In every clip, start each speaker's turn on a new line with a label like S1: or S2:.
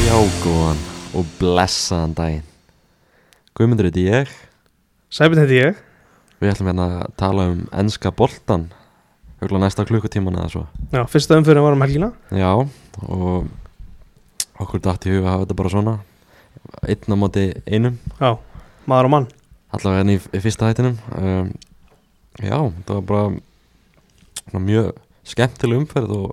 S1: Dágóðan og blessaðan daginn Guðmundur heiti ég
S2: Sæbjörn heiti ég
S1: Við ætlum hérna að tala um enska boltan Hugla næsta klukkutíman eða svo
S2: Já, fyrsta umfyrir var um helgina
S1: Já og okkur dætt í huga að hafa þetta bara svona Einn á móti einum
S2: Já, maður og mann
S1: Allavega hérna í, í fyrsta hættinum um, Já, það var bara svona mjög skemmtileg umferð og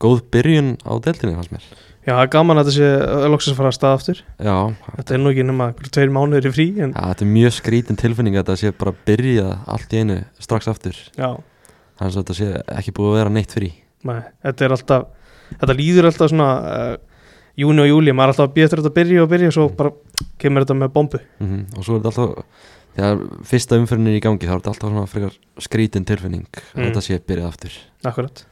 S1: góð byrjun á deltinni fannst mér
S2: Já, það er gaman að þetta sé uh, loksins að fara að staða aftur
S1: Já,
S2: Þetta er nú ekki nema einhverjum tveir mánuður í frí en,
S1: Ja, þetta er mjög skrítin tilfinning að þetta sé bara að byrja allt í einu strax aftur
S2: Já,
S1: þannig að þetta sé ekki búið að vera neitt frí
S2: nei, þetta er alltaf Þetta líður alltaf svona uh, Júni og júli, maður er alltaf að býja eftir að þetta byrja og byrja Svo bara kemur þetta með bombu
S1: mm og svo er þetta alltaf þegar fyrsta umferðin er í gangi þá er þetta alltaf svona frekar skrítin tilfinning að
S2: Mm.
S1: þetta sé byrjað aftur
S2: Akkurat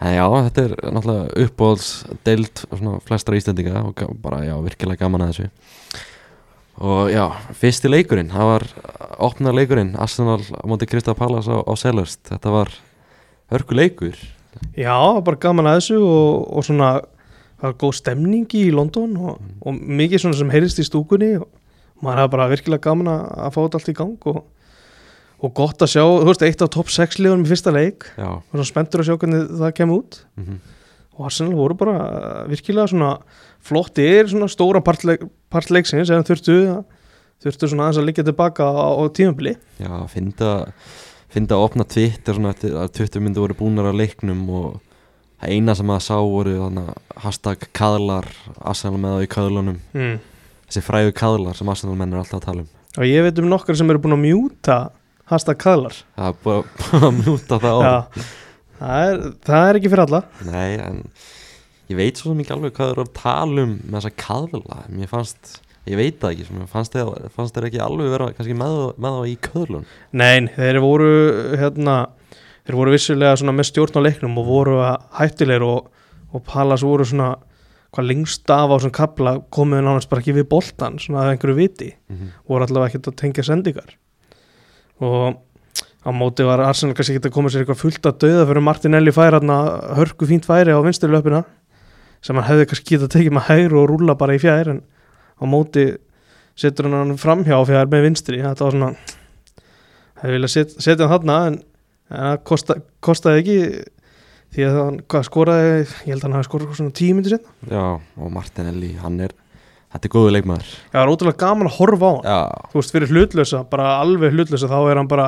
S1: en já, þetta er náttúrulega uppbóðs deild svona flestra íslendinga og ga- bara já, virkilega gaman að þessu og já, fyrsti leikurinn það var opna leikurinn Arsenal á móti Krista Pallas á, á Selhurst þetta var hörku leikur
S2: Já, bara gaman að þessu og, og svona Það var góð stemning í London og, og mikið svona sem heyrist í stúkunni og maður hafði bara virkilega gaman að að fá þetta allt í gang og, og gott að sjá, þú veist, eitt af topp 6 liðunum í fyrsta leik
S1: já,
S2: og svona spenntur að sjá hvernig það kemur út
S1: mm
S2: og Arsenal voru bara eh, virkilega svona flottir, svona stóra partleik, partleiksins eða þurftu þurftu svona aðeins að liggja tilbaka á, á tímabili
S1: Já, finna finna að opna Twitter svona eftir að 20 myndu voru búnar á leiknum og það eina sem maður sá voru þannig að hashtag kaðlar Arsenal með á í kaðlunum
S2: mm.
S1: þessi fræðu kaðlar sem Arsenal menn er alltaf að tala um
S2: og ég veit um nokkar sem eru búin að mjúta hasta kaðlar
S1: það er bara, bara að mjúta það á
S2: Já, það, er, það er ekki fyrir alla
S1: Nei, en ég veit svo sem ekki alveg hvað þeir eru að tala um með þessa kaðla mér fannst, ég veit það ekki svona, mér fannst þeir, fannst þeir ekki alveg vera kannski með, með á í kaðlun
S2: Nein, þeir voru hérna, þeir voru vissulega svona með stjórn á leiknum og voru að hættilegur og, og Pallas voru svona hvað lengst af á svona kapla komuðu nánast bara ekki við boltan svona að einhverju viti
S1: mm -hmm.
S2: voru allavega ekkert að tengja sendingar og á móti var Arsenal kannski ekkert að koma sér eitthvað fullt að dauða fyrir Martinelli færi hann hörku fínt færi á vinstri löpina sem hann hefði kannski getað tekið með hægri og rúla bara í fjær en á móti setur hann hann framhjá á fjær með vinstri þetta var svona hefði viljað set, setja hann þarna en, en það kosta, kostaði ekki því að hann hvað, skoraði ég held að hann hafi skorað eitthvað svona tíu myndir setna
S1: Já, og Martinelli, hann er þetta er góðu leikmaður
S2: það var ótrúlega gaman að horfa á hann
S1: Já,
S2: þú veist, fyrir hlutlösa, bara alveg hlutlösa þá er hann bara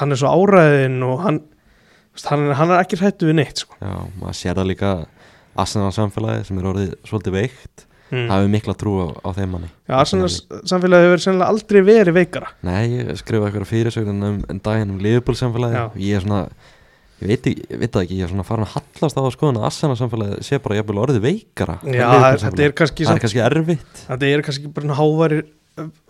S2: hann er svo áræðin og hann þú veist, hann, er- hann er ekki hrættu við neitt sko.
S1: Já, maður sér það líka Arsenal samfélagi sem er orðið svolítið veikt mm.
S2: mm.
S1: hafið mikla trú á, á þeim manni
S2: Já, Arsenal samfélagi hefur sennilega aldrei verið veikara
S1: Nei, ég skrifa eitthvað fyrirsögnin um en daginn um Liverpool samfélagi
S2: Já.
S1: ég er svona, ég veit, ekki- ég veit það ekki ég er svona farin að hallast á að skoðan að Arsenal samfélagi sé bara jafnvel orðið veikara en
S2: Já,
S1: Liverpool
S2: þetta er
S1: samfélagið. það er
S2: kannski samt,
S1: kannski erfitt
S2: þetta er kannski bara hávarir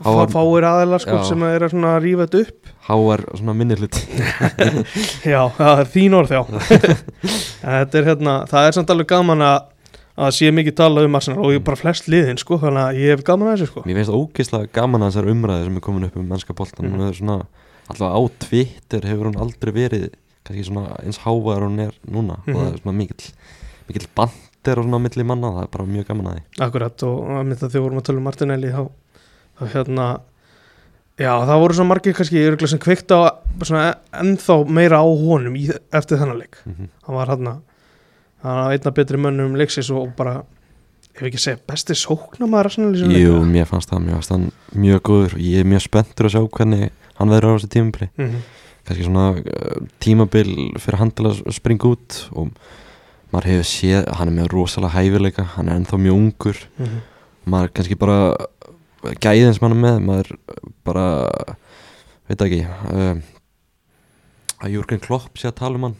S1: Hávar-
S2: Hávar, fáir aðelar sko,
S1: Já.
S2: sem er að svona rífa þetta upp
S1: háar svona minni hlut
S2: Já, það er þín orð já En þetta er hérna, það er samt alveg gaman að að sé mikið talað um Arsenal
S1: Mm.
S2: og ég bara flest liðin sko, þannig að ég hef gaman að þessu sko
S1: Mér finnst ógeðslega gaman að þessar umræði sem er komin upp um mennska boltan
S2: Mhm.
S1: hún er svona, allavega á Twitter hefur hún aldrei verið kannski svona eins hávaður hún er núna og það er
S2: Mhm.
S1: svona mikill mikill bandir og svona á milli manna það er bara mjög gaman að því
S2: Akkurat og að mynda þegar við vorum að tala um Martinelli þá, þá hérna já það voru svo margir kannski örugglega sem kveikta á svona ennþá meira á honum í, eftir þennan leik
S1: mm -hmm.
S2: hann var hérna hann var einna betri mönnum leiksins og bara ef ekki að segja besti sóknamaður Arsenal í svona
S1: Jú, mér fannst það, mér fannst hann mjög góður og ég er mjög spenntur að sjá hvernig hann verður á þessu tímabili
S2: mm -hmm.
S1: kannski svona uh, tímabil fyrir hann til að springa út og maður hefur séð, hann er með rosalega hæfileika, hann er ennþá mjög ungur
S2: Mm -hmm.
S1: maður kannski bara gæðin sem hann er með maður bara veit ekki um, að Jürgen Klopp sé að tala um hann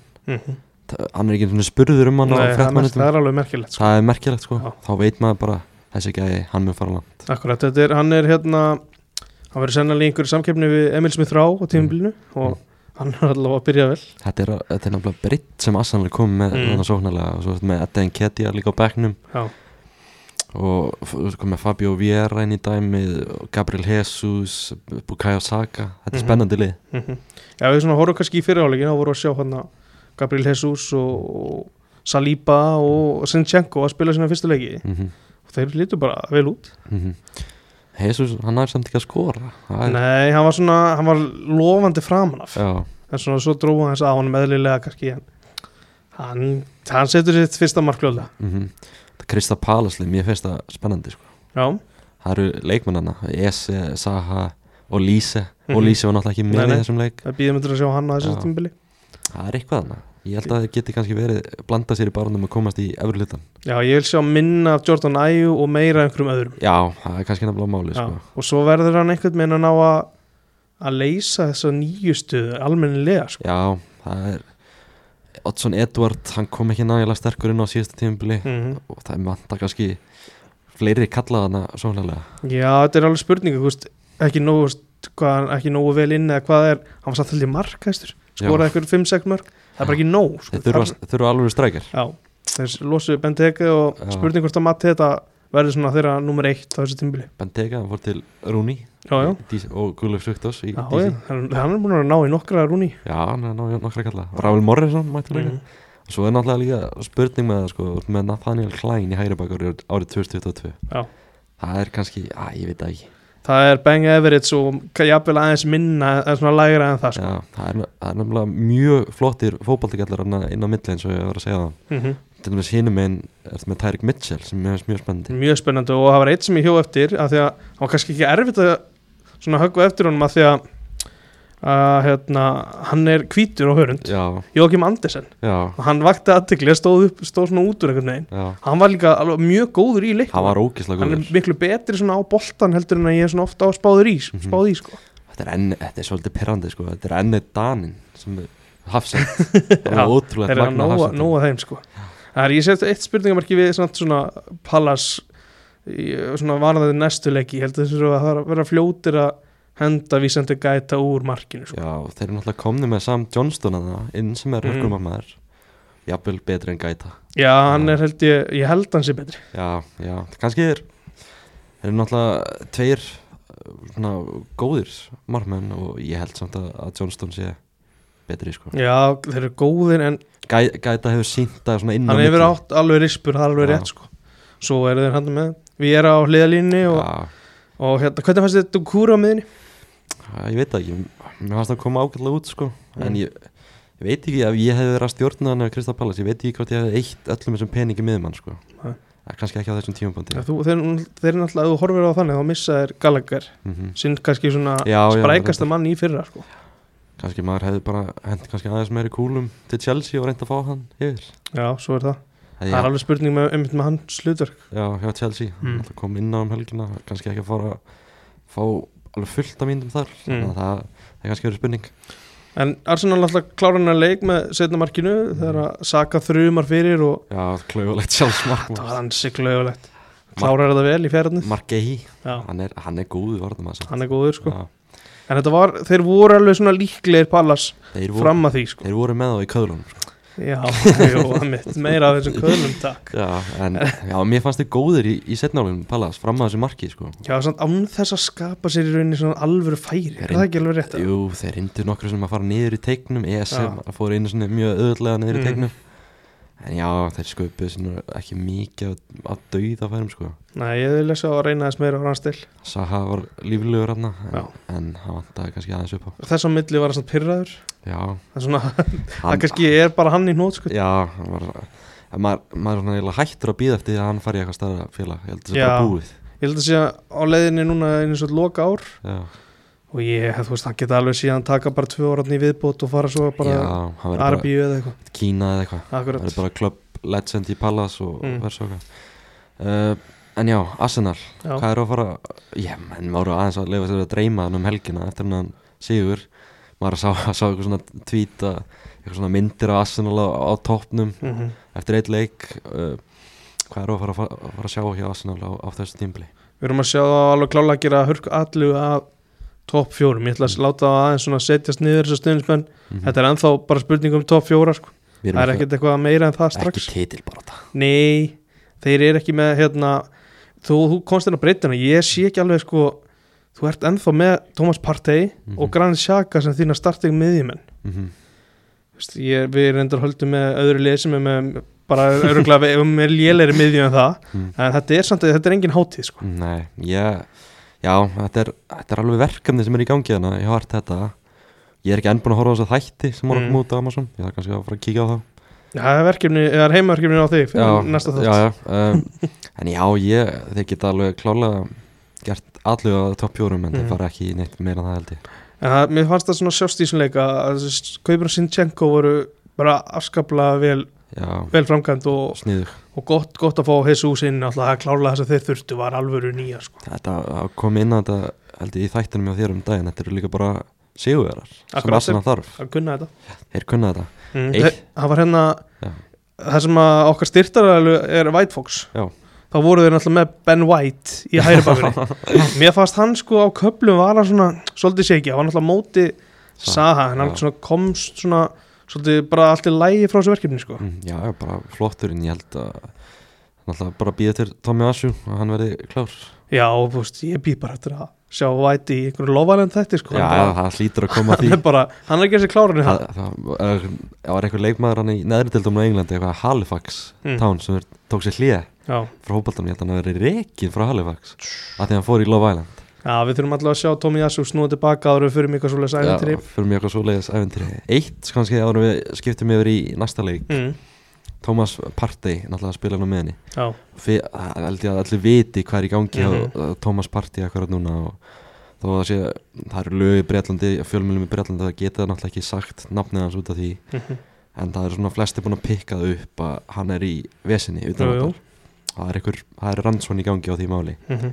S1: Þa- hann er ekki einu sinni spurður um hann á
S2: mhm. Nei, það, er mest,
S1: fréttmannetum
S2: það er alveg merkilegt sko.
S1: það er merkilegt sko,
S2: Já.
S1: þá veit maður bara þessi gæði, hann mun fara langt
S2: Akkurat, þetta er, hann er hérna hann verður sennilega í einhverju samkeppni við Emil Smith Rá á tímabilinu
S1: Mm.
S2: og hann er allavega að byrja vel
S1: þetta er, þetta er náttúrulega britt sem Arsenal er komið með
S2: Mm.
S1: mm. sóknarlega og svo ertu með Edda Nketiah líka á bekknum
S2: já,
S1: og f- þú veist, komið Fabio Vieira inn í dæmið og Gabriel Jesus, Bukayo Saka þetta er
S2: Mhm.
S1: spennandi lið
S2: Mhm. Já, við svona horfum kannski í fyrirálegin þá vorum við að sjá hann Gabriel Jesus og og Saliba og Sinchenko að spila sína fyrstu leiki
S1: mm -hmm.
S2: og þeir lítur bara vel út
S1: Mhm. Jesus, hann er samt ekki að skora Það er-
S2: Nei, hann var svona, hann var lofandi framan af
S1: Já,
S2: en svona svo dróða hans á hann meðlilega kannski en hann, hann setur sitt fyrsta markljóðlega
S1: mm það Krista Palasli, mér finnst það spennandi sko.
S2: Já,
S1: Það eru leikmennana, Ese, Saha og Lise
S2: Mhm.
S1: og Lise var náttúrulega ekki með
S2: Nei, nei.
S1: í þessum leik
S2: það býðum við til að sjá hann á þessu
S1: Já.
S2: tímbili
S1: Það er eitthvað annað Ég held að þeir geti kannski verið blanda sér í barnum og komast í efri hlutan
S2: Já, ég vil sjá minna af Jordan Ayew og meira af einhverjum öðrum
S1: Já, það er kannski nefnilega máli
S2: Já,
S1: sko.
S2: og svo verður hann einhvern veginn að ná að að leysa þessa nýjustu almennilega sko.
S1: Já, það er Oddsson Edward, hann kom ekki nægilega sterkur inn á síðasta tímabili
S2: mm
S1: og það er manta kannski fleiri kallaðana svolega
S2: já, þetta er alveg spurningu veist, ekki, nógu, þú veist, hvað, hann- ekki nógu vel inn eða hvað er, hann var satt held í markæstur skoraði eitthvað 5-6 mörg, það er bara ekki nóg sko.
S1: Þeir þurfa, þurfa alveg strækjar
S2: já, þess losuðu Benteke og
S1: Já.
S2: spurning hvort að Matti þetta verður svona þeirra nummer eitt á þessu tímbili
S1: Bentega, hann fór til Rúni
S2: já, já,
S1: og Guðlaug Söktós í
S2: já,
S1: DC.
S2: já. Hann, hann er búin að ná í nokkra rúni
S1: Já, hann er náttúrulega nokkra kalla Ravel Morrison mætti líka
S2: mm.
S1: Svo er náttúrulega líka spurning með það sko þú ert með Nathaniel Klein í hægri bakur árið 2022
S2: Já.
S1: Það er kannski, að ég veit það ekki
S2: það er Bang Everett og jafnvel aðeins minna, eða svona lægra en það sko.
S1: Já, það er, það er nefnilega mjög flottir fótballtikallar inn á milli eins og ég var að segja það
S2: mm
S1: Til dæmis hinum einn er með Tyrik Mitchell sem er mjög spennandi
S2: mjög spennandi og það var eitt sem ég hjó eftir af því að það var kannski ekki erfitt að svona höggva eftir honum af því að að hérna, hann er hvítur og hörund,
S1: Já,
S2: Jókim Andersen
S1: já,
S2: og hann vakti aðtekli að stóð upp stóð svona út úr einhvern veginn,
S1: já
S2: hann var líka alveg mjög góður í leik,
S1: Það var ógislega
S2: hann er
S1: góður
S2: miklu betri svona á boltan heldur en að ég er svona ofta á spáður í
S1: Mhm.
S2: spáð í sko,
S1: Þetta er, enn, þetta er svolítið perrandi sko Þetta er enni Danin sem er hafsend Það
S2: Já,
S1: er
S2: þeir
S1: ótrúlega
S2: eru að nóa, nóa þeim sko það er ég sett eitt spurningamarki við svona, svona Pallas í- svona varðaði næstu leiki, ég held að þessu að það vera fljótir að henda vísandi gæta úr markinu sko.
S1: Já, þeir eru náttúrulega komni með Sam Johnston að inn sem er
S2: Mm.
S1: hörkum að maður jafnvel betri en gæta
S2: Já, hann
S1: Já.
S2: er held ég, ég held hann sé betri
S1: Já, já, kannski er þeir eru náttúrulega tveir uh, svona góðir margmenn og ég held samt að, að Johnston sé betri sko
S2: Já, þeir eru góðir en
S1: Gæ, Gæta hefur sínt að svona inn á
S2: hann hefur
S1: milli.
S2: átt alveg rispur, það er alveg
S1: Já.
S2: rétt sko Svo eru þeir hann með, við erum á hliðalínni og,
S1: Já,
S2: og hérna, hvernig fannst þetta kúra á miðinni?
S1: já, ég veit það ekki, mér fannst það koma ágætlega út sko
S2: Mm.
S1: en ég, ég veit ekki ef ég hefði verið að stjórna hann eða Kristaf Pallas, ég veit ekki hvort ég hefði eitt öllum þessum peningi miðum hann sko
S2: Nei.
S1: Ja, kannski ekki á þessum tímabundi
S2: Þú, þeir, þeir eru náttúrulega, ef þú horfir á þannig þá missa þeir Gallagher,
S1: mm -hmm.
S2: sinn kannski svona
S1: Já, já,
S2: sprækasta mann í fyrra sko
S1: kannski maður hefði bara hent kannski aðeins meiri kúlum til Chelsea og reynd að fá hann yfir
S2: Já, svo er það,
S1: Það
S2: það er alveg spurning með, einmitt með hans hlutverk
S1: Já, hjá Chelsea,
S2: Mm.
S1: mm. kom inn á um helgina kannski ekki að fara fá alveg fullt af myndum þar þannig
S2: Mm.
S1: að það, það er kannski verið spurning
S2: En Arsenal alltaf klára hennar leik með setna markinu
S1: Mm.
S2: þegar að Saka þrjumar fyrir og
S1: Já, klauðulegt sjálfsmark
S2: það var hansi glöðulegt Klárar þetta vel í fjörðinu
S1: Margehi,
S2: Já,
S1: hann er, hann er góðu varðum að
S2: hann er góður sko
S1: Já,
S2: En þetta var, þeir voru alveg svona líklegir Pallas
S1: þeir, voru,
S2: fram að því sko
S1: þeir voru með þá í köðlunum sko.
S2: Já, jú, að mitt, meira af þessum köðlum takk
S1: Já, en já, mér fannst þið góðir í, í setnálunum Pallas, fram að þessu marki sko.
S2: Já, samt án þess að skapa sér í rauninni svona alvöru færi Er það ekki alveg rétt? að-
S1: Jú, þeir reyndu nokkru sem að fara niður í teiknum ESM
S2: Já.
S1: fór einu svona mjög öðlega niður í
S2: Mm.
S1: teiknum En já, þeir sköpuðu svona ekki mikið að, að dauða færum sko
S2: Nei, ég vil lesa að reyna þess meira á rannstil
S1: Saha var líflegur hann
S2: Já.
S1: en, en hann vantaði kannski aðeins upp á
S2: Þess á milli var hann svona pyrraður
S1: Já,
S2: Það er svona, það
S1: hann,
S2: kannski er bara hann í nót sko
S1: já, hann var en maður, maður er svona eiginlega hættur að býða eftir því að hann fari í eitthvað starra félag, ég held að það
S2: Já.
S1: er bara búið
S2: Ég held að sé að á leiðinni núna einu svona loka ár
S1: Já,
S2: Og ég, þú veist, hann geta alveg síðan taka bara tvö áratni í viðbót og fara svo
S1: já,
S2: bara
S1: hann verður bara
S2: Arbíu eða eitthvað
S1: Kína eða eitthvað hann
S2: Akkurat,
S1: verður bara klubb legend í Palace og
S2: Mm.
S1: mm. verður svo eitthvað uh, En já, Arsenal
S2: já,
S1: Hvað er að fara Já, menn maður aðeins að lifa sér að dreyma hann um helgina eftir hann hann sigur maður sá, sá eitthvað svona tvíta eitthvað svona myndir af Arsenal á, á toppnum
S2: mhm.
S1: eftir eitt leik uh, hvað er að fara, að fara, að fara að sjá hjá Arsenal á, á þessu tímbli
S2: Við erum að sjá það alveg klálega að gera hörku allu að topp fjórum. Ég ætla að láta það aðeins svona setjast niður þessu stöðnismenn. Þetta er ennþá bara spurning um topp fjóra sko.
S1: Mm. Mhm. við
S2: Það er ekkert eitthvað meira en það
S1: ekki
S2: strax.
S1: titil bara þetta
S2: Nei, þeir eru ekki með hérna, þú, þú komst inn á breytina, ég sé ekki alveg sko, þú ert ennþá með Thomas Partey
S1: Mhm.
S2: og Granit Xhaka sem þína starting miðjumenn.
S1: mm -hmm.
S2: Vist, ég, við reyndar höldum með öðru lið sem er með bara öruglega um er léleiri miðjum en það
S1: Mm.
S2: en þetta er samt að þetta er engin hátíð sko.
S1: Nei, ég, já, þetta er, þetta er alveg verkefni sem er í gangi hérna þannig að ég har þetta Ég er ekki enn búin að horfa á þess að þætti sem voru
S2: Mm.
S1: mm. mútið á Amazon Ég þarf kannski að fara að kíkja á það
S2: Já, það er verkefni, eða heimaverkefni á þig fyrir næsta þátt
S1: já, já um, En já, ég, þeir geta alveg klálega gert allu á topp fjórum en
S2: Mm.
S1: þeir fara ekki í neitt meira en það held ég
S2: En það, mér fannst það svona sjást í svona leik að- að þessi Kaupin og Sinchenko voru bara afskaplega vel,
S1: Já,
S2: vel framkvæmt og,
S1: sniðug
S2: og gott, gott að fá Jesus inn alltaf að klárlega þess að þeir þurftu var alvöru nýja sko.
S1: Þetta að koma inn að þetta held ég í þættinum hjá þér um daginn Þetta eru líka bara sigurverar sem
S2: Akkurat,
S1: Arsenal þarf
S2: að kunna þetta
S1: Þeir kunna þetta
S2: mm,
S1: Eitt.
S2: þe- Það var hérna
S1: Já.
S2: það sem að okkar styrtaraðalu er White Fox
S1: Já.
S2: þá voru þeir náttúrulega með Ben White í hægri bakurinn Mér fannst hann sko á köplum var hann svona svolítið séki, hann var náttúrulega á móti
S1: Sa-
S2: Saha, en hann
S1: já.
S2: svona komst svona svolítið bara allt í lægi frá þessu verkefni sko.
S1: Mm, Já, já, bara flotturinn, ég held að náttúrulega bara býða til Tommy Asju og hann verði klár
S2: Já, og þú veist, ég býð bara eftir að sjá White í einhverju lofanend þetta sko.
S1: Já,
S2: hann,
S1: það hlýtur að koma
S2: bara,
S1: að því
S2: hann er bara, hann er ekki þessi klárin í
S1: Það
S2: það
S1: það- ef- ef var einhver leikmaður hann í neðri deildum á Englandi, eitthvað Halifax
S2: Mm.
S1: Town sem er- tók sér hlýja
S2: Já.
S1: frá hópaldunum, ég held að hann hafi verið rekin frá Halifax að því hann fór í Love Island
S2: Já, við þurfum alltaf að sjá Tommy Yasu snúið tilbaka áður en við fyrir mig eitthvað svolítið sæðintri
S1: fyrir mig eitthvað svoleiðis æventri Eitt, kannski árum við skiptum yfir í næsta leik
S2: mm,
S1: Thomas Partey, náttúrulega að spila hann á meðinni
S2: Já,
S1: Fe- það held ég að allir viti hvað er í gangi mm
S2: Mhm.
S1: -hmm. Thomas Partey akkurat núna og þó að það sé, það eru lög í Breitlandi fjölmjölum í Breitlandi, það geta náttúrulega ekki sagt nafnið hans út af því
S2: Mhm.
S1: en það er svona flesti búin að pikkað upp að hann er í vesinni utan
S2: Jú, jú.
S1: okkar það er einhver, það er rannsvon í gangi á því máli
S2: mhm,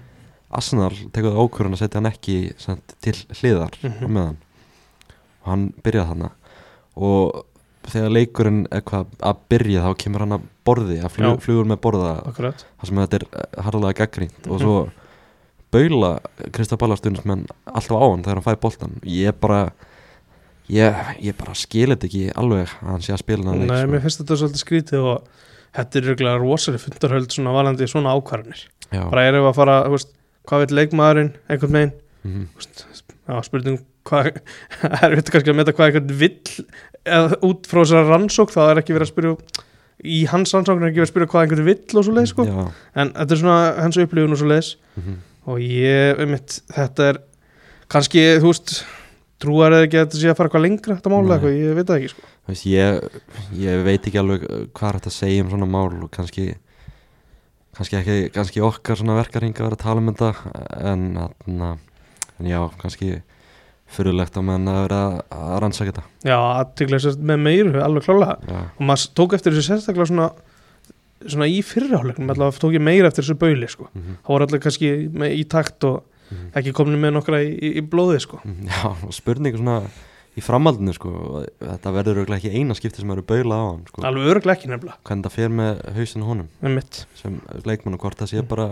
S1: Arsenal tekur það ákvörðan að setja hann ekki sent, til hliðar á
S2: mhm
S1: meðan og hann byrjaði þarna og þegar leikurinn er hvað að byrja þá kemur hann að borði að flug,
S2: Já.
S1: flugur með borða
S2: Akkurat
S1: það sem þetta er eh, harðlega gaggrínt og svo baula Kristaf Ballastunins menn alltaf á hann þegar hann fæði boltan ég bara ég, ég bara skil þetta ekki alveg að hann sé að spila sko. hann
S2: Nei, mér finnst þetta svolítið skrítið og þetta er reglulega rosalega fundarhöld svona valandi svona ákvarðanir
S1: já,
S2: bara erum við að fara, þú veist, hvað veit leikmaðurinn einhvern veginn,
S1: mhm,
S2: já, spurning hvað, er þetta kannski að meta hvað einhvern vill eða út frá þessar rannsók þá er ekki verið að spyrja í hans rannsókn er ekki verið að spyrja hvað einhvern vill og svo leið, sko,
S1: já,
S2: en þetta er svona hans upplifun og svo leiðis
S1: mhm,
S2: og ég, um mitt, þetta er kannski, þú veist trúar eða ekki að þetta sé að fara eitthvað lengra þetta mála
S1: Nei.
S2: eitthvað, ég veit það ekki, sko
S1: Þú veist, ég, ég veit ekki alveg eh, hvað er þetta að segja um svona mál og kannski kannski ekki kannski okkar svona verkaringa að vera að tala um þetta en, þarna- en já, kannski fyrirlegt að menn að vera að rannsaka þetta
S2: já, aðtiklega með meiru, alveg klálega
S1: já,
S2: og maður tók eftir þessu sérstaklega svona svona í fyrirháleiknum allavega tók ég meira eftir þessu bauli sko
S1: mhm,
S2: það voru allavega kannski með, í takt og
S1: mhm.
S2: ekki komin með nokkra í, í, í blóði sko
S1: Mm, Já, og spurningu svona í framhaldinu sko, og þetta verður örugglega ekki eina skipti sem eru baula á hann sko,
S2: alveg örglega ekki nefnilega
S1: hvernig það fer með hausinu honum
S2: með mitt,
S1: sem leikmann og hvort það sé
S2: Mm.
S1: bara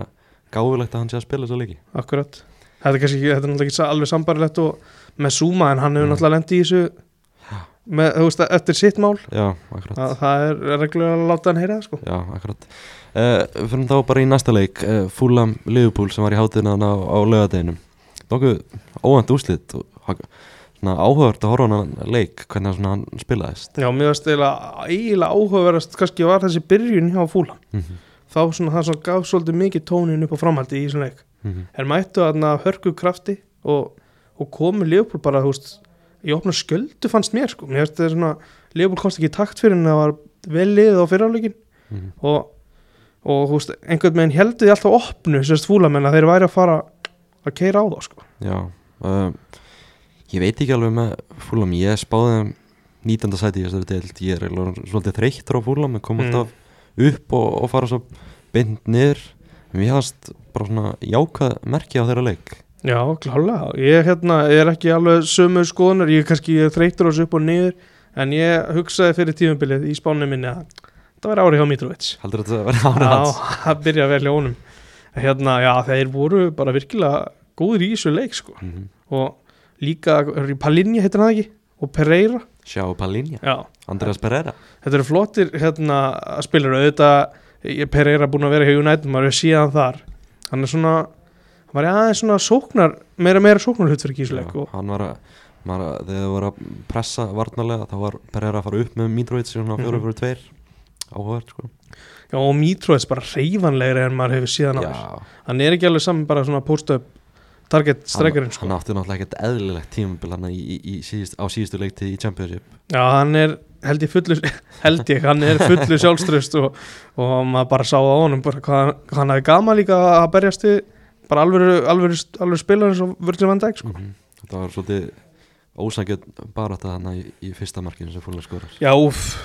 S1: gáfulegt að hann sé að spila svo leiki
S2: akkurat þetta er kannski, ekki- þetta er náttúrulega ekki sa- alveg sambarilegt og með Zuma en hann hefur
S1: Mm.
S2: náttúrulega lendi í þessu með, þú veist, eftir sitt mál
S1: Já, akkurat
S2: að það er reglulega að láta hann heyra það sko
S1: Já, akkurat uh, Fyrir þá bara í næsta leik uh, Fulham Liverpool sem var í hátíðina á, á laugadeginum Nókuð óvænt úslit og, hag- svona áhugavert að horfa á hann leik hvernig svona hann spilaðist
S2: já, mér veist eiginlega eiginlega áhugaverðast kannski var þessi byrjun hjá fúla
S1: mm -hmm.
S2: þá svona, það svona gaf svolítið mikið tónin upp á framhaldi í svona leik er mættu aðna hörku krafti og, og komu Leopold bara þú veist, í opna sköldu fannst mér sko. mér finnst þetta svona, Leopold komst ekki í takt fyrir en það var vel liðið á fyrirháleikin
S1: Mhm.
S2: og, og þú veist, einhvern veginn heldur því alltaf opnu sérst fúlamenn að þeir væri að fara að keira á þá sko.
S1: Já uh, Ég veit ekki alveg með Fúlam Ég spáði þeim 19. sæti í þessari deild Ég er eiginlega orðinn svolítið þreyttur á Fúlam Ég kom
S2: Mm.
S1: alltaf upp og, og fara svo beint niður En Mér hafðast bara svona jákað merki á þeirra leik
S2: já, klálega, ég hérna, er ekki alveg sömu skoðunar, ég er kannski ég er þreytur á þessu upp og niður en ég hugsaði fyrir tífumbilið í spánu minni að það væri árið hjá Mitrovic
S1: Heldur þetta að vera ára
S2: Já,
S1: hans
S2: það byrja vel hjá honum Hérna, já, þeir voru bara virkilega góður í þessu leik, sko
S1: mm -hmm.
S2: Og líka, Palinja heitir hann það ekki Og Pereira,
S1: Sjá Palinja,
S2: já
S1: Andreas Pereira
S2: Þetta eru flottir, hérna, spilar auðvitað ég- Pereira búin að vera hjá United, maður er síðan þar Hann er svona, hann var aðeins svona sóknar Meira meira sóknarhutverk í þessu leik
S1: Já,
S2: og,
S1: Hann var að maður að- Þegar þau voru að pressa varnarlega þá var Pereira að fara upp með Mitrovic í svona
S2: Mhm.
S1: 4-4-2 áhugavert sko
S2: Já, og Mitrovic bara reyfanlegri en maður hefur síðan áður
S1: Já,
S2: hann er ekki alveg saman bara svona post-up target strekkurinn
S1: hann,
S2: sko
S1: hann átti náttúrulega ekkert eðlilegt tímabil hann í, í, í síðust, á síðustu leikti í Championship
S2: já hann er held ég fullu held ég hann er fullu sjálfströst og, og maður bara sá á honum bara hvað hann- hvað hann hafi gama líka að berjast við bara alvöru, alvöru, alvöru spilar eins og Virgil van Dijk sko
S1: mm þetta var svolítið ósangjöld bara þetta hann í, í fyrsta markinu sem fólk skorar
S2: já úff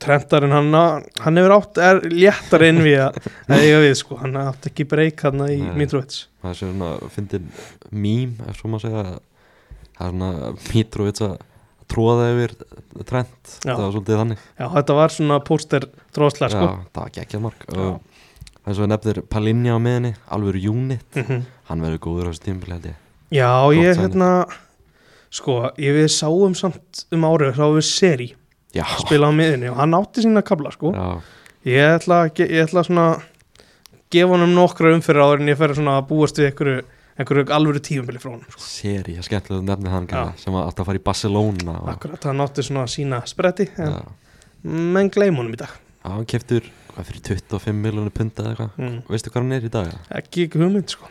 S2: Trentarinn hann, hann hefur átt er léttar inn við að að eiga við sko, hann átt ekki breyk hann í
S1: Nei.
S2: Mitrovic
S1: það er svona fyndin mím ef svo maður segja það er svona Mitrovic að tróða yfir trend
S2: Já.
S1: það var svolítið þannig
S2: Já, þetta var svona póster dróðslega sko
S1: Já, það var geggjað mark
S2: Já.
S1: og eins og við nefnir Palinja á miðinni, alvöru unit
S2: mm
S1: hann verður góður á þessu tímpil held ég
S2: Já,
S1: Gott
S2: ég
S1: sæti.
S2: hérna sko, ég við sáum samt um árið, sáum við seri
S1: Já,
S2: spila á miðinni og hann átti sína kabla sko
S1: já,
S2: ég ætla, að ge- ég ætla svona að gefa honum nokkra umfyrir áður en ég fer að svona að búast við einhverju, einhverju alvöru tíumbili frá honum sko.
S1: seri, ég skemmtilega nefnir hann kannar, sem var alltaf að fara í Barcelona og,
S2: Akkurat, hann átti svona sína spretti
S1: já,
S2: en, menn gleym honum í dag
S1: já, hann keftur hvað fyrir 25 miljónu punta eða eitthvað
S2: mm.
S1: veistu hvað hann er í dag? eða?
S2: ekki ekki hugmynd sko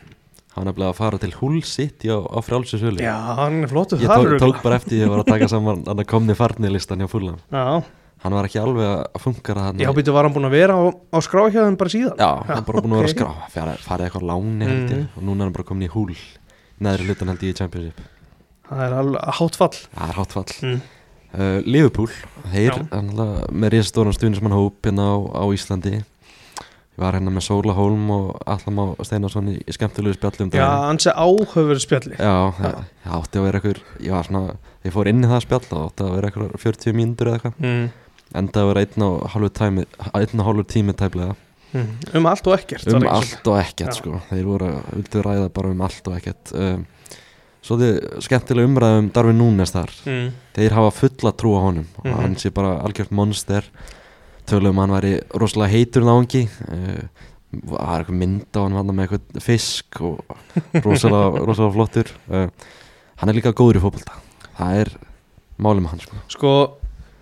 S1: hann er nefnilega að fara til Hull City á, á frálsins hölu
S2: Já, hann er flottu
S1: ég tók, tók bara eftir ég var að taka saman hann komni farni listan hjá Fulham
S2: Já,
S1: hann var ekki alveg að fungara hann
S2: já býtu var hann búin að vera á, á skráhjáðum bara síðan
S1: Já, hann er bara búin að vera að
S2: ok. Mm.
S1: skrá farið, farið eitthvað á láni held ég og núna er hann bara komin í húl neðri hlutan held ég í Championship
S2: Það er alveg hátfall
S1: Það er hátfall
S2: Mm.
S1: uh, Liverpool,
S2: Já.
S1: þeir annala, með risastóran stuðnismann hóp hérna á, á Íslandi ég var hérna með Sóla Holm og Allam á Steinarsson í, í skemmtilegu um spjallum
S2: Já, ansi áhöfur spjalli
S1: Já, það, það átti að vera einhver ég var svona, ég fór inn í það spjall og átti að vera einhver 40 mínútur eða eitthvað
S2: mm.
S1: endaði að vera einn og hálfur tími einn og hálfur tími tæplega
S2: Mm. Um allt og ekkert var
S1: um
S2: ekki
S1: allt og ekkert
S2: Já.
S1: sko. þeir voru að vildu ræða bara um allt og ekkert um, svo þið skemmtilega umræðum Darvin um Núnes þar
S2: svo- mm.
S1: þeir hafa fulla trú á honum
S2: Mhm.
S1: og hann sé bara algjört monster tölum hann væri rosalega heitur náungi uh, það er eitthvað mynd á hann hann með eitthvað fisk og rosalega, rosalega flottur uh, hann er líka góður í fótbolta það er málið með hann sko.
S2: Sko,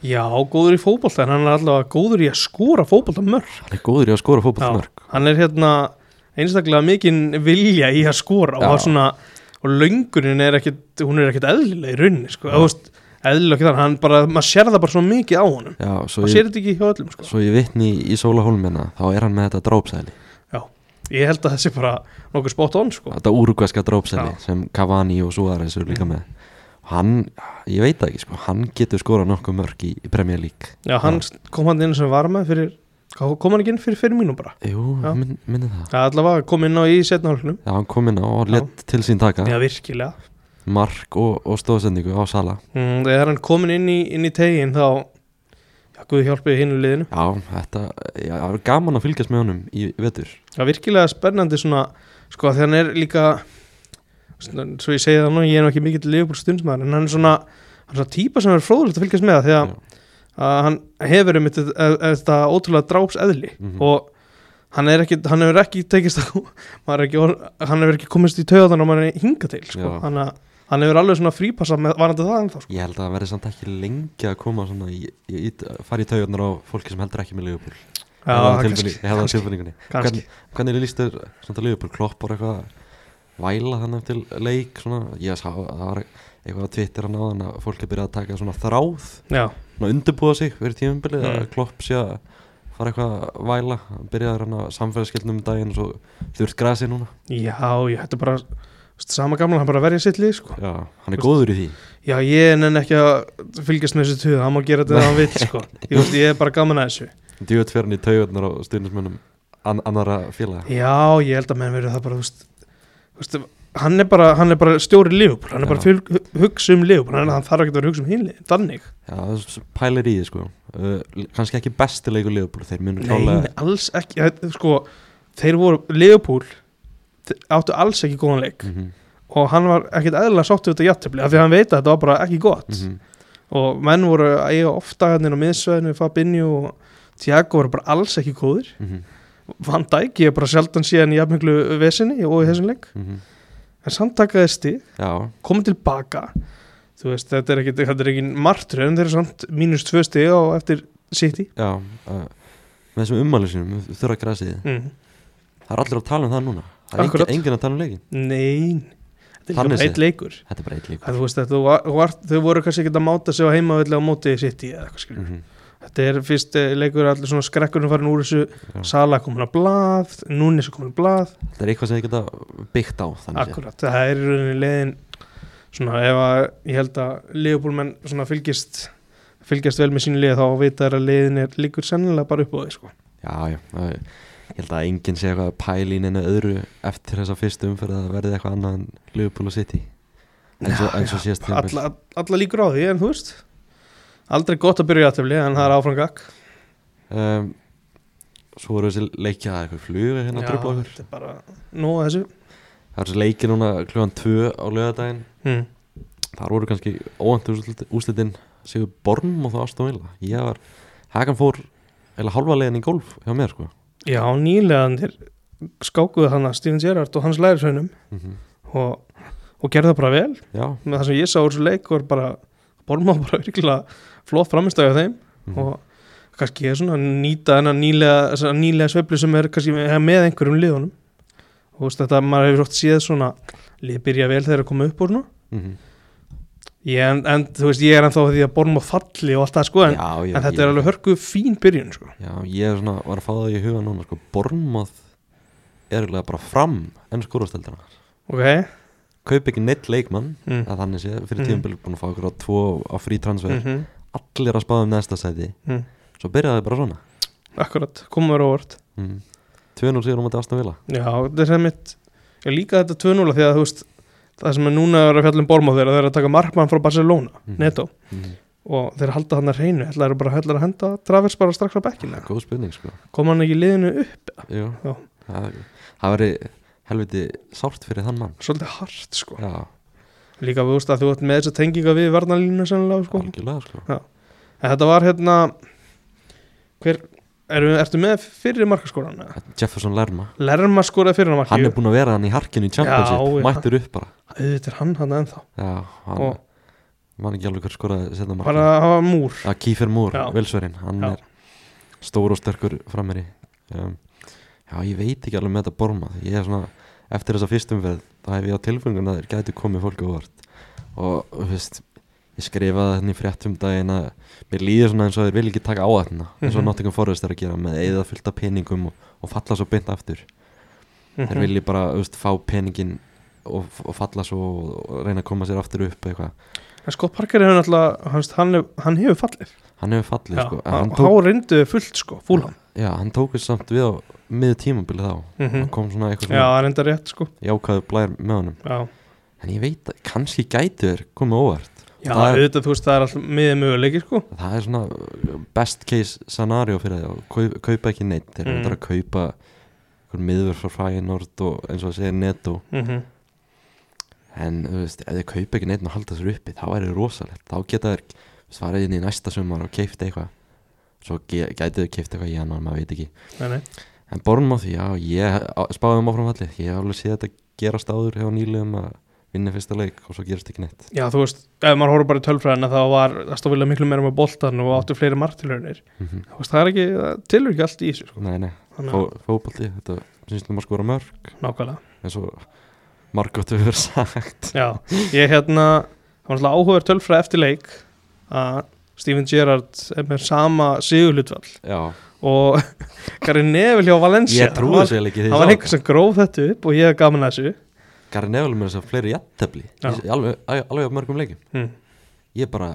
S2: já, góður í fótbolta en hann er allavega góður í að skóra fótbolta mörg
S1: hann er góður í að skora fótbolta mörg
S2: Hann er hérna einstaklega mikinn vilja í að skóra og
S1: Já.
S2: hann svona, og löngunin er ekkit hún er ekkit eðlilega í rauninni sko.
S1: Já.
S2: Þú veist, eðlilega ekki þannig, hann bara maður sér það bara svo mikið á honum
S1: Já, svo,
S2: maður
S1: ég,
S2: sér þetta ekki hjá öllum sko.
S1: svo ég vitni í Sóla Holmina þá er hann með þetta drápsæli
S2: Ég held að það sé bara nokkuð spot on sko.
S1: þetta úrugvæska drópsæli
S2: Já. Mhm.
S1: sem Cavani og Suárez eru líka með og hann, ég veit það ekki sko hann getur skorað nokkuð mörg í, í Premier League
S2: Já, hann kom hann inn sem var með fyrir, kom hann ekki inn fyrir fyrir mínum bara
S1: Jú,
S2: Já.
S1: minn, minni það
S2: Það er allavega kom inn á í setna hálfnum
S1: Já, hann kom inn á og lett til sín taka
S2: Já, virkilega
S1: mark og, og stóðsendingu á Sala
S2: Mm, þegar hann komin inn í, inn í tegin þá já, Guð hjálpið hinnu liðinu
S1: Já, þetta, já, það er gaman að fylgjast með honum í vetur
S2: það er virkilega spennandi svona sko þegar hann er líka svona, svo ég segi það nú, ég er nú ekki mikill liðbúl stundsmaður en hann er svona hann er svona típa sem er fróðulegt að fylgjast með það því að, að hann hefur um þetta, eh, þetta ótrúlega dráps eðli
S1: Mhm.
S2: og hann er ekki hann hefur ekki tekist á maður er ekki, orð- hann hefur ekki komist í töðan og maður er hinga til sko.
S1: Já.
S2: hann, hann hefur alveg svona frípassa með varandi það ennþá sko.
S1: Ég held að það verði samt ekki lengi að koma svona í, í, í, fara í taugarnar á fólki sem heldur ekki með Leopold
S2: Já,
S1: kannski,
S2: kannski,
S1: Ég hefði á
S2: kannski,
S1: tilfinningunni
S2: kannski.
S1: Hvernig líst þér svona Leopold kloppar eitthvað að væla þannig til leik svona, ég sá, það var eitthvað á Twitter hann áðan að fólk er byrjað að taka svona þráð
S2: Já,
S1: svona undirbúa sig fyrir tímumbilið
S2: Mm.
S1: að klopp sé að fara eitthvað að væla hann byrjaði hann að samfélagsskildnum um daginn og svo þurft grasi núna
S2: Já, ég hætti bara veist, sama gamla, hann bara verja sitt lið sko.
S1: Já, hann er góður í því
S2: Já, ég nenni ekki að fylgjast með þessu tuð, hann má gera þetta þegar hann vill sko. ég, veist, ég er bara gaman að þessu
S1: djúið tverjan í taugarnar á stundismönnum an annara félaga
S2: Já, ég held að menn verið það bara þú veist, þú veist, hann, er bara, hann er bara stjóri liðbúl, hann er bara
S1: Já.
S2: fylg, hu- hugsa um liðbúl, hann, hann þarf ekki að vera að hugsa um hinlið þannig,
S1: Já, það er svo- pælir í því sko uh, l- kannski ekki besti leikur liðbúl þeir munur
S2: nei, nei, alls ekki þetta- sko, þeir voru liðbúl áttu alls ekki góðan leik
S1: mm -hmm,
S2: og hann var ekkit eðlilega sáttu þetta játtöfli af því að hann veit að þetta var bara ekki gott
S1: Mhm.
S2: og menn voru að eiga ofta hérna á miðsveðinu, Fabinho og Tiago voru bara alls ekki góðir
S1: mhm,
S2: Van Dijk, ég er bara sjaldan síðan í jafnmenglu vesinni og í þessum leik en samt takaði stig,
S1: mhm. Já,
S2: komið tilbaka þú veist, þetta er ekki, þetta er ekki martröð en þeir eru samt mínus tvö stig á eftir City
S1: já uh, með þessum ummæli sinum, þurra grasiði
S2: mm.
S1: það er allir að tala um það núna það er
S2: Akkurat.
S1: engin, engin að tala um leikin
S2: Nein Þetta er
S1: Þannig
S2: líka
S1: séð.
S2: eitt leikur
S1: þetta er bara eitt líka
S2: að, þú veist, að þú var, þú var, Þau voru kannski ekki að máta sig á heimavillig á móti sitt í eða eitthvað skilur
S1: mm
S2: Þetta er fyrst eh, leikur allir svona skrekkurinn farin úr þessu
S1: Já.
S2: Sala komin að blað, núni svo komin að blað
S1: þetta er eitthvað sem þið geta byggt á þannig séð.
S2: Akkurat, það er í rauninni leiðin svona ef að ég held að liðbúlmenn svona fylgist fylgjast vel með sínu liði þá vita þær að leiðin er líkur sennilega bara upp á því sko.
S1: já, já, það er- ég held að enginn sé eitthvað pælín en öðru eftir þessa fyrstu umferð að það verði eitthvað annað en Liverpool og City eins og, eins og síðast tímabil.
S2: alla, alla líkur á því en þú veist aldrei gott að byrja í aðtöfli en það er áframgak
S1: um, svo eru þessi leikja það er eitthvað flug hérna að tröfla okkur
S2: þetta er bara nóg að þessu
S1: það eru þessi leiki núna kljóðan 2 á lögadaginn
S2: mm.
S1: þar voru kannski óvænt úslitin Sigur Born og þá Aston Villa ég var, Hakan fór eða halva leiðin í golf hjá mér sko
S2: Já, nýlegandir skákuðu hann að Steven Gerrard og hans lærisveinum
S1: mm -hmm.
S2: og, og gerði það bara vel
S1: já,
S2: með það sem ég sá úr þessu leik var bara Bormá bara virkilega flott framistæði á þeim
S1: mhm.
S2: og kannski er svona að nýta þennan nýlega, þessa nýlega sveiflu sem er kannski með, með einhverjum liðunum og þú veist þetta maður hefur oft séð svona lið byrja vel þegar að koma upp úr nú
S1: Mhm.
S2: ég, en, en þú veist ég er ennþá því að borma falli og allt það sko en,
S1: já, ég,
S2: en þetta
S1: ég,
S2: er alveg hörku fín byrjun sko
S1: já, ég er svona, var að fá það í huga núna sko, Bornmoð er eiginlega bara fram enn skórasteldina
S2: ok,
S1: kaup ekki neitt leikmann
S2: mm.
S1: að þannig sé, fyrir
S2: Mhm.
S1: mm. tíðumbil búin að fá okkur á tvo á frí transfer
S2: Mm -hmm.
S1: allir að spáða um næsta sæti
S2: Mm.
S1: svo byrjaði bara svona
S2: akkurat, komum við óvart
S1: mm. 2-0 sigur á mæti Aston Villa
S2: já, þetta er sem mitt ég líka þetta 2-0 því að þú veist það sem er núna er að fjalla um borma þeirra þeir eru að taka markmann frá Barcelona,
S1: Mhm.
S2: netto
S1: mm.
S2: og þeir halda hann að reynu, ætlaður bara ætlarðu að henda Travers bara strax á bekkina
S1: góð spurning sko
S2: kom hann ekki í liðinu upp
S1: Jú,
S2: Já.
S1: það, það veri helviti sárt fyrir þann mann
S2: svolítið hart sko
S1: Já,
S2: líka við úst að þú ert með þess að tenginga við varnalínu sannlega sko en
S1: algjörlega sko
S2: þetta var hérna hver, er, ertu með fyrir markaskóran
S1: Jefferson Lerma,
S2: Lerma skoraði fyrir hann marki
S1: hann er búin að vera hann í harkinu í
S2: Já, já.
S1: Championship, mættur upp bara
S2: auðvitað er hann hann ennþá
S1: Já, hann
S2: Og-
S1: Man ekki alveg hver skoraði setna
S2: bara
S1: marka
S2: að hafa múr
S1: Það Kífer Múr,
S2: Já.
S1: Vilsverinn Hann
S2: Já.
S1: er stór og sterkur frammeiri um, Já, ég veit ekki alveg með þetta borma Ég er svona, eftir þessa fyrstum veð þá hef ég á tilfengun að þeir gætu komið fólki á óvart og, þú veist ég skrifaði þetta í fréttum um daginn að mér líður svona eins og þeir vil ekki taka áætna eins og
S2: Mhm.
S1: Nottingham Forest er að gera með eða fullta peningum og, og falla svo beint aftur þeir
S2: Mhm.
S1: vilji bara þú veist, fá peningin og, og falla svo og, og reyna að koma sér aftur upp eitthvað
S2: en Scott Parker hefur náttúrulega hans, hann, hef- hann hefur fallið
S1: hann hefur fallið sko en hann
S2: hann
S1: tók,
S2: reyndu fullt sko fúlan
S1: já, hann tók við samt við á miður tímabili þá
S2: mm
S1: hann kom svona eitthvað
S2: já
S1: svona
S2: hann reynda rétt sko
S1: jákaðu blær með honum
S2: já,
S1: en ég veit að kannski gætu þeir komið óvart
S2: já
S1: Það er-
S2: auðvitað þú veist það er alltaf miðið möguleiki sko
S1: það er svona uh, best case scenario fyrir það kaup, kaupa ekki neitt þeir eru
S2: Mm.
S1: mm. að kaupa einhver miður frá Fræinord og eins og að segja netto
S2: Mhm.
S1: en þú veist, ef þeir kaupa ekki neitt og halda sér uppi, þá er það rosalegt þá geta þeir svarið inn í næsta sumar og keift eitthvað svo ge- gætu þeir keift eitthvað í januar, maður veit ekki
S2: Nei, nei.
S1: en Bornmoth, já, ég á- spáði um áframfalli ég hef alveg séð þetta gerast áður hjá nýlegum að vinna fyrsta leik og svo gerast ekki neitt
S2: Já, þú veist, ef maður horfður bara í tölfræðina þá var Astóvila miklu meira með boltan og áttu fleiri martilönir.
S1: Mhm.
S2: Þú veist, það er ekki, það tilur ekki allt í þessu, sko.
S1: nei, nei,
S2: Þannig,
S1: Fó, fótbolti þetta synstum að skora mörg
S2: nákvæmlega.
S1: eins og margótt hefur verið sagt
S2: Já, ég hérna, það var náttúrulega áhugaður tölfræð eftir leik að Steven Gerrard er með sama sigurlutvall
S1: já,
S2: og Gary Neville hjá Valencia.
S1: ég trúi þessu eiginlega ekki
S2: Það
S1: þegar
S2: var, það var
S1: ég sá
S2: einhver
S1: þetta.
S2: sem gróf þetta upp og ég hef gaman að þessu.
S1: Gary Neville með þess að fleiri jættefli
S2: Já.
S1: alveg, alveg af mörgum leikum
S2: Hm.
S1: ég bara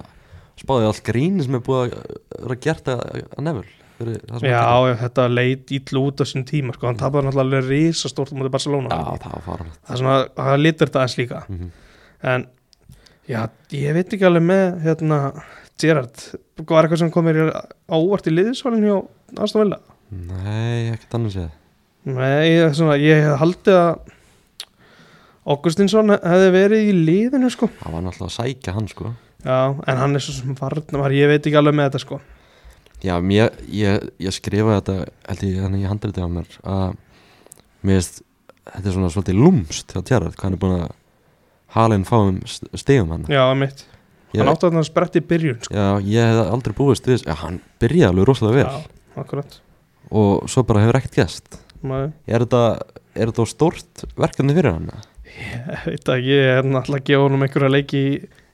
S1: spáði allt grín sem er búið að vera gert að, að nefnul fyrir það sem
S2: Já,
S1: hann
S2: já, þetta leit ítlu út á sín tíma, sko. Hann tapaði náttúrulega alveg risastórt á móti Barcelona.
S1: gerði. já, það var faranlegt
S2: Það er svona, það litur þetta aðeins líka.
S1: mm
S2: en já, ég veit ekki alveg með hérna, Gerard var eitthvað sem kom mér ávart í liðisvalin hjá Aston Villa
S1: nei, ekkert annars ég
S2: Nei, ég, svona, ég hef haldið að Augustinsson hefði verið í liðinu sko
S1: það var náttúrulega að sækja hann sko
S2: já, en hann er svo sem varnamar ég veit ekki alveg með þetta sko
S1: já, mér, ég, ég skrifaði þetta held ég þannig í handriti á mér að mér veist þetta er svona svolítið lúmst hjá Gerard hvað hann er búin að halinn fáum stegum hann
S2: já, mitt,
S1: ég,
S2: hann átti að hann spretti í byrjun sko.
S1: já, ég hef aldrei búist við þess- já, hann byrjaði alveg rosalega vel
S2: já, akkurat
S1: og svo bara hefur ekkert gæst
S2: maður,
S1: er þetta, er þetta of stórt verkefni fyrir hann?
S2: ég veit að ég er náttúrulega að gefa honum einhverja leiki í,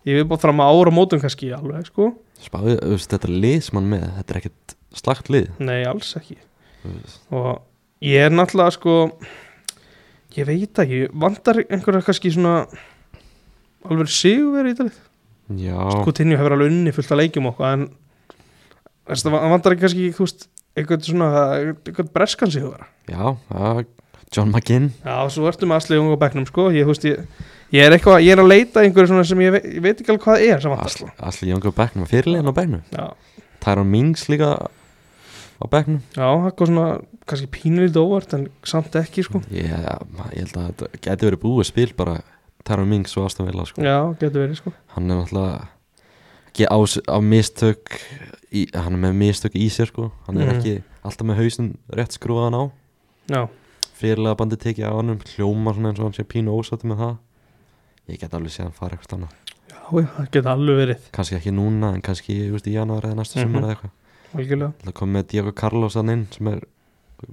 S2: ég vil bara fram að ára mótum kannski alveg sko,
S1: Spáði, þú veist, þetta er lið sem hann er með þetta er ekkert slagt lið
S2: nei alls ekki
S1: þú
S2: Mm.
S1: veist.
S2: og ég er náttúrulega sko ég veit ekki, vandar einhverja kannski svona alveg sigurveri í þetta lið
S1: Já,
S2: Coutinho hefur alveg unni fullt að leikjum okkur en það vandar ekki kannski þú veist, eitthvað svona eitthvað breskan sigurvera
S1: já, já John McGinn
S2: já, svo ertu með aðslega ungu á bekknum sko ég, þú veist, ég, ég er eitthvað, ég er að leita einhverju svona sem ég veit, ég veit ekki alveg hvað það er sem vandar sko.
S1: Asli Jóngur á bekknum, fyrirlegin á bekknum
S2: já,
S1: Tyron Mings líka á bekknum
S2: já, eitthvað svona kannski pínulítið óvart en samt ekki sko
S1: ég, ég held að þetta geti verið búið spil bara Tyron Mings og Aston Villa sko.
S2: já, getur verið sko
S1: hann er náttúrulega ekki á, s- á mistök í, hann er með mistök í sér sko. hann er
S2: Mhm.
S1: ekki alltaf með hausinn rétt skrúðan á
S2: já,
S1: fyrirlega bandið tekið á hann hljóma svona eins og hann sé pínu ósætti með það ég get alveg séð hann fara eitthvað annað
S2: já, já, það getur alveg verið
S1: kannski ekki núna en kannski þú veist, í januar eða næsta
S2: Mhm.
S1: sumar eða eitthvað
S2: algjörlega
S1: það kom með Diego Carlos hann inn sem er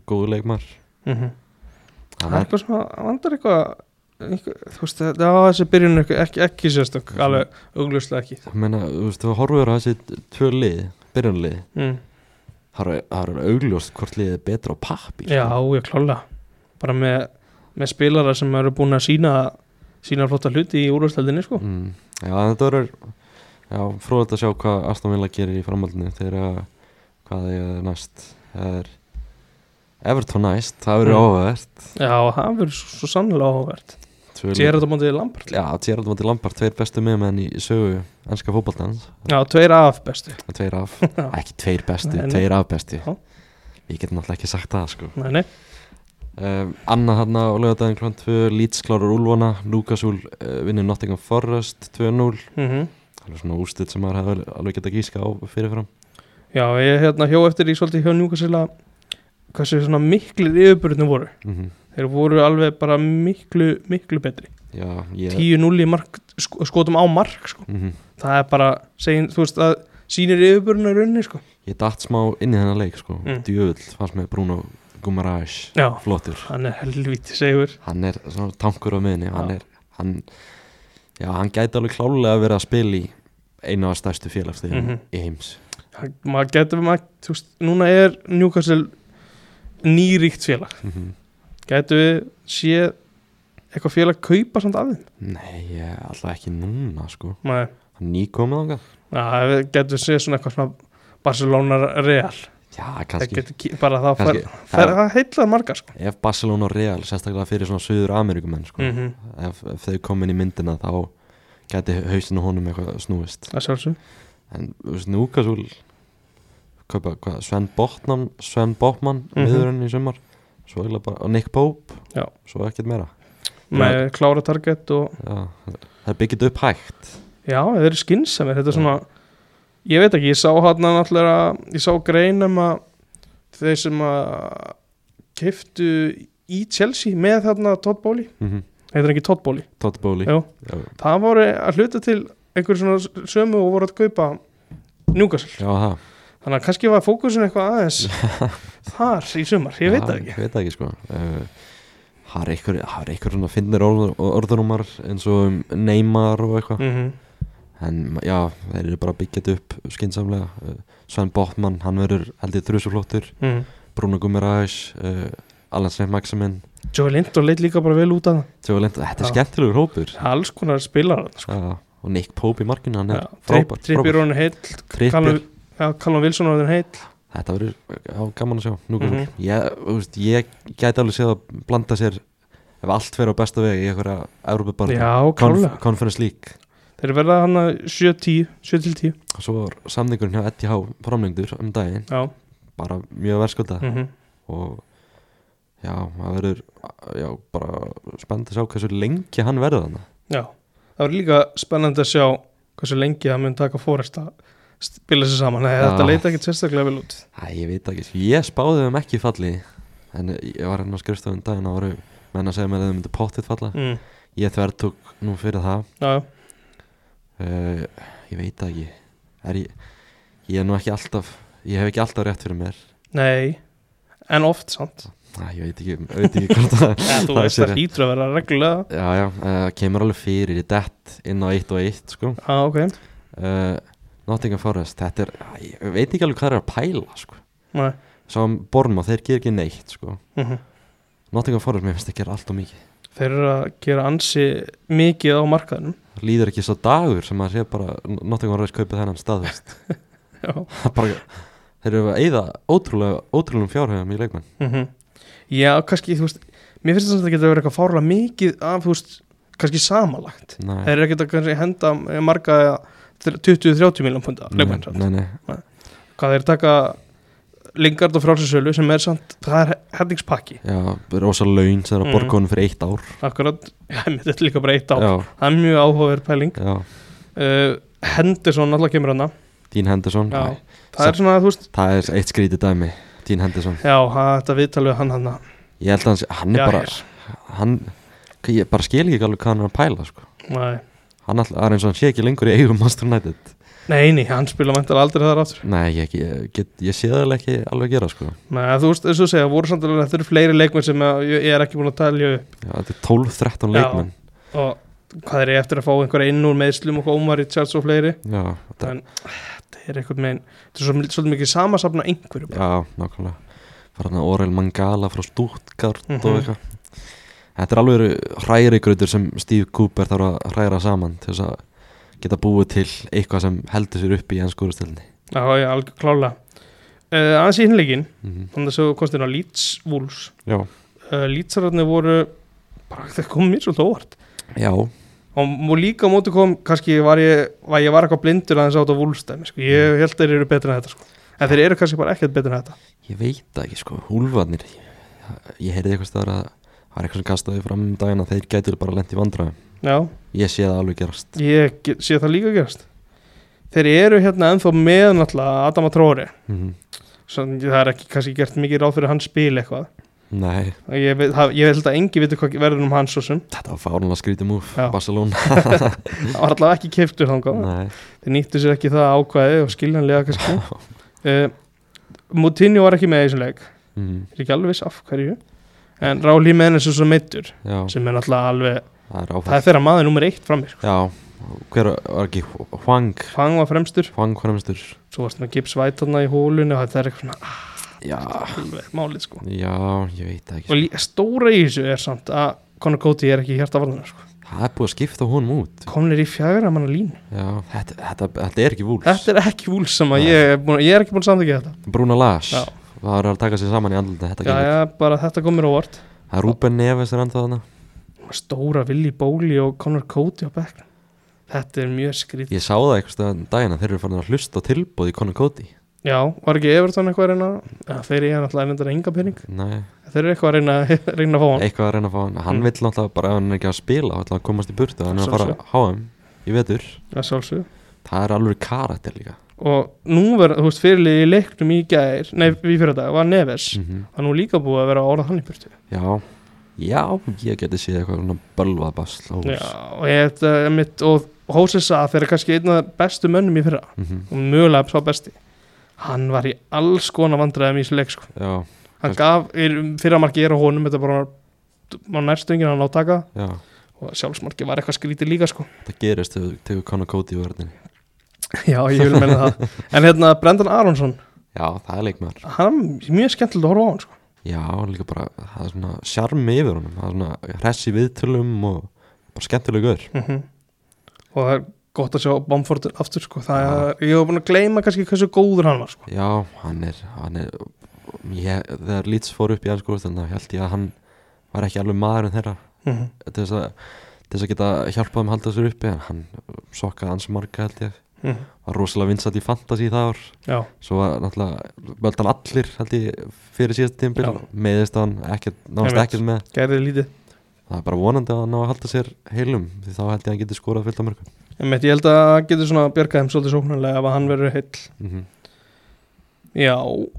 S1: góðu leikmar
S2: mm
S1: hann
S2: það er
S1: er
S2: eitthvað svona, það vandar eitthvað einhver, þú veist, það það var þessi byrjun eitthvað, ekki, ekki sérstök, alveg augljóslega ekki
S1: ég meina, þú veist, þú horfur á þessi tvö lið byrjunlið
S2: mm.
S1: það eru- það eru augljóst hvort liðið er betra á sko. pappir
S2: já, já, klálega bara með, með spilara sem eru búin að sína sína flotta hluti í úrljósleginni sko.
S1: mm, já en þetta verður já, fróðið að sjá hvað Aston Villa gerir í framhaldinu þegar að hvað það er næst það er Everton næst, það verður
S2: Mm.
S1: áhugavert
S2: já, það verður svo, svo sannlega áhugavert
S1: Tvö lið-
S2: Gerard á mótið Lampard
S1: Já, Gerard Matti Lampard, tveir bestu miðmenn í sögu ennska fótballtans,
S2: já, tveir af bestu
S1: tveir af
S2: Já.
S1: ekki tveir bestu,
S2: Nei, nei.
S1: tveir af bestu
S2: Já.
S1: ég get náttúrulega ekki sagt það sko
S2: nei, nei.
S1: um, Anna hann á laugardaginn klant 2 Leeds klárar Úlfana, Lucas Úl uh, vinnir Nottingham Forest 2-0
S2: Mm
S1: alveg svona ústitt sem maður hefði alveg geta gíska á fyrirfram
S2: já, ég hérna hjó eftir í svolítið hjá njúkasila hversu svona miklu yfirbyrðinu voru
S1: mm
S2: þeir voru alveg bara miklu, miklu betri
S1: Já, ég
S2: 10-0 í mark, sko, skotum á mark sko.
S1: Mhm.
S2: það er bara, segin, þú veist að sýnir yfirbörna rauninni sko.
S1: Ég datt smá inn í þennan leik sko
S2: Mm.
S1: Djöfull fannst með Bruno Gumaraj
S2: já,
S1: Flottur
S2: hann er helvítið segur
S1: Hann er svona tankur á miðinni Hann
S2: Já.
S1: er hann, Já, hann gæti alveg klálega að vera að spila í einu af stærstu félagstegum
S2: Mhm.
S1: í heims
S2: Hann- maður getur, maður, þú veist, núna er Newcastle nýríkt félag
S1: mm
S2: getur við séð eitthvað félag kaupa samt af þeim
S1: Nei, ég er alltaf ekki núna sko
S2: maður,
S1: Hann nýkomið ánga
S2: já, við getur séð svona eitthvað svona Barcelona Real
S1: Já,
S2: það
S1: kannski,
S2: getur ki- bara það fer,
S1: kannski.
S2: fer
S1: Það-
S2: það heillar margar sko.
S1: Ef Barcelona og Real, sérstaklega fyrir svona Suður Ameríkumenn sko
S2: mm
S1: ef, ef þau komin í myndina þá gæti hausinu honum eitthvað snúist
S2: það sjálfsög
S1: en þú veist, Núkasúl kaupa, hvað, Sven Botman Sven Botman,
S2: Mhm.
S1: miðurinn í sumar svo eiginlega bara, og Nick Pope
S2: Já.
S1: svo ekkert meira
S2: með klára target og
S1: já, það er byggjit upp hægt
S2: Já, þeir eru skynnsamir, þetta er svona ég veit ekki, ég sá hann náttúrulega ég sá greinum að þeir sem að keftu í Chelsea með þarna Todd Bóli,
S1: mm -hmm.
S2: heitir hann ekki Todd Bóli
S1: Todd Bowley
S2: Mhm. Jú. það voru að hluta til einhverjum svona sömu og voru að kaupa
S1: já,
S2: Newcastle,
S1: það
S2: þannig að kannski var fókusin eitthvað aðeins þar í sumar, ég veit
S1: Já,
S2: það ekki
S1: ég veit það ekki sko uh, það er einhver það er einhver svona finnir orð, orðunumar eins og um Neymar og eitthvað
S2: mm
S1: en já, þeir eru bara byggjit upp skynsamlega, uh, Sven Botman hann verður held ég þrjusuflottur
S2: -hmm.
S1: Bruno Gumirajs uh, Alan Smith Maximin
S2: Joe Linton leit líka bara vel út að
S1: Tjóðalend, þetta er
S2: Já.
S1: skemmtilegur hópur
S2: það alls konar sko. spilar
S1: Já, og Nick Pope í markinu, hann er frábær
S2: trippir
S1: frábær.
S2: honum heill
S1: Trippier.
S2: Callum Wilson honum heill
S1: þetta verður já, gaman að sjá nú, mm
S2: Mhm.
S1: ég, þú veist, ég gæti alveg séð að blanda sér ef allt fer á besta veg í einhverja Európa-barna
S2: Já, klálega
S1: Conference League
S2: Þeir verða hann að 7-10 7-10
S1: og svo var samningurinn hjá ETH framlengdur um daginn,
S2: Já,
S1: bara mjög verðskulda
S2: mm
S1: og já, það verður já, bara spennt að sjá hversu lengi hann verður þannig
S2: já Það verður líka spennandi að sjá hversu lengi það mun taka fórest að spila sér saman Nei,
S1: Já.
S2: Þetta leita ekkit sérstaklega vel út
S1: Æ, ég veit ekki, sko. ég spáði þeim ekki falli en ég var hérna á skrifstofun daginn og voru menn að segja mér að þeim myndi pottið falla
S2: mm.
S1: ég þvertók nú fyrir það
S2: Já, já,
S1: uh, ég veit það ekki er ég, ég er nú ekki alltaf ég hef ekki alltaf rétt fyrir mér
S2: nei en oft samt
S1: Æ, ég veit ekki, ég veit ekki hvort það
S2: en þú
S1: Það
S2: veist
S1: sé
S2: það
S1: rétt.
S2: hýtur að vera reglulega
S1: Já, já, uh, kemur alveg fyrir í dett inn á 1 og 1 sko
S2: ah, okay.
S1: uh, Nottingham Forest, þetta er, æ, ég veit ekki alveg hvað það er að pæla sko
S2: Nei.
S1: Svo um Borma, þeir gerir ekki neitt sko
S2: mhm.
S1: Nottingham Forest, mér finnst það gera alltaf mikið
S2: þeir eru að gera ansi mikið á markaðinum
S1: Líður ekki svo dagur sem að sé bara Nottingham Forest kaupið þennan stað veist.
S2: Já.
S1: Það er bara, Þeir eru að eyða ótrúlega, ótrúlegum fjárhæðum í leikmenn
S2: Mhm. já, kannski, þú veist mér finnst þess að það geta verið eitthvað fárlega mikið af, þú veist, kannski samanlagt
S1: Nei,
S2: þeir eru ekkert að kannski henda eh, marga 20-30 miljón punta leikmenn, samt.
S1: nei, nei,
S2: hvað þeir taka Lingard og frálsinsölu sem er samt það er hendingspakki
S1: Já, rosa laun sem er að
S2: Mm.
S1: borga honum fyrir eitt ár
S2: akkurat, já, mér þetta er líka bara eitt á
S1: Já,
S2: það er mjög áhugaverð pæling
S1: já,
S2: uh, Henderson alltaf kemur hana
S1: Dean Henderson
S2: Já.
S1: Æ,
S2: það er svona, þú veist,
S1: Það er eitt skrítið dæmi, Dean Henderson
S2: já, ha- þetta viðtalið hann hann
S1: Ég held að hann, sé- hann er bara hann, Ég bara skil ekki alveg hvað hann er að pæla sko.
S2: nei,
S1: Hann all, er eins og hann sé ekki lengur í eigum Master United
S2: nei, nei, hann spila mæntar aldrei þar aftur
S1: Nei, ég, ég, get, ég sé það alveg ekki alveg gera sko.
S2: nei, þú veist, eins og segja, voru samt alveg þetta eru fleiri leikmenn sem að ég ég er ekki búin að talja upp
S1: Já, Þetta er 12-13
S2: Já.
S1: leikmenn
S2: og hvað er ég eftir að fá einhverja inn úr meðslum og Omar Richards og fleiri
S1: Já, þetta,
S2: En- þetta er eitthvað megin, þetta er svo- svolítið mikið samasafna einhverju bara.
S1: já nákvæmlega Fara hann að Orel Mangala frá Stuttgart og
S2: Mhm.
S1: eitthvað Þetta er alveg hræri gröður sem Steve Cooper þarf að hræra saman til þess að geta búið til eitthvað sem heldur sér upp í ennskúrustelni
S2: Já, já, alveg klála uh, aðeins í hinleikin,
S1: mm -hmm.
S2: þannig að svo kostin á Leeds Wolves
S1: Já,
S2: uh, Leedsararnir voru bara það kom mér svolítið óvart
S1: já,
S2: og, og líka á móti kom, kannski var ég var ég var eitthvað blindur aðeins átt á Wolfstæmi sko. ég held þeir eru betri en þetta sko. en þeir eru kannski bara ekkert betri en þetta
S1: ég veit það ekki sko, húlfarnir ég- ég heyrði eitthvað staðar að það var eitthvað sem kastaði fram um daginn að þeir gætu bara lent í vandræðum
S2: já,
S1: ég sé það alveg gerast
S2: ég get, sé það líka gerast þeir eru hérna ennþá með náttúrulega Adama Tróri
S1: mm
S2: sem það er ekki kannski gert mikið ráð fyrir hans spil eitthvað
S1: Nei,
S2: Og ég, veit- það- ég held að engi viti hvað verður um hans svo sem
S1: þetta var fárunlega skrítið múf
S2: Já. Sko.
S1: Barcelona
S2: það var allavega ekki keiftur þangað
S1: Nei,
S2: þeir nýttu sér ekki það ákvæði og skiljanlega kannski uh, Moutinho var ekki með í þessum leik
S1: mm,
S2: er ekki alveg viss af hverju en Ráli Mennes er svo meittur
S1: já,
S2: sem er náttúrulega alveg,
S1: það er
S2: það
S1: áfætt
S2: er þeirra maður nummer eitt frammi, sko.
S1: Já, hver var ekki Hwang,
S2: Fang var fremstur
S1: Hwang hverjumstur
S2: svo var svona Gibbs White þarna í hólunni og það er eitthvað svona
S1: Já,
S2: alveg málið sko
S1: já, ég veit það ekki sko.
S2: og lí- stóra í þessu er samt að Conor Cody er ekki hérta varðan sko.
S1: Það er búið að skipta honum út
S2: komnir í fjagra manna línu
S1: Já, þetta, þetta, þetta er ekki vúls
S2: þetta er ekki vúls sem að
S1: Nei.
S2: ég, er búinn- ég er ekki búin að samþykja þetta
S1: Bruna Lars
S2: Já.
S1: Það er að taka sér saman í andlita Þetta
S2: já,
S1: gengur
S2: já, bara þetta kom mér á vart
S1: Það er Rúben Neves er ennþá þarna
S2: stóra Willi Bóli og Conor Cody á bekknum þetta er mjög skrít
S1: Ég sá það einhverstað daginn að þeir eru farin að hlusta á tilbúð í Conor Cody
S2: já, var ekki Everton eitthvað að reyna ja, þeir eru náttúrulega ennendar enga pening
S1: Nei,
S2: þeir eru eitthvað að reyna, reyna að fá hann
S1: eitthvað að reyna að fá hann Hann
S2: Mm.
S1: vill náttúrulega bara ef hann er ekki að spila Þannig að komast í burtu Hann er að fara
S2: Sjálfsögðu.
S1: að háa hann í vetur
S2: að sjálfsögðu
S1: Það er alveg karakter líka
S2: og nú verður, þú veist, fyrirlið í leiknum í gær nei, við fyrir þetta, var Neves
S1: mm
S2: það er nú líka búið að vera að orða hann í burtu
S1: Já, já, ég geti séð eitthvað svona bölvabasl á hús
S2: já, og ég þetta er mitt og Hósis að þeir eru kannski einn af bestu mönnum í fyrra
S1: Mhm,
S2: og mögulega svo besti hann var í alls konar vandræðum í þessu leik sko.
S1: Já,
S2: hann gaf, er, fyrra marki er á honum þetta bara á nærstungin hann átaka
S1: já,
S2: og sjálfsmarki var eitthvað skrítið líka sko.
S1: það gerist þegar tegur Conor Cody í verðinni
S2: já, ég vil meina það en hérna, Brendan Aronsson,
S1: Já, það er leikmaður
S2: hann er mjög skemmtilegt að horfa á hann sko.
S1: Já, hann líka bara, það er svona sjarmi yfir honum Það er svona hressi viðtölum og bara skemmtilegur
S2: mm og það er gott að sjá Bamford aftur sko. það
S1: Já.
S2: er, ég hef búin að gleyma kannski hversu góður hann var sko.
S1: Já, hann er, hann er ég, Þegar Leeds fór upp í ennskúrastelna held ég að hann var ekki alveg maðurinn þeirra
S2: Mhm.
S1: til þess að, til þess að geta hjálpað um að halda sér uppi en hann sokkaði hans marga held ég
S2: Mhm.
S1: var rosalega vinsat í fantasy það ár
S2: já,
S1: svo var náttúrulega völd hann allir held ég fyrir síðast tímbil
S2: Já.
S1: meðist hann ekkert, náðast
S2: Einmitt.
S1: ekkert með
S2: gerðið lítið
S1: það er bara vonandi að hann ná að halda sér heilum því þá held ég að hann geti skorað fyllt á mörgum
S2: Einmitt, ég held að hann getur svona björgað þeim svolítið sóknarlega ef að hann verður heill
S1: mm -hmm.
S2: já,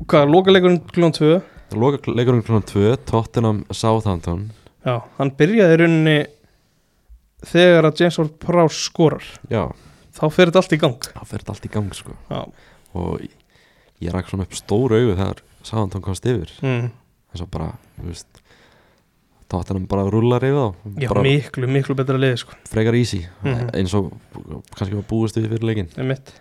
S2: hvað, lokaleikurinn klón 2
S1: Loka leikurinn klunum 2, Tottenham Southampton
S2: já, hann byrjaði í rauninni þegar að James Ward Prowse skorar
S1: Já,
S2: þá fer þetta allt í gang
S1: það fyrir allt í gang sko
S2: já,
S1: og ég rak svona upp stór augu þegar Sáðan komst yfir
S2: mm.
S1: en svo bara, þú veist Tottenham bara rúlar yfir þá
S2: Já,
S1: bara
S2: miklu, miklu betra liði sko
S1: frekar easy
S2: Mhm.
S1: eins og kannski var búist við fyrir leikin
S2: Það er mitt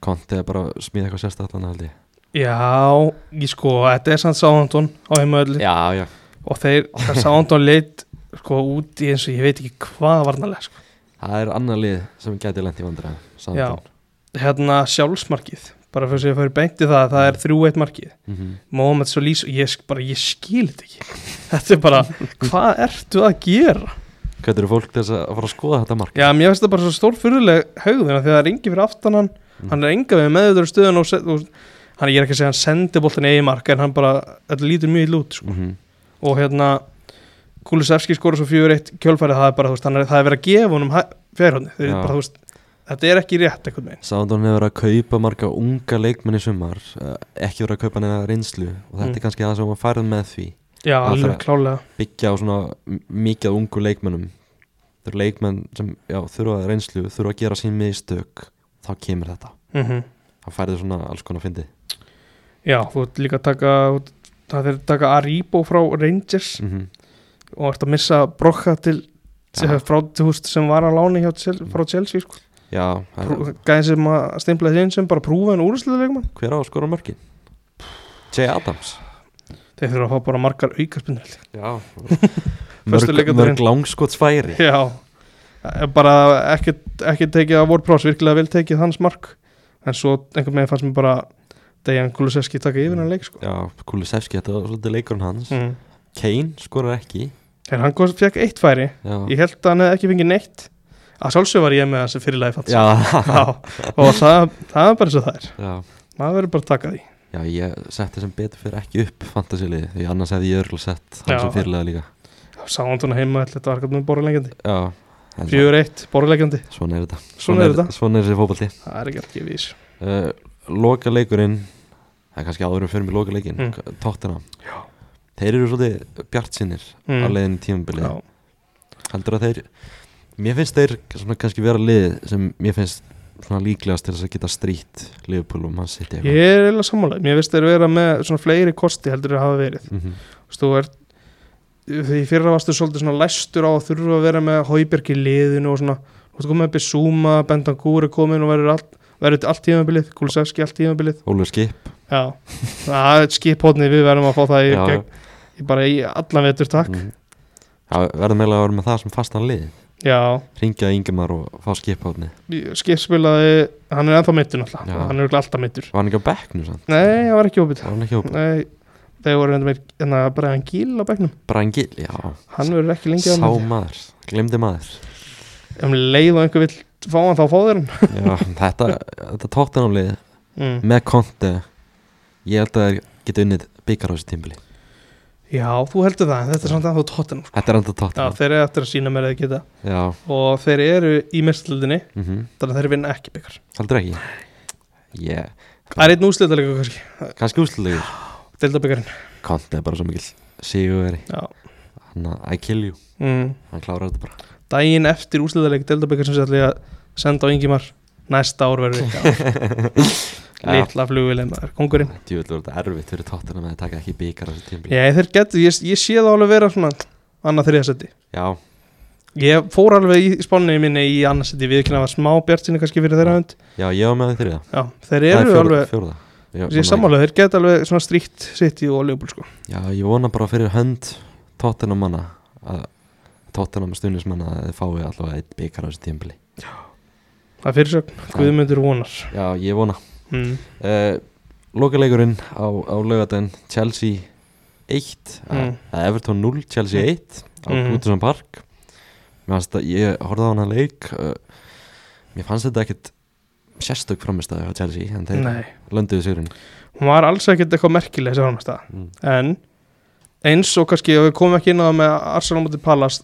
S1: Konti er bara að smíða eitthvað sérstaklega held ég
S2: Já, ég sko, þetta er samt Sáhantón á heimaöldu
S1: Já, já,
S2: og þeir, Sáhantón leitt sko út í eins og ég veit ekki hvað varnalega sko.
S1: það er annar lið sem gæti lent í vandræðum Southampton.
S2: Hérna sjálfsmarkið, bara fyrir sem ég fyrir beint í það, það er 3-1 markið
S1: Mhm.
S2: Mohamed Solís, ég, sk- bara, ég skil þetta ekki Þetta er bara, hvað ertu að gera?
S1: Hvað eru fólk til þess að fara að skoða þetta mark?
S2: Já, mér finnst þetta bara svo stórfyrirleg haugðina því að það er engi fyrir aftan hann
S1: Mm.
S2: hann er enga við meðutur stöðun og, set- og hann, ég er ekki að segja hann sendi boltin eigi mark en hann bara, þetta lítur mjög í lút sko.
S1: Mm
S2: og hérna Kulusevski skora svo 4-1 kjölfærið það er bara, þú veist, hann er, það er verið að gefa honum fjárhóndi, þeir eru
S1: Já.
S2: bara, þú veist þetta er ekki rétt einhvern veginn
S1: Sándón hefur verið að kaupa marga unga leikmenn í sumar eh, ekki verið að kaupa neina reynslu og þetta er
S2: Mm.
S1: kannski það sem var færið með því
S2: Já, alveg
S1: það-
S2: klálega
S1: byggja á svona m- mikið af ungu leikmennum þeir eru leikmenn sem já, þurfa reynslu, þurfa að gera sín miðstök þá kemur þetta,
S2: mm
S1: þá færið svona alls konar fyndi
S2: Já, þú ert líka að taka það er að taka Aribo frá Rangers
S1: mm -hmm.
S2: og ert að missa Brokka til
S1: Já.
S2: frá, þú veist, sem var á láni hjá, Chel- frá Chelsea, sko
S1: Já, það er-
S2: gæðin sem að stimplaði þeim sem bara prúfaðin úrslöðuleikmann
S1: hver á að skora mörkin? Jay Adams
S2: þeir þurfa að fá bara margar aukarspinnur held
S1: Já
S2: Föstu
S1: Mörg,
S2: leikadurinn.
S1: mörg langskotsfæri
S2: ég. já, bara ekki, ekki tekið að voru prós, virkilega vel tekið hans mark en svo einhvern veginn fannst mér bara Dejan Kulusevski taka yfir hann leik sko.
S1: Já, Kulisevski, þetta var svolítið leikurinn hans
S2: mm.
S1: Kane skorar ekki
S2: en hann góð, fekk eitt færi
S1: Já,
S2: ég held að hann hefði ekki fengið neitt að sjálfsög var ég með þessi fyrirlega fannst
S1: já,
S2: sko. já, og það, það er bara eins og það er
S1: já.
S2: maður verður bara að taka því
S1: Já, ég setti sem betur fyrir ekki upp fantasiliði, því annars hefði ég örgulega sett hann
S2: Já.
S1: sem fyrirlega líka
S2: sándun heima, þetta var eitthvað með borulegjandi
S1: Já, en
S2: 4-1, borulegjandi,
S1: svo- svona er þetta
S2: svona er þetta
S1: Svona er þessi fótbolti
S2: það er ekki ekki vís
S1: uh, Loka leikurinn, það er kannski áðurum fyrir mig loka leikin,
S2: Mm.
S1: mm. tóttina Þeir eru svolítið bjartsinir mm. á leiðinu tímabilið
S2: Hm. já,
S1: Heldur að þeir, mér finnst þeir svona kannski vera liðið sem mér finnst svona líklegast til þess að geta strýtt Liverpool og mann sitt
S2: Ég er eiginlega sammála, mér finnst þeir vera með svona fleiri kosti heldur að hafa verið
S1: mm -hmm.
S2: Þú veist, þú ert, því fyrra varstu svolítið svona læstur á að þurfa að vera með Hauberg í liðinu og svona Þú veist, komið upp í Zuma, Bentancur er komin og verður allt, verður allt tímabilið, Kulusevski allt tímabilið
S1: Ólur Skip
S2: Já, það er skiphóðni, við verðum að fá það í,
S1: Já,
S2: gegn, í bara í allan vetur takk
S1: Mhm. Já, verðum eiginlega að vera með það sem fastan lið
S2: Já,
S1: Ringja Ingemar og fá skip á henni
S2: skipspilaði, hann er ennþá meittur
S1: Já.
S2: náttúrulega, hann er örugglega alltaf meittur
S1: Var hann ekki á bekknu sann?
S2: Nei, hann var ekki opið
S1: Var hann ekki á
S2: Nei, þeir voru endur meir, en að bara hann gíl á bekknum
S1: Brangil? Já,
S2: Hann verður ekki lengi
S1: sá
S2: þarna.
S1: maður, glemdi maður
S2: um leið og einhver vill fá hann þá fá þér hann
S1: Já, þetta, þetta tóttanumlið
S2: mm.
S1: með konti Ég held að þeir geta unnið byggar á þessu tímbili
S2: já, þú heldur það, en þetta er samt að þú tóttin já,
S1: Þetta er enda tóttan
S2: þeir eru eftir að sína mér að þeir geta
S1: Já,
S2: og þeir eru í mestlöldinni
S1: mhm,
S2: þannig að þeir vinna ekki byggar
S1: heldur ekki Ég,
S2: það er einn úsliðalega kannski,
S1: kannski úslulegur
S2: deildabyggarinn
S1: Konti er bara svo mikill Sigurveri,
S2: já.
S1: hann að I kill you
S2: mm.
S1: Hann klárar þetta bara
S2: daginn eftir úsliðalega deildabyggar sem sér að senda á Ingimar næsta ár verður við
S1: Já.
S2: litla flugvilið maður, kongurinn
S1: Djúvill voru þetta erfitt fyrir tóttanum að þeir taka ekki byggar á þessu tímbili
S2: ég, þeir getur, ég, ég sé það alveg vera svona annað þriðasetti
S1: Já,
S2: ég fór alveg í spánni minni í annarsetti við kynna var smá bjartsinni kannski fyrir þeirra hönd
S1: já, ég var með þeir þrjá
S2: já, þeir
S1: Það
S2: eru
S1: er
S2: alveg
S1: Fjóruða
S2: Ég er sammála, þeir geta alveg svona stríkt sitt í og Leopold sko
S1: Já, ég vona bara fyrir hönd Tottenham manna að Tottenham stuðnismanna að þið fái allavega eitt byggar á þessu tímbili
S2: Það er fyrirsögn, Guðmundur vonar
S1: Já, ég vona
S2: mm.
S1: uh, Lokaleikurinn á, á laugadaginn Chelsea 1
S2: Mm.
S1: mm. Everton 0, Chelsea 1 á
S2: Mhm.
S1: mm. Goodison Park Mér fannst að ég horfði á hana leik uh, Mér fannst þetta ekkit sérstök framistæði á Chelsea en þeir
S2: Nei,
S1: lönduðu sigurinn
S2: hún var alls ekkert eitthvað merkileg þessi framast að
S1: mm.
S2: En eins og kannski, og við komum ekki inn á það með Arsenal mútið Pallas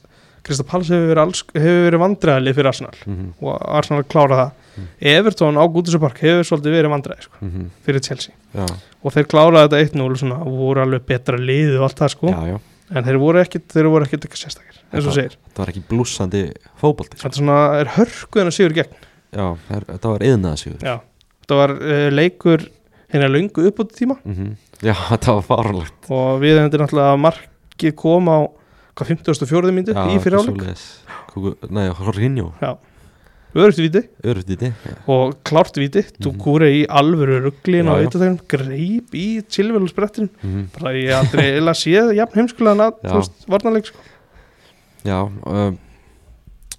S2: Krista Pallas hefur verið, alls, hefur verið vandræðalið fyrir Arsenal
S1: mm -hmm.
S2: og Arsenal klára það
S1: Mm.
S2: Everton á Gútusapark hefur svolítið verið vandræði sko,
S1: Mm -hmm.
S2: fyrir Chelsea
S1: Já,
S2: og þeir kláraði þetta 1-0 svona, og voru alveg betra lið og allt það sko
S1: já, já,
S2: en þeir voru ekkit, þeir voru ekkit eitthvað sérstakir eins og þú
S1: Þetta-
S2: segir,
S1: þetta var ekki blúsandi fótbolti sko.
S2: þetta svona er hörkuðin að sigur gegn
S1: Já, þær- þetta var yðnaða sigur
S2: Já, þetta var uh, leikur hérna eh, löngu uppbúti tíma
S1: mm -hmm. Já, þetta var fárlegt
S2: og við hefum þetta náttúrulega að markið kom á hvað 54. mínu í fyrir áleik
S1: áleik Nei, Horrinjó,
S2: öðrugt víti
S1: örfdíti
S2: og klárt víti, þú
S1: Mhm.
S2: kúri í alvöru rugglin
S1: Já,
S2: og
S1: já.
S2: eitthvað greip í tilvölu sprettin
S1: mm.
S2: bara ég aldrei eða séð jafn heimskulegan að
S1: Já.
S2: þú veist, varnarleik sko.
S1: Já um,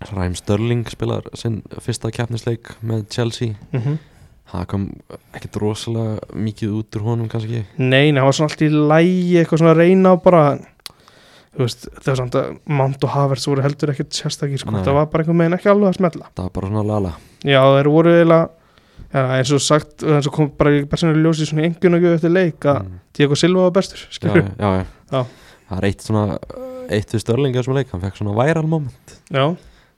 S1: Ræm Störling spilar sinn fyrsta keppnisleik með Chelsea Það kom ekkert rosalega mikið út úr honum kannski
S2: Nei, nei, það var svona allt í lægi eitthvað svona að reyna og bara þú veist, það var samt að Mount og Havertz voru heldur ekkert sérstakir sko,
S1: Nei.
S2: það var bara einhvern veginn ekki alveg að smetla
S1: Það var bara svona lala
S2: Já, þeir voru eiginlega ja, eins og sagt, eins og kom bara í persónulega ljósi svona engun og gjöðu eftir leik að
S1: Mm.
S2: Diego Silva var bestur
S1: já,
S2: skilurðu.
S1: já, já.
S2: Já.
S1: Það er eitt svona eitt við Störling í þessum leik, hann fekk svona viral moment
S2: Já,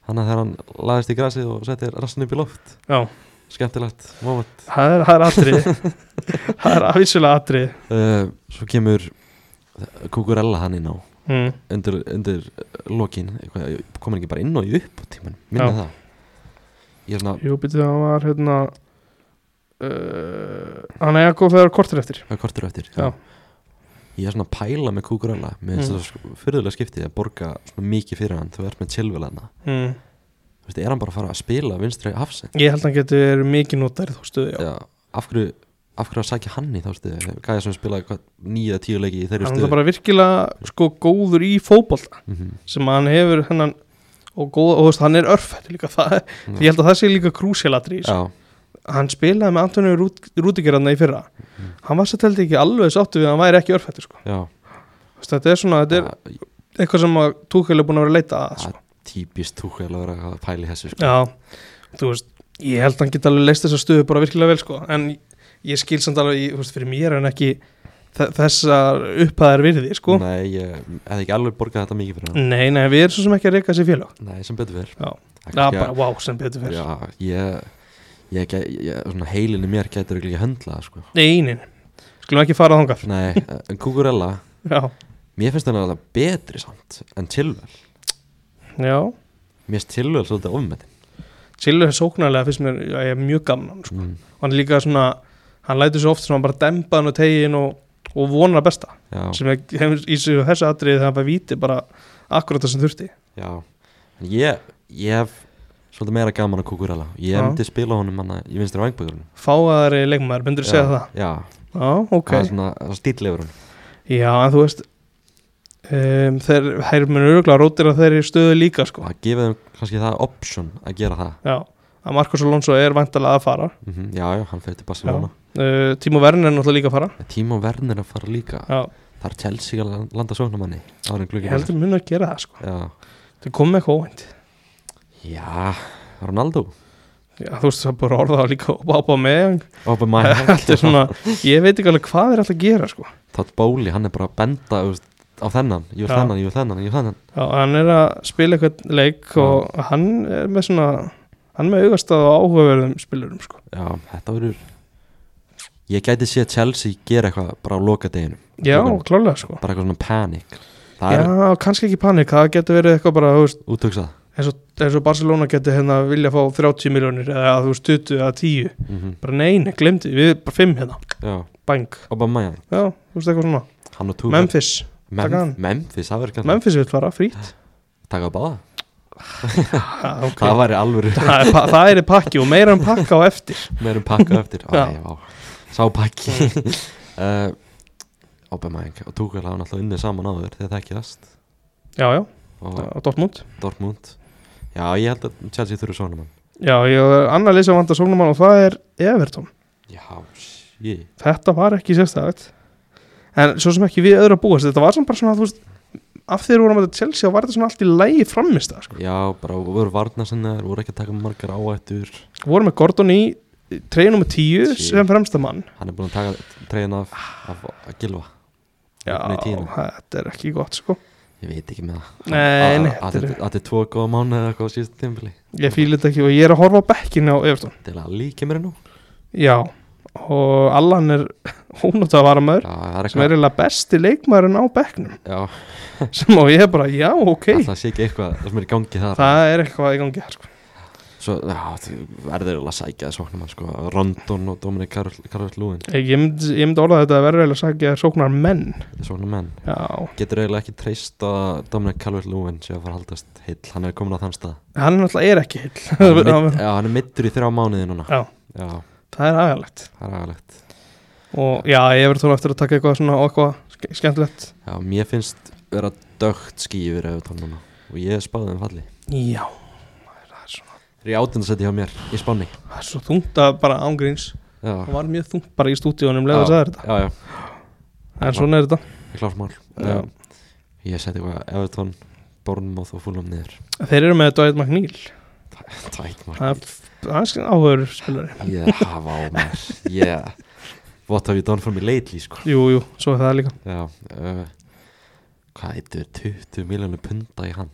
S1: Þannig að þegar hann laðist í grasið og setti rassin upp í loft
S2: já,
S1: Skemmtilegt moment
S2: það er, það er atrið það er afvísulega atrið
S1: uh, Svo kemur Kukurella hann inn á
S2: mm.
S1: undir, undir lokin eitthvað, kom hann ekki bara inn og í upp tíman, minna
S2: Já.
S1: það ég er svona,
S2: Jú, býttu það var hérna uh, hann er að góð þegar kortur eftir
S1: hvað kortur eftir
S2: Já.
S1: ég er svona að pæla með Kukurella með
S2: Mm.
S1: þess að fyrirlega skiptið að borga svona mikið fyrir hann, þú ert með tjelvilana
S2: mm.
S1: þú veist, er hann bara að fara að spila vinstri hafsend
S2: Ég held að hann getur mikið notar þú stuði
S1: Já, af hverju af hverju að sækja hann í þá stuðu gæja sem spilaði nýja tíu leiki í þeirri
S2: hann
S1: stuðu
S2: er bara virkilega sko góður í fótbolta
S1: mm -hmm.
S2: sem hann hefur hennan og, góð, og þú veist, hann er örfætt líka það, ég held að það sé líka krúsialatri
S1: já,
S2: hann spilaði með Antoni Rúdigerarna í fyrra hann var sér teldi ekki alveg sáttu við að hann væri ekki örfættur sko.
S1: já,
S2: Þú veist, þetta er svona, þetta er
S1: já
S2: eitthvað sem að Túkel er búin að vera að leita að sko.
S1: típist túkvæl að vera að pæla í þessu sko.
S2: já, þú veist ég held að hann geta alveg leist þessa stöðu bara virkilega vel sko. en ég skil samt alveg í- þú veist, fyrir mér en ekki þe- þessar upphæðar virði sko. nei.
S1: nei, ég hefði ekki alveg borgað þetta mikið fyrir hann
S2: nei, við erum svo sem ekki að reyka þessi félag
S1: Nei, sem betur fyrr
S2: Mm. Já. Já, bara, wow, sem betur fyrir
S1: Já, ég, ég, gæ- ég svona heilinni mér gætur ekki höndla það, sko.
S2: Nei, nein, skulum ekki fara þangað
S1: Nei, eh, en Kukurella
S2: Já,
S1: Mér finnst hann alveg betri samt en Tilvel
S2: já
S1: Mér finnst Tilvel svolítið ofmetin
S2: Chillu er sóknarlega fyrst mér, já, ég er mjög gaman sko.
S1: mm.
S2: og hann er líka svona, hann lætur svo oft svona bara dempa hann og tegin og, og vonar besta
S1: Já,
S2: sem er hef, í þessu þessu atriði þegar hann bara víti bara akkurat það sem þurfti
S1: já En Ég, ég hef svolítið meira gaman að Kukurella Ég
S2: Já.
S1: myndi spila honum hann í vinstri vangböðurinn
S2: Fáaðari leikmaður, myndur þú segja það?
S1: Já,
S2: Já, ok
S1: það er svona það er stíll yfir hann
S2: Já, en þú veist um, þeir, þeir munur örgulega rótir að þeir eru stöðu líka sko.
S1: Það gefið þeim kannski það option að gera það
S2: Já, að Marcos Alonso er vantalega að fara
S1: mm Já, já, hann fyrir til Barcelona
S2: uh, Tímo Verner er náttúrulega líka að fara
S1: já. Tíma verðin að fara líka
S2: Já,
S1: Það er Chelsea að landa sóknamanni áður en
S2: ég
S1: glugginn
S2: heldur mun að gera það sko.
S1: er. Já
S2: Þau kom með eitthvað óvænt
S1: Já, Ronaldo
S2: Já, þú veist, það er bara að orða það líka á bá með
S1: Aubameyang
S2: Þetta er svona, ég veit ekki alveg hvað er alltaf að gera sko.
S1: Todd Bowley, hann er bara að benda þú veist, á þennan, ég vil
S2: Já.
S1: þennan, ég vil þennan, ég vil þennan
S2: Já, hann er að spila eitthvað leik og hann er með svona hann er með augastað á áhugaverðum spilurum sko.
S1: Já, þetta verður Ég gæti sé að Chelsea gera eitthvað bara á loka deginu,
S2: Já,
S1: Klukkan.
S2: klálega sko.
S1: bara eitthvað svona panic Það er
S2: Já, kannski ekki panik, það getur verið eitthvað bara þú veist,
S1: útöksað
S2: eins, og, eins og Barcelona getur hérna vilja fá 30 miljónir eða þú veist 20 eða 10
S1: mm -hmm.
S2: bara neina, glemdi, við bara 5 hérna
S1: Já,
S2: bang,
S1: Aubameyang,
S2: já, þú veist eitthvað svona
S1: hann og Tuchel
S2: Memphis,
S1: Mem
S2: taka hann.
S1: Memphis, það verður kannski
S2: Memphis vil fara frýtt
S1: Taka báða,
S2: ah, okay.
S1: það væri alveg
S2: það er, pa- það er í pakki og meira en pakka á eftir
S1: meirum pakka eftir Æ,
S2: Já.
S1: já, sá pakki uh, Aubameyang og Tuchel hafa náttúrulega unnið saman áður þegar það ekki þast
S2: já, já,
S1: og
S2: á Dortmund
S1: Dortmund Já, ég held að Chelsea þurfi svona mann
S2: já, ég annar lýsa vanda sóknumann og það er Everton,
S1: Já, sí
S2: þetta var ekki sérstæðið en svo sem ekki við öðru að búast þetta var samt bara svona, þú veist af því þeir voru að mæta Chelsea þá var þetta svona allt í sko. lægi framist það,
S1: Já, bara voru varnarsinnar, voru ekki að taka margar áættur
S2: sko, voru með Gordon í treyjunum með tíu
S1: Sí.
S2: sem fremsta mann
S1: Hann er búin að taka tregin af, af að gilva
S2: já,
S1: Nei, tíuna.
S2: þetta er ekki gott, sko
S1: Ég veit ekki með það
S2: Nei,
S1: Að-
S2: nei,
S1: að-
S2: þetta er-
S1: Að þetta er tvo góða mánu eða eitthvað á síðustu tímpili
S2: ég fíl þetta ekki og ég er að horfa á bekkinu á Everton
S1: Til að lí kemur hennu
S2: já, og Allan er ónátt að vara maður
S1: Já, það er
S2: sem er
S1: eitthvað
S2: eiginlega besti leikmaðurinn á bekknum
S1: Já,
S2: sem á ég bara, já, ok
S1: alltaf sé ekki eitthvað sem er í gangi þar
S2: það er eitthvað í gangi þar, sko.
S1: Svo já, því verður eiginlega að sækja þessu oknum sko, Rondon og Dominic Carvert Lúin
S2: Ég, ég myndi ég myndi orða þetta að verður eiginlega að sagja sóknar menn
S1: Þessu oknum menn
S2: Já,
S1: Getur eiginlega ekki treyst að Dominic Carvert Lúin sé að fara að haldast heill Hann er komin á þann stað
S2: hann náttúrulega er ekki heill
S1: hann er, midd, já, hann er middur í þrjá mánuði núna
S2: Já.
S1: já
S2: Það er agalegt
S1: það er agalegt
S2: Og já, ég verður tónlega eftir að taka eitthvað svona og eitthvað ske- skemmtilegt
S1: já, mér finnst vera dögt ský yfir Evertón núna og ég spáði þeim falli
S2: Já, það er svona
S1: þeir eru í átjöndasetti hjá mér í Spáni
S2: Það er svo þungt að bara ángríns
S1: já,
S2: Það var mjög þungt bara í stúdíunum
S1: Já.
S2: leða þess að þetta
S1: já, já,
S2: En svona er þetta
S1: ég klárt mál
S2: Já.
S1: já. ég seti eitthvað Evertón, Bornmoth og Fulham niður
S2: Þeir eru með Dwight McNeil
S1: tætt mál
S2: Það er, það er áhugur spilari
S1: ég hafa á mér yeah what have you done for me lately sko
S2: Jú, jú, svo er það líka
S1: já uh, hvað eitthvað 20 miljónu punda í hann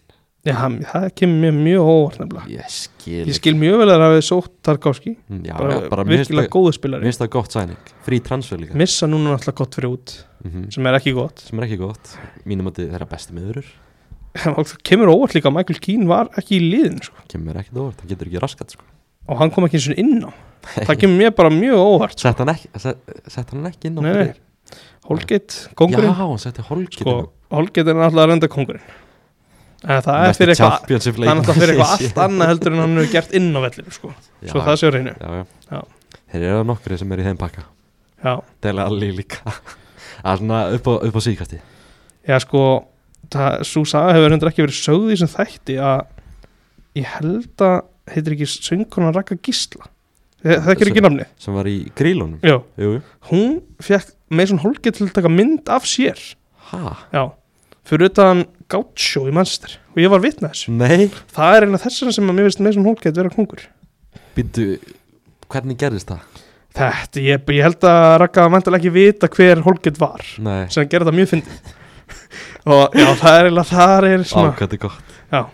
S2: Já, hann- það kemur mér mjög óvart nefnilega
S1: ég skil Mm,
S2: Ég skil mjög vel að það hefði sótt Tarkovski
S1: já,
S2: bara,
S1: já, bara mér finnst
S2: virkilega
S1: það-
S2: góðu
S1: mér
S2: spilari
S1: finnst það gott sæning frí transfer líka
S2: Missa núna náttúrulega gott fyrir út
S1: Mhm.
S2: sem er ekki gott
S1: sem er ekki gott mínum að þeirra besti miðurur
S2: og það kemur óvart líka að Michael Keane var ekki í liðin sko.
S1: kemur ekkert óvart, hann getur ekki raskat sko.
S2: og hann kom ekki eins og inn á það kemur mér bara mjög óvart sko.
S1: sett hann ekki, set, set hann ekki inn á
S2: Nei, nei.
S1: fyrir-
S2: Holgate,
S1: já,
S2: kongurinn
S1: hann setti holgit
S2: sko, Holgate er náttúrulega reynda kongurinn en það er fyrir eitthvað
S1: championship
S2: það er náttúrulega fyrir eitthvað
S1: leikmann.
S2: allt annað heldur en hann hefur gert inn á vellinu sko.
S1: já,
S2: svo það séu reynu
S1: já, já.
S2: Já.
S1: þeir eru nokkri sem eru í þeim pakka
S2: já.
S1: Dele Alli líka það er svona upp á, upp á síkasti
S2: já sko svo saga hefur reynda ekki verið sögð í sem þætti að ég held að heitir ekki söngkonan Raka Gísla það er ekki namni
S1: sem var í grílunum
S2: já
S1: jú, jú.
S2: hún fekk Mason Holgate til að taka mynd af sér
S1: ha,
S2: já, fyrir utan Gaucho í Manchester og ég var vitna þessu
S1: nei
S2: það er eina þessar sem að mér finnst Mason Holgate vera kongur
S1: býttu, hvernig gerðist það
S2: þetta, ég, ég held að Raka vantilega ekki vita hver Holgate var
S1: nei,
S2: sem gerði það mjög fyndið og já, það er eiginlega, það er
S1: á,
S2: svona
S1: hvað þetta er gott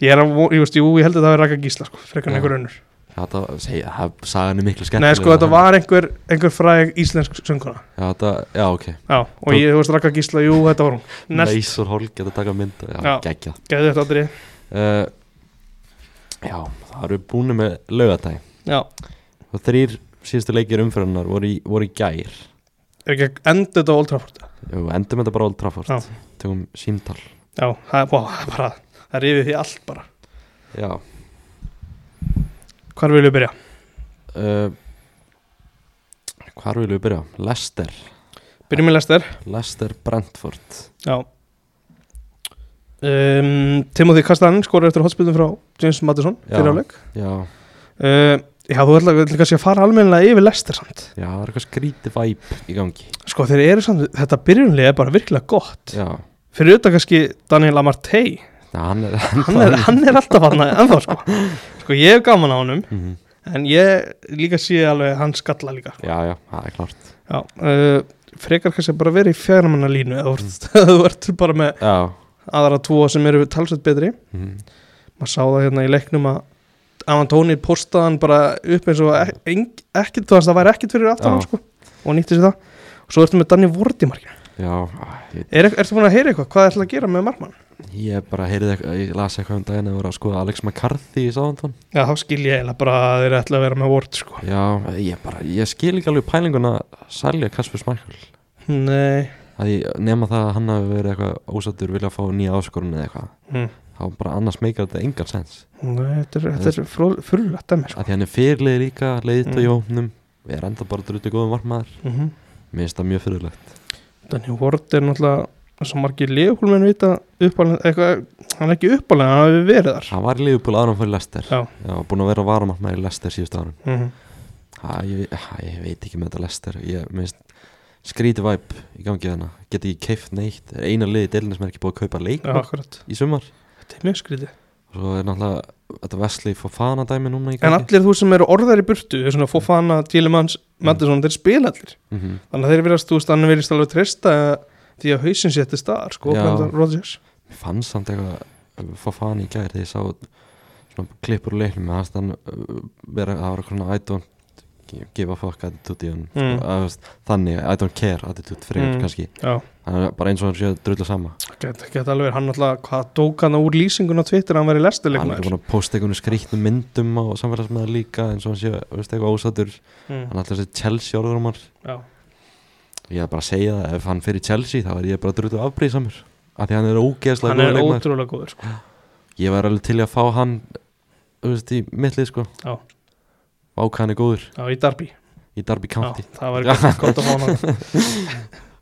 S2: ég er að, vo- ég veist, jú, ég held að það var Raka Gísla sko, frekar en
S1: Já.
S2: einhver önnur
S1: þetta, segja, það sagan er miklu skemmtilega
S2: nei, sko, þetta var einhver, einhver fræg íslensk sönguna
S1: já, þetta, já, ok
S2: já, og ég, þú veist, Raka Gísla, jú, þetta var hún næst,
S1: Leysur Holg að taka mynda Já,
S2: Já.
S1: geggjað
S2: gæði þetta aldrei
S1: uh, Já, það eru búinu með laugatæg
S2: já,
S1: og þrýr síðustu leikir umfyrirnar voru, í- voru í gær
S2: er ekki að enda þetta á Old Trafford
S1: og endum þetta bara á Old Trafford
S2: Já.
S1: tökum símtal
S2: Já, það er bara, það er bara það er yfir því allt bara
S1: Já,
S2: Hvar viljum við byrja?
S1: uh, hvar viljum við byrja? Lester,
S2: Byrjum við Lester
S1: Lester Brentford
S2: Já um, Timothy Kastan skorur eftir hotspilnum frá James Madison
S1: Já.
S2: fyrir áleik
S1: Já,
S2: uh, Já, þú ætla, ætla kannski að fara almennilega yfir Lester samt
S1: já, það er eitthvað skrítið væp í gangi
S2: Sko, þeir eru samt, þetta byrjunlega er bara virkilega gott
S1: Já,
S2: Fyrir utan kannski Daniel Amartey
S1: já hann er
S2: Hann er, hann er alltaf hann ennþá sko Sko, ég hef gaman á honum
S1: Mhm.
S2: En ég líka sé alveg hann skalla líka
S1: Já, já, það er klart
S2: Já, uh, frekar kannski bara verið í fjármannalínu eða þú ert- þú ert bara með
S1: Já,
S2: aðra tvo sem eru talsett betri
S1: mhm.
S2: maður sá það hérna í leiknum að Avan Tóni postaði hann bara upp eins og ek- eng- ekkert, þannig að það væri ekkert fyrir aftan
S1: Já.
S2: hann sko, og nýtti sér það og svo ertu með Danni Vorti margir
S1: já æ, ég
S2: er, ertu búin að heyra eitthvað, hvað ætlaði að gera með margmann?
S1: Ég bara heyrði eitthvað, ég las eitthvað um daginn að voru að skoða Alex McCarthy í sáðantón
S2: Já, þá skil ég eiginlega bara að þeir ætla að vera með Vort sko.
S1: Já, ég bara, ég skil ekki alveg pælinguna að selja Kasper Smarkvall
S2: Nei
S1: að ég nema það að hann hafi verið eitthvað ósættur vilja að fá nýja áskorun eða eitthvað
S2: mm.
S1: þá bara annars meikar þetta engan sens
S2: Nei, þetta er, þetta er fró- furðulegt dæmi sko.
S1: að því hann er fyrirlið líka, leiðt
S2: Mm.
S1: og jónum við erum enda bara drutið góðum varmaður
S2: mm -hmm.
S1: mér finnst það mjög fyrirlegt
S2: Danni Vort er náttúrulega eins og margir liðhúlmenn vita uppalinn, eitthvað, hann er ekki uppalinn hann hafi verið þar
S1: hann var í liðupúl árum fyrir Lester
S2: Já.
S1: búin að vera varamarmaður í Lester síðust árum
S2: mm
S1: ha, ég, ha, ég veit ekki með þetta Lester ég mér finnst skríti væp í gangi þarna get ekki keift neitt er eina liði deilinu sem er ekki búið að kaupa
S2: Já,
S1: leikmann
S2: akkurat,
S1: í sumar
S2: þetta er mjög skrítið
S1: Svo er náttúrulega þetta Wesley Fofana dæmi núna í
S2: En
S1: gangi
S2: allir þú sem eru orðar í burtu er svona Fofana, Tílemans,
S1: Mm.
S2: Mattisson þeir spila allir,
S1: Mhm.
S2: þannig að þeir verðast þú veist, hann verðist alveg treysta því að hausin setja staðar, sko,
S1: Já.
S2: Brendan Rodgers
S1: Mér fannst samt eitthvað Fofana í gæri þegar ég sá svona klippur úr leiknum með hans þann uh, vera það var eitthvað svona I don't give a fuck attitude í hann
S2: Mm.
S1: mm. þannig I don't care attitude frekar
S2: Mm.
S1: kannski
S2: Já,
S1: hann er bara eins og hann sé að drulla sama
S2: Geta get alveg, verið. hann alltaf, hvað dók hann úr lýsingun á Twitter að hann væri
S1: hann er
S2: lestileikmaður
S1: ekki búin að posta einhvern skrýttum myndum á samfélagsmeða líka eins og hann sé, veist, eitthvað ósattur
S2: mm,
S1: hann er alltaf þessi Chelsea orðrumar
S2: Já,
S1: ég er bara að segja það, ef hann fer í Chelsea þá er ég bara drútu afbrýðsamur af því hann er ógeðslega
S2: hann er
S1: góður leikmaður.
S2: ótrúlega góður sko.
S1: ég var alveg til í að fá hann þú veist, í mittlið sko
S2: Já.
S1: Vák hann er góður
S2: Já, í Darby
S1: í Darby
S2: Já,
S1: County
S2: það var gott gott að fá hann þarna.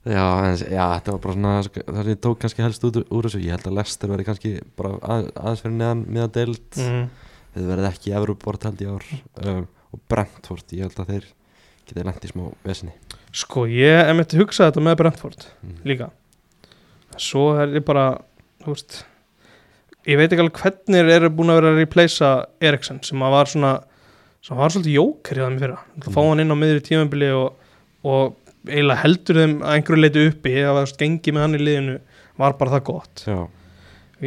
S1: já, en, já, þetta var bara svona það sem ég tók kannski helst út úr þessu ég held að Lester verði kannski bara að, aðeins fyrir neðan miðan deild mm.
S2: mm,
S1: þið verði ekki í Evroport held ég ár um, og Brentford, ég held að þeir geta lent í smá vesinni
S2: Sko, ég er myndi hugsa þetta með Brentford
S1: mm.
S2: líka Svo er ég bara, þú veist Ég veit ekki alveg hvernig þeir eru búin að vera að replacea Eriksson sem að var svona sem var svolítið jóker í það mér fyrra Það fá
S1: Mm.
S2: hann inn á miðri tímabili og, og eiginlega heldur þeim að einhverju leiti uppi eða þú veist, gengi með hann í liðinu var bara það gott
S1: já,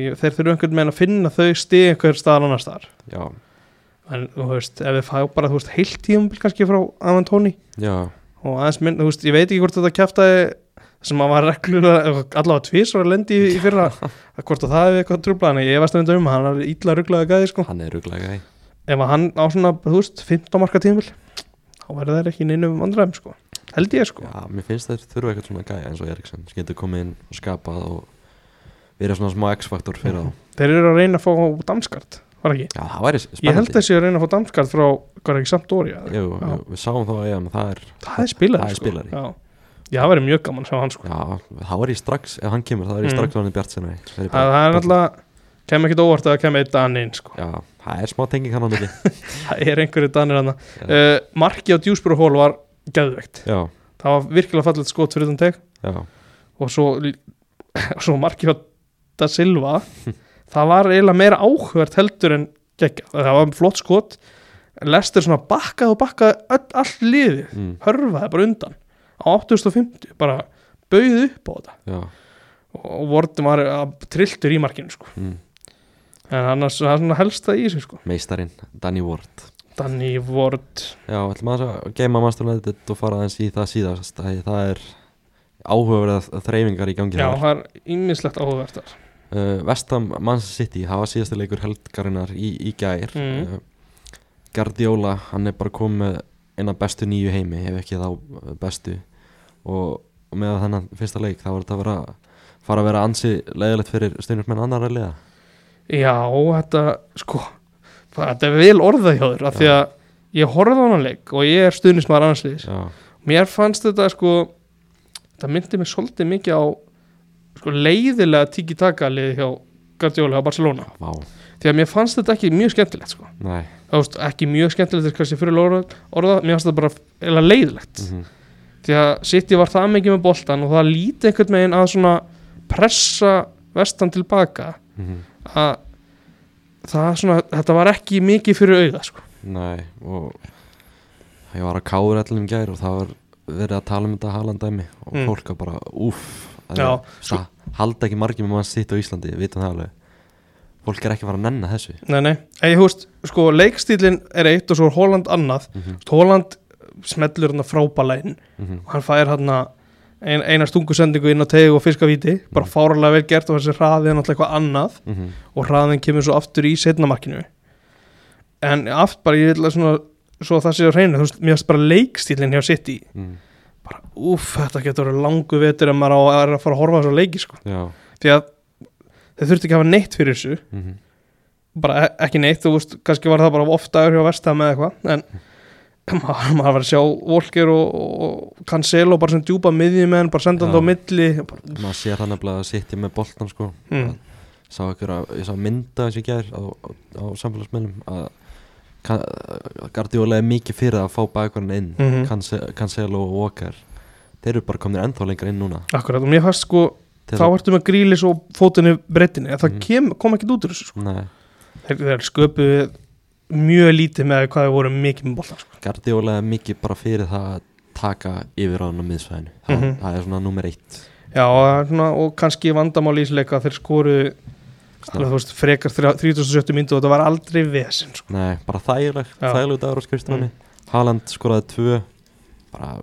S2: Ég- þeir þurfa einhvern veginn að finna þau stig einhver staðar annars staðar
S1: já,
S2: en þú veist, ef við fá bara þú veist, heilt tíumbil kannski frá Avantoni
S1: já
S2: og aðeins minn, þú veist, ég veit ekki hvort þetta kæftaði sem að var reglulega allavega tvís og lendi í, í fyrra að hvort að það hefði eitthvað trúblað en ég veist að mynda um hann er illa rugglaði gæði sko
S1: hann er ruglega gæ
S2: ef að hann á svona, þú veist, 15 marka tíumbil þá verður þær ekki í neinum vandræðum sko held ég sko,
S1: já, mér finnst þeir þurfa eitthvað svona gæ eins og Eriksson sem getur komið inn og skapað og verið svona smá X-faktor fyrir þá
S2: þeir eru að reyna að fá damskart, var ekki?
S1: já, það væri spennandi
S2: Ég held þessi að reyna að fá damskart frá, hvað er ekki samt orði?
S1: Jú, jú, við sáum þá að ég, það er
S2: Það er spilari
S1: Það er spilari.
S2: sko. Já, Já, það verður mjög gaman að sjá hann sko
S1: Já, þá er ég strax, ef hann kemur, þá er ég
S2: Mm.
S1: strax mm. orðin bjart sinna Það
S2: Það, það er alltaf, kem ekkit óvart að það kem eitt danni inn sko
S1: Já, það er smá tenging hann á milli
S2: Það er einhverju danir hann
S1: Já.
S2: uh, Marki á Djúsbúru hól var geðveikt
S1: Já,
S2: Það var virkilega fallet skot fyrir þann teg
S1: já,
S2: Og svo, svo Marki á Da Silva Það var eiginlega meira áhugvert heldur en geggja Það var flott skot Lestir svona bakkað og bakkað öll, allt liði
S1: mm,
S2: Hörfaði bara undan Á 850, bara bauð upp á þetta
S1: já
S2: og vortum var að trilltur í markinu sko.
S1: mm.
S2: en annars það er svona helsta í þessu sko.
S1: Meistarinn, Danny Ward
S2: Danny Ward
S1: Já, ætlum að að geima masterlæðið og fara aðeins í það síðast Það, það er áhugaverða þreyfingar í gangi
S2: já,
S1: þar
S2: það er ímislegt áhugavert þar
S1: uh, Vestam Manchester City, það var síðasti leikur helgarinnar í, í gær
S2: Mm.
S1: uh, Guardiola, hann er bara komið með eina bestu nýju heimi ef ekki þá uh, bestu og, og með þennan fyrsta leik þá var þetta að vera fara að vera ansi leiðilegt fyrir steinursmenn annara leiða
S2: já, þetta sko, það- þetta er vel orðað hjá þér af því
S1: Já.
S2: að ég horfði á hann leik og ég er stuðnismar annarsliðis
S1: Já,
S2: mér fannst þetta sko það myndi mig svolítið mikið á sko, leiðilega tiki-taka liði hjá Guardiola á Barcelona
S1: vá,
S2: því að mér fannst þetta ekki mjög skemmtilegt sko.
S1: næ
S2: það veist, ekki mjög skemmtilegt er kannski fyrir orða, orða mér fannst þetta bara eiginlega leiðilegt
S1: mhm,
S2: því að City var það mikið með boltan og það líti einhvern veginn að svona pressa vestan tilbaka
S1: mhm,
S2: að það svona, þetta var ekki mikið fyrir auða sko.
S1: Næ, og ég var að káður allir um gær og það var verið að tala um þetta halandæmi og
S2: Mm.
S1: fólk var bara, úff það
S2: Já, Sko,
S1: er- það Sko, halda ekki margir með mann sitt á Íslandi, við vitum það alveg fólk er ekki að fara að nenna þessu
S2: nei, nei, en ég húst, sko leikstílinn er eitt og svo er Holland annað
S1: mm -hmm.
S2: Holland smellur hann að frábælæn og hann fær hann að ein, eina stungu sendingu inn á tegu og fiskavíti bara fárlega vel gert og þessi hraði hann alltaf eitthvað annað og hraðin kemur svo aftur í setnamarkinu en aft bara ég vil að svona svo það sé á hreinu, þú veist, mér finnst bara leikstílinn hjá City,
S1: mm.
S2: bara úff þetta getur verið langu vetur en maður á að er að fara að horfa á þessu leiki sko,
S1: Já
S2: því að þeir þurfti ekki að hafa neitt fyrir þessu
S1: mm
S2: bara e- ekki neitt, þú veist, kannski var það bara oftaður hjá Vestham eða eitthvað, en maður, maður var að sjá Volker og, og Cancelo bara sem djúpa miðjumenn, bara senda hann
S1: Já.
S2: á milli bara,
S1: Maður sér það nefnilega að sitja með boltan sko
S2: mm,
S1: sá ykkur að, ég sá mynda eins og ég gær á, á, á samfélagsmennum að Gardiola er mikið fyrir að fá bakvarinn inn
S2: Mhm.
S1: Cance- Cancelo og Walker Þeir eru bara komnir ennþá lengra inn núna
S2: akkurat, og mér fannst sko
S1: Til
S2: þá
S1: að-
S2: ertu með grílis og fótinni breytinni, en það
S1: Mm.
S2: kem, kom ekki út úr þessu sko.
S1: Nei,
S2: þeir, þeir sköpuðu mjög lítið með hvað þeir voru mikið með boltan sko.
S1: Gardiola er mikið bara fyrir það að taka yfir á hann á miðsvæðinu það,
S2: Mhm.
S1: það er svona nummer eitt
S2: já, og svona, og kannski vandamál í ísleika þeir skoru alveg, þú veist, frekar þrjá- 37 myndu og þetta var aldrei vesen sko.
S1: Nei, bara þægileg,
S2: Já.
S1: þægileg dagur á skrifstofunni mm. Haaland skoraði tvö bara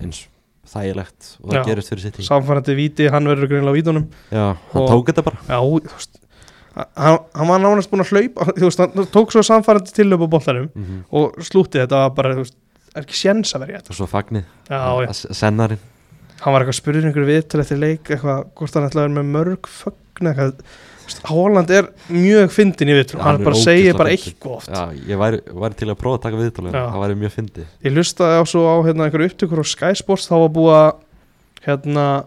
S1: eins þægilegt og það
S2: Já.
S1: gerist fyrir sitt
S2: samfærandi víti, hann verður greinlega á vítunum
S1: já, hann
S2: Og-
S1: tók þetta bara
S2: já, þú veist hann, hann var nánast búin að hlaupa þú veist, hann tók svo samfærandi tilöp á boltanum
S1: mm
S2: og slútið þetta var bara, þú veist er ekki séns að verja þetta
S1: og svo fagnið,
S2: já, já.
S1: að s- sennarin
S2: hann var eitthvað að spurður einhverju viðtöl eftir leik eitthvað, hvort hann ætlaði að vera með mörg fögn eitthvað, Þú veist, Haaland er mjög fyndin í viðtöl,
S1: Já,
S2: hann
S1: hann er
S2: bara
S1: ógeðslega
S2: segir bara
S1: fyndinn.
S2: eitthvað oft
S1: já, ég væri, væri til að prófa að taka viðtalið
S2: Já.
S1: það væri mjög fyndi
S2: ég lustaði á svo á hérna, einhverju upptökur á Sky Sports þá var búið að hérna,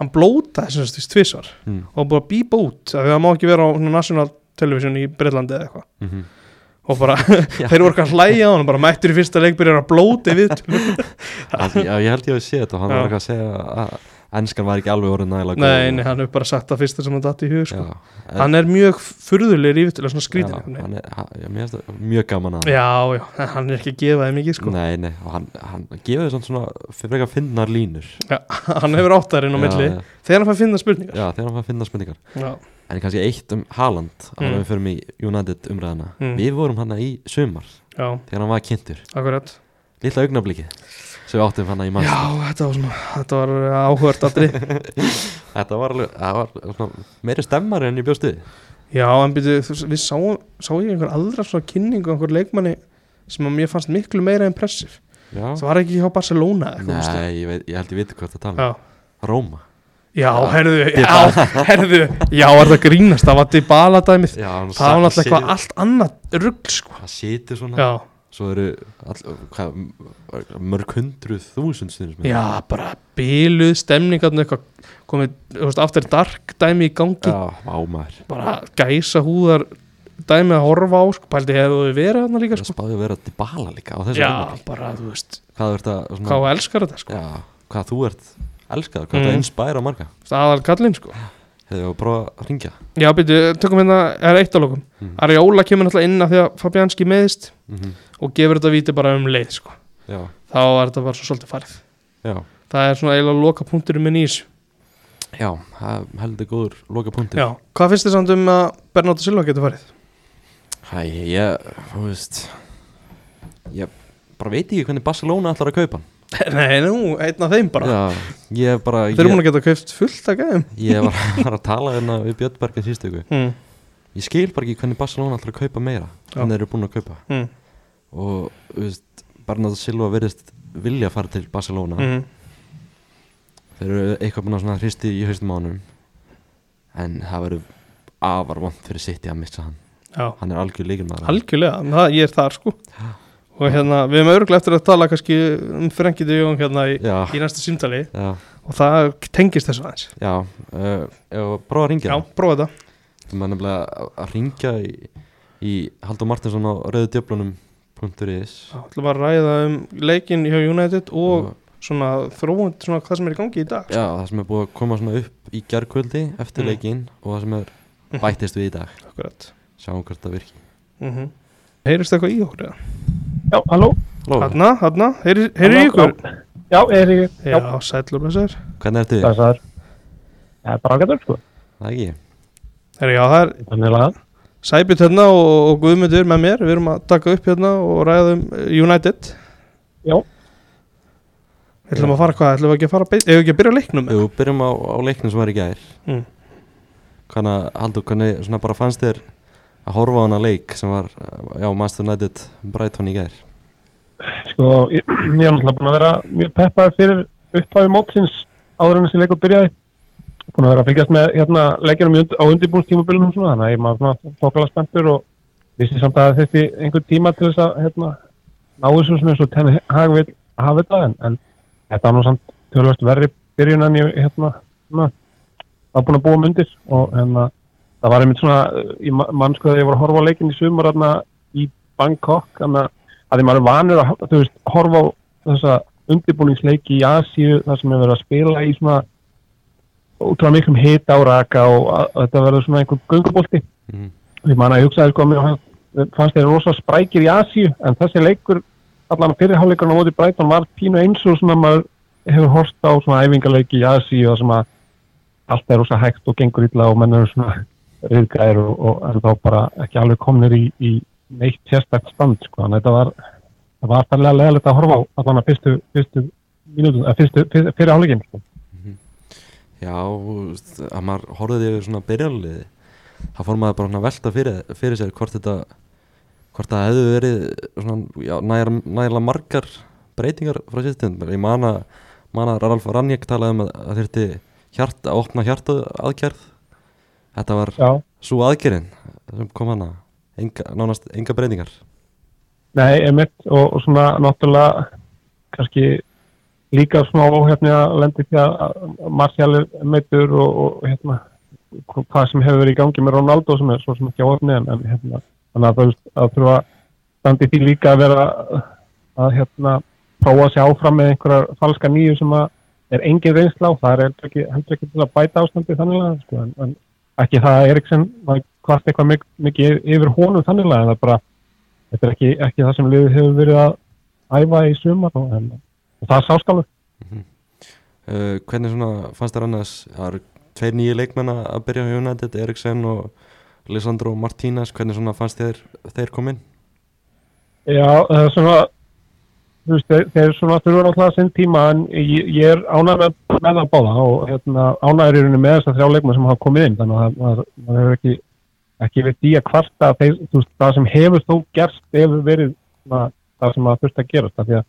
S2: hann blótaði sem þessi tvisvar
S1: mm.
S2: og búið að bípa út af því að það má ekki vera á svona, national television í Breitlandi eða eitthvað
S1: Mm -hmm.
S2: og bara, þeir voru eitthvað að hlæja á hann bara mættur í fyrsta leik byrjar að blóti við
S1: já, ég held ég að sé þetta og hann
S2: Já.
S1: var eitthvað að segja að enskan var ekki alveg orðin nægilega
S2: nei, nei, hann hefur bara sagt það fyrsta sem hann datt í hug sko.
S1: en-
S2: hann er mjög furðulegur í viðtölu svona
S1: Já,
S2: skrítin já,
S1: hann er, hann, já, mér finnst það mjög gaman að
S2: já, já, hann er ekki að gefa þið mikið sko.
S1: Nei, nei, og hann, hann gefur þess svona fyrir eitthvað finnar línur
S2: já, hann hefur áttar inn á
S1: Já,
S2: milli
S1: já,
S2: þegar hann fær að finna spurningar
S1: já, þegar hann fann finnar spurningar
S2: já,
S1: En kannski eitt um Haaland mm.
S2: Mm.
S1: Við förum í United umræðana
S2: Mm.
S1: Við vorum hann í sumar
S2: já,
S1: Þegar hann var kynntur
S2: akkurat
S1: Lilla augnabliki Sem við áttum hann í mann
S2: já, þetta var, svona, þetta var eh, áhört aldrei
S1: Þetta var alveg það var, svona, Meiri stemmari en ég bjóst við
S2: Já, en byrju, þú- við sá, sá ég einhver aðra svona kynningu, einhver leikmanni sem að mér fannst miklu meira impressiv
S1: Já
S2: það var ekki hjá Barcelona eða eitthvað veistu?
S1: Nei, ég, veit, ég held ég viti hvað það tala
S2: Já,
S1: um. Róma
S2: já,
S1: Já.
S2: herðu,
S1: Dybala.
S2: já, herðu Já, er það grínast, það var Dybala dæmið
S1: já, hann
S2: Það var
S1: sat-
S2: náttúrulega eitthvað
S1: situr-
S2: allt annað rugg, sko
S1: Hann situr svona
S2: Já,
S1: Svo eru all, hvað, mörg hundruð þúsund stundum
S2: já, bara bíluð, stemningarnu eitthvað komið, þú veist, aftur dark dæmi í gangi
S1: Já, ámæður
S2: bara gæsa húðar dæmi að horfa á, sko, pældi hefðu þau verið þarna líka,
S1: Það
S2: sko
S1: spáði að vera Dybala líka á þessu
S2: Já,
S1: tímabili.
S2: bara, þú veist,
S1: Hvað þú ert að svona,
S2: hvað elskar þetta, sko
S1: Mm. Já, hvað þú ert elskaður Hvað mm.
S2: Mm.
S1: það inspæra marga
S2: aðal kallinn, sko
S1: Hefðu að prófa að ringja
S2: Já, byrju, tökum hérna, er eitt að lókum
S1: Mhm.
S2: Ariola kemur náttúrulega inn af því að Fabianski meðist
S1: mm
S2: og gefur þetta víti bara um leið sko.
S1: Já,
S2: þá er þetta bara svo svolítið farið
S1: já
S2: það er svona eiginlega loka punkturinn minn í þessu
S1: Já, það er heldur góður loka punktir
S2: Já, hvað finnst þið samt um að Bernardo Silva getur farið?
S1: Hæ, ég, þú veist Ég bara veit ekki hvernig Barcelona ætlar að kaupa hann
S2: Nei, nú, einn af þeim bara
S1: Já, ég bara
S2: Þeir eru múin
S1: Ég,
S2: að geta kauft fullt að gæðum
S1: ég var, var að tala hérna við Björn Bergin sístu ykkur
S2: mm.
S1: Ég skil bara ekki hvernig Barcelona ætlar að kaupa meira
S2: Já.
S1: Hvernig þeir eru búin að kaupa
S2: Mm.
S1: og þú veist, Bernardo Silva verðist vilja fara til Barcelona
S2: Mm.
S1: þeir eru eitthvað búin að svona hristi í haustum ánum en það verður afar vond fyrir City að missa hann
S2: Já,
S1: hann er algjör líkin maður
S2: algjörlega, en það, ég er þar sko og hérna, við erum örugglega eftir að tala kannski um frengið í jón hérna í,
S1: já,
S2: í næsta símtali
S1: já,
S2: og það tengist þessu aðeins
S1: já uh, ef að prófa að
S2: Já,
S1: ringja
S2: prófa þetta
S1: það maður nefnilega að- að ringja í, í Haldur Martinsson á rauðudjöflunum.is
S2: Já, ætlum að ræða um leikinn hjá United og svona þróund, svona hvað sem er í gangi í dag.
S1: já, það sem er búið að koma svona upp í gerkvöldi eftir
S2: Mm.
S1: leikinn og það sem er bættist við í dag
S2: Akkurat.
S1: sjáum hvort það virki
S2: Mm -hmm. Heyrist eitthvað í okkur eða?
S3: Já, halló?
S1: Lóa,
S2: Hanna, hanna, heyri, heyri í
S3: Halló,
S2: ykkur?
S3: Já, er ég,
S2: Já, sætlur blessaður.
S1: hvernig ertu?
S3: það er Það er bara ágættur, sko,
S1: Það ekki?
S2: Herri, já, það er
S3: þannig lagað.
S2: Sæbjörn hérna og, og Guðmundur með mér. Við erum að taka upp hérna og ræða um eh, United.
S3: Já.
S2: Við ætlum að fara hvað, ætlum við ekki að fara, beint- eigum við ekki að byrja á leiknum?
S1: Jú, byrjum á, á leiknum sem var í gær
S2: Mm.
S1: Hvernig, Haldur, hvernig svona bara fannst þér að horfa á hana leik sem var, uh, já, Master United Brighton í gær
S3: Sko, ég, ég er náttúrulega búin að vera mjög peppaði fyrir upphæfi mótsins áður en þessi leikur byrjaði. Búin að vera að fylgjast með hérna leikjunum í und- á undirbúinstímabilinum og svona, þannig að ég maður svona tókala spenntur og vissi samt að þetta einhver tíma til þess að hérna ná þessu sem er svo tenni hag vil hafa þetta en, en þetta var nú samt tölvöld verri byrjun en ég hérna svona, var búin að búa myndir og hérna það var einmitt svona uh, í mannsku þegar ég var að horfa á leikin í sumar hérna í Bangkok þannig að að því maður er vanur að þú veist, horfa á þessa undirbúningsleiki í Asíu þar sem er verið að spila í svona útrúlega miklum hita og raka og að, að þetta verður svona einhver göngubolti
S1: mm.
S3: ég man að ég hugsaði sko að mér fannst- fannst þeir rosa sprækir í Asíu en þessi leikur allan fyrirháleikurinn á móti Brighton var pínu eins og svona maður hefur horst á svona æfingarleiki í Asíu þar sem að allt er rosa hægt og gengur illa og menn eru svona riðgæðir og, og er þá bara ekki alveg komnir í, í neitt sérstakt stand sko þannig að þetta var það var færlega leðilegt að horfa á allan að fyrstu, fyrstu mínútum, að fyrstu, fyrstu, fyrir áleikin sko.
S1: Já, þú veist, að maður horfði yfir svona byrjanliði þá fór maður bara svona að velta fyrir, fyrir sér hvort þetta hvort það hefðu verið svona, já, nær, nærlega margar breytingar frá sérstund ég man að, man að Ralf Ranjek talaði um að það þyrfti hjart, að opna hjartu aðgerð þetta var
S3: Já,
S1: svo aðgerðin sem kom hana enga, nánast enga breytingar
S3: nei, emitt og, og svona náttúrulega kannski líka smá óhefni að lendi því að að Martial er meittur og, og hérna hvað sem hefur verið í gangi með Ronaldo sem er svo sem ekki óhefni en, en hérna þannig að það veist að þurfa standi því líka að vera að hérna prófa sig áfram með einhverjar falska nýju sem að er engin reynsla á, það er heldur ekki, heldur ekki til að bæta ástandi þannig að sko, en, en ekki það að Eriksen var hvart eitthvað mik- mikið yfir honum þannig að það er bara þetta er ekki, ekki það sem liðið hefur verið að æfa í sumar og, en, og það er sáskalur
S1: uh, hvernig svona fannst þér annars það eru tveir nýju leikmenn að byrja hjá United, Eriksen og Lisandro Martínez, hvernig svona fannst þér þeir komin?
S3: Já, það er svona þú veist, þeir, þeir svona þurfa náttúrulega sinn tíma en ég, ég er ánægð með, með að báða og hérna, ánægður í rauninni með þess að þrjá leikma sem hafa komið inn þannig að það- maður, maður hefur ekki ekki við því að kvarta að þeir, þú veist, það sem hefur þó gerst hefur verið svona, það sem að þurft að gerast af því að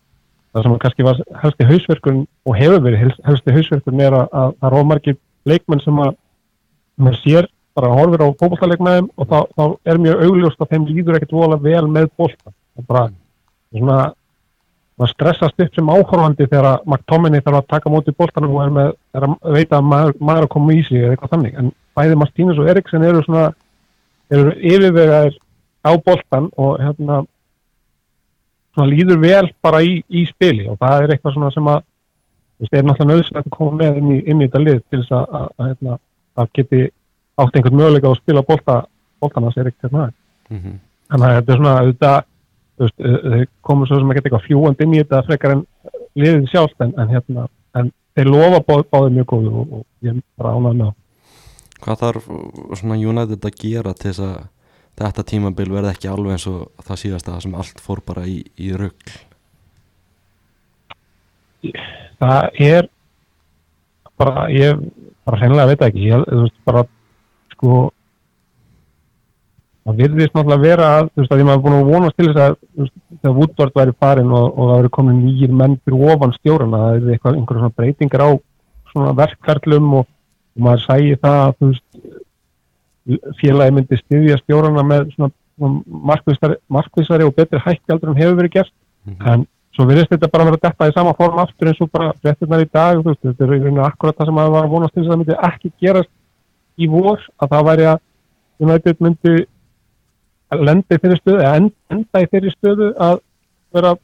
S3: það sem kannski var helsti hausverkun og hefur verið hels- helsti hausverkun er að, að það er ómargir leikmenn sem að maður sér bara horfir á fótballtaleikmaðum og þá, þá er mjög augljóst að þeim líður ekkert vola vel með bólta og bara svona maður stressast upp sem áhorfandi þegar að McTominay þarf að taka á móti bóltanum og er, með, er að veita að maður, maður er að koma í sig eða eitthvað þannig en bæði Martínus og Eriksen eru svona eru yfirvegaðir á bóltan og hérna svona líður vel bara í, í spili og það er eitthvað svona sem að þú veist, er náttúrulega nöðsynlegt að koma með inn í, inn í þetta lið til þess að, að, að, hérna, að geti átt einhvern möguleika á að spila bólta, bóltana sér ekkert hérna
S1: Mm -hmm.
S3: þannig að þetta er svona auðvitað þú veist, eh, þeir komur svo sem að geta eitthvað fljúand inn í þetta frekar en liðið sjálft en, en hérna, en þeir lofa báð, báðið mjög góðu og, og ég er bara ánægð með þá.
S1: Hvað þarf uh, svona United að gera til þess að þetta tímabil verði ekki alveg eins og það síðasta þar sem allt fór bara í, í rugg?
S3: það er bara, ég bara hreinlega veit það ekki, ég, þú veist, bara sko það virðist náttúrulega vera að þú veist, að ég maður búin að vonast til þess að þú veist, þegar Woodward væri farin og, og það væri komin nýjir menn fyrir ofan stjórn að það er eitthvað, einhverjum svona breytingar á svona verkferlum og, og maður sægi það að þú veist félagi myndi styðja stjórnana með svona, svona markvissari, markvissari og betri hætti aldrei en hefur verið gert
S1: Mhm.
S3: en svo virðist þetta bara vera detta í sama form aftur eins og bara fréttirnar í dag þú veist, þetta er í rauninu akkurat það sem að var að vonast til þess að það myndi ekki gerast í vor að það væri að United myndi lenda í þeirri stöðu eða en- enda í þeirri stöðu að vera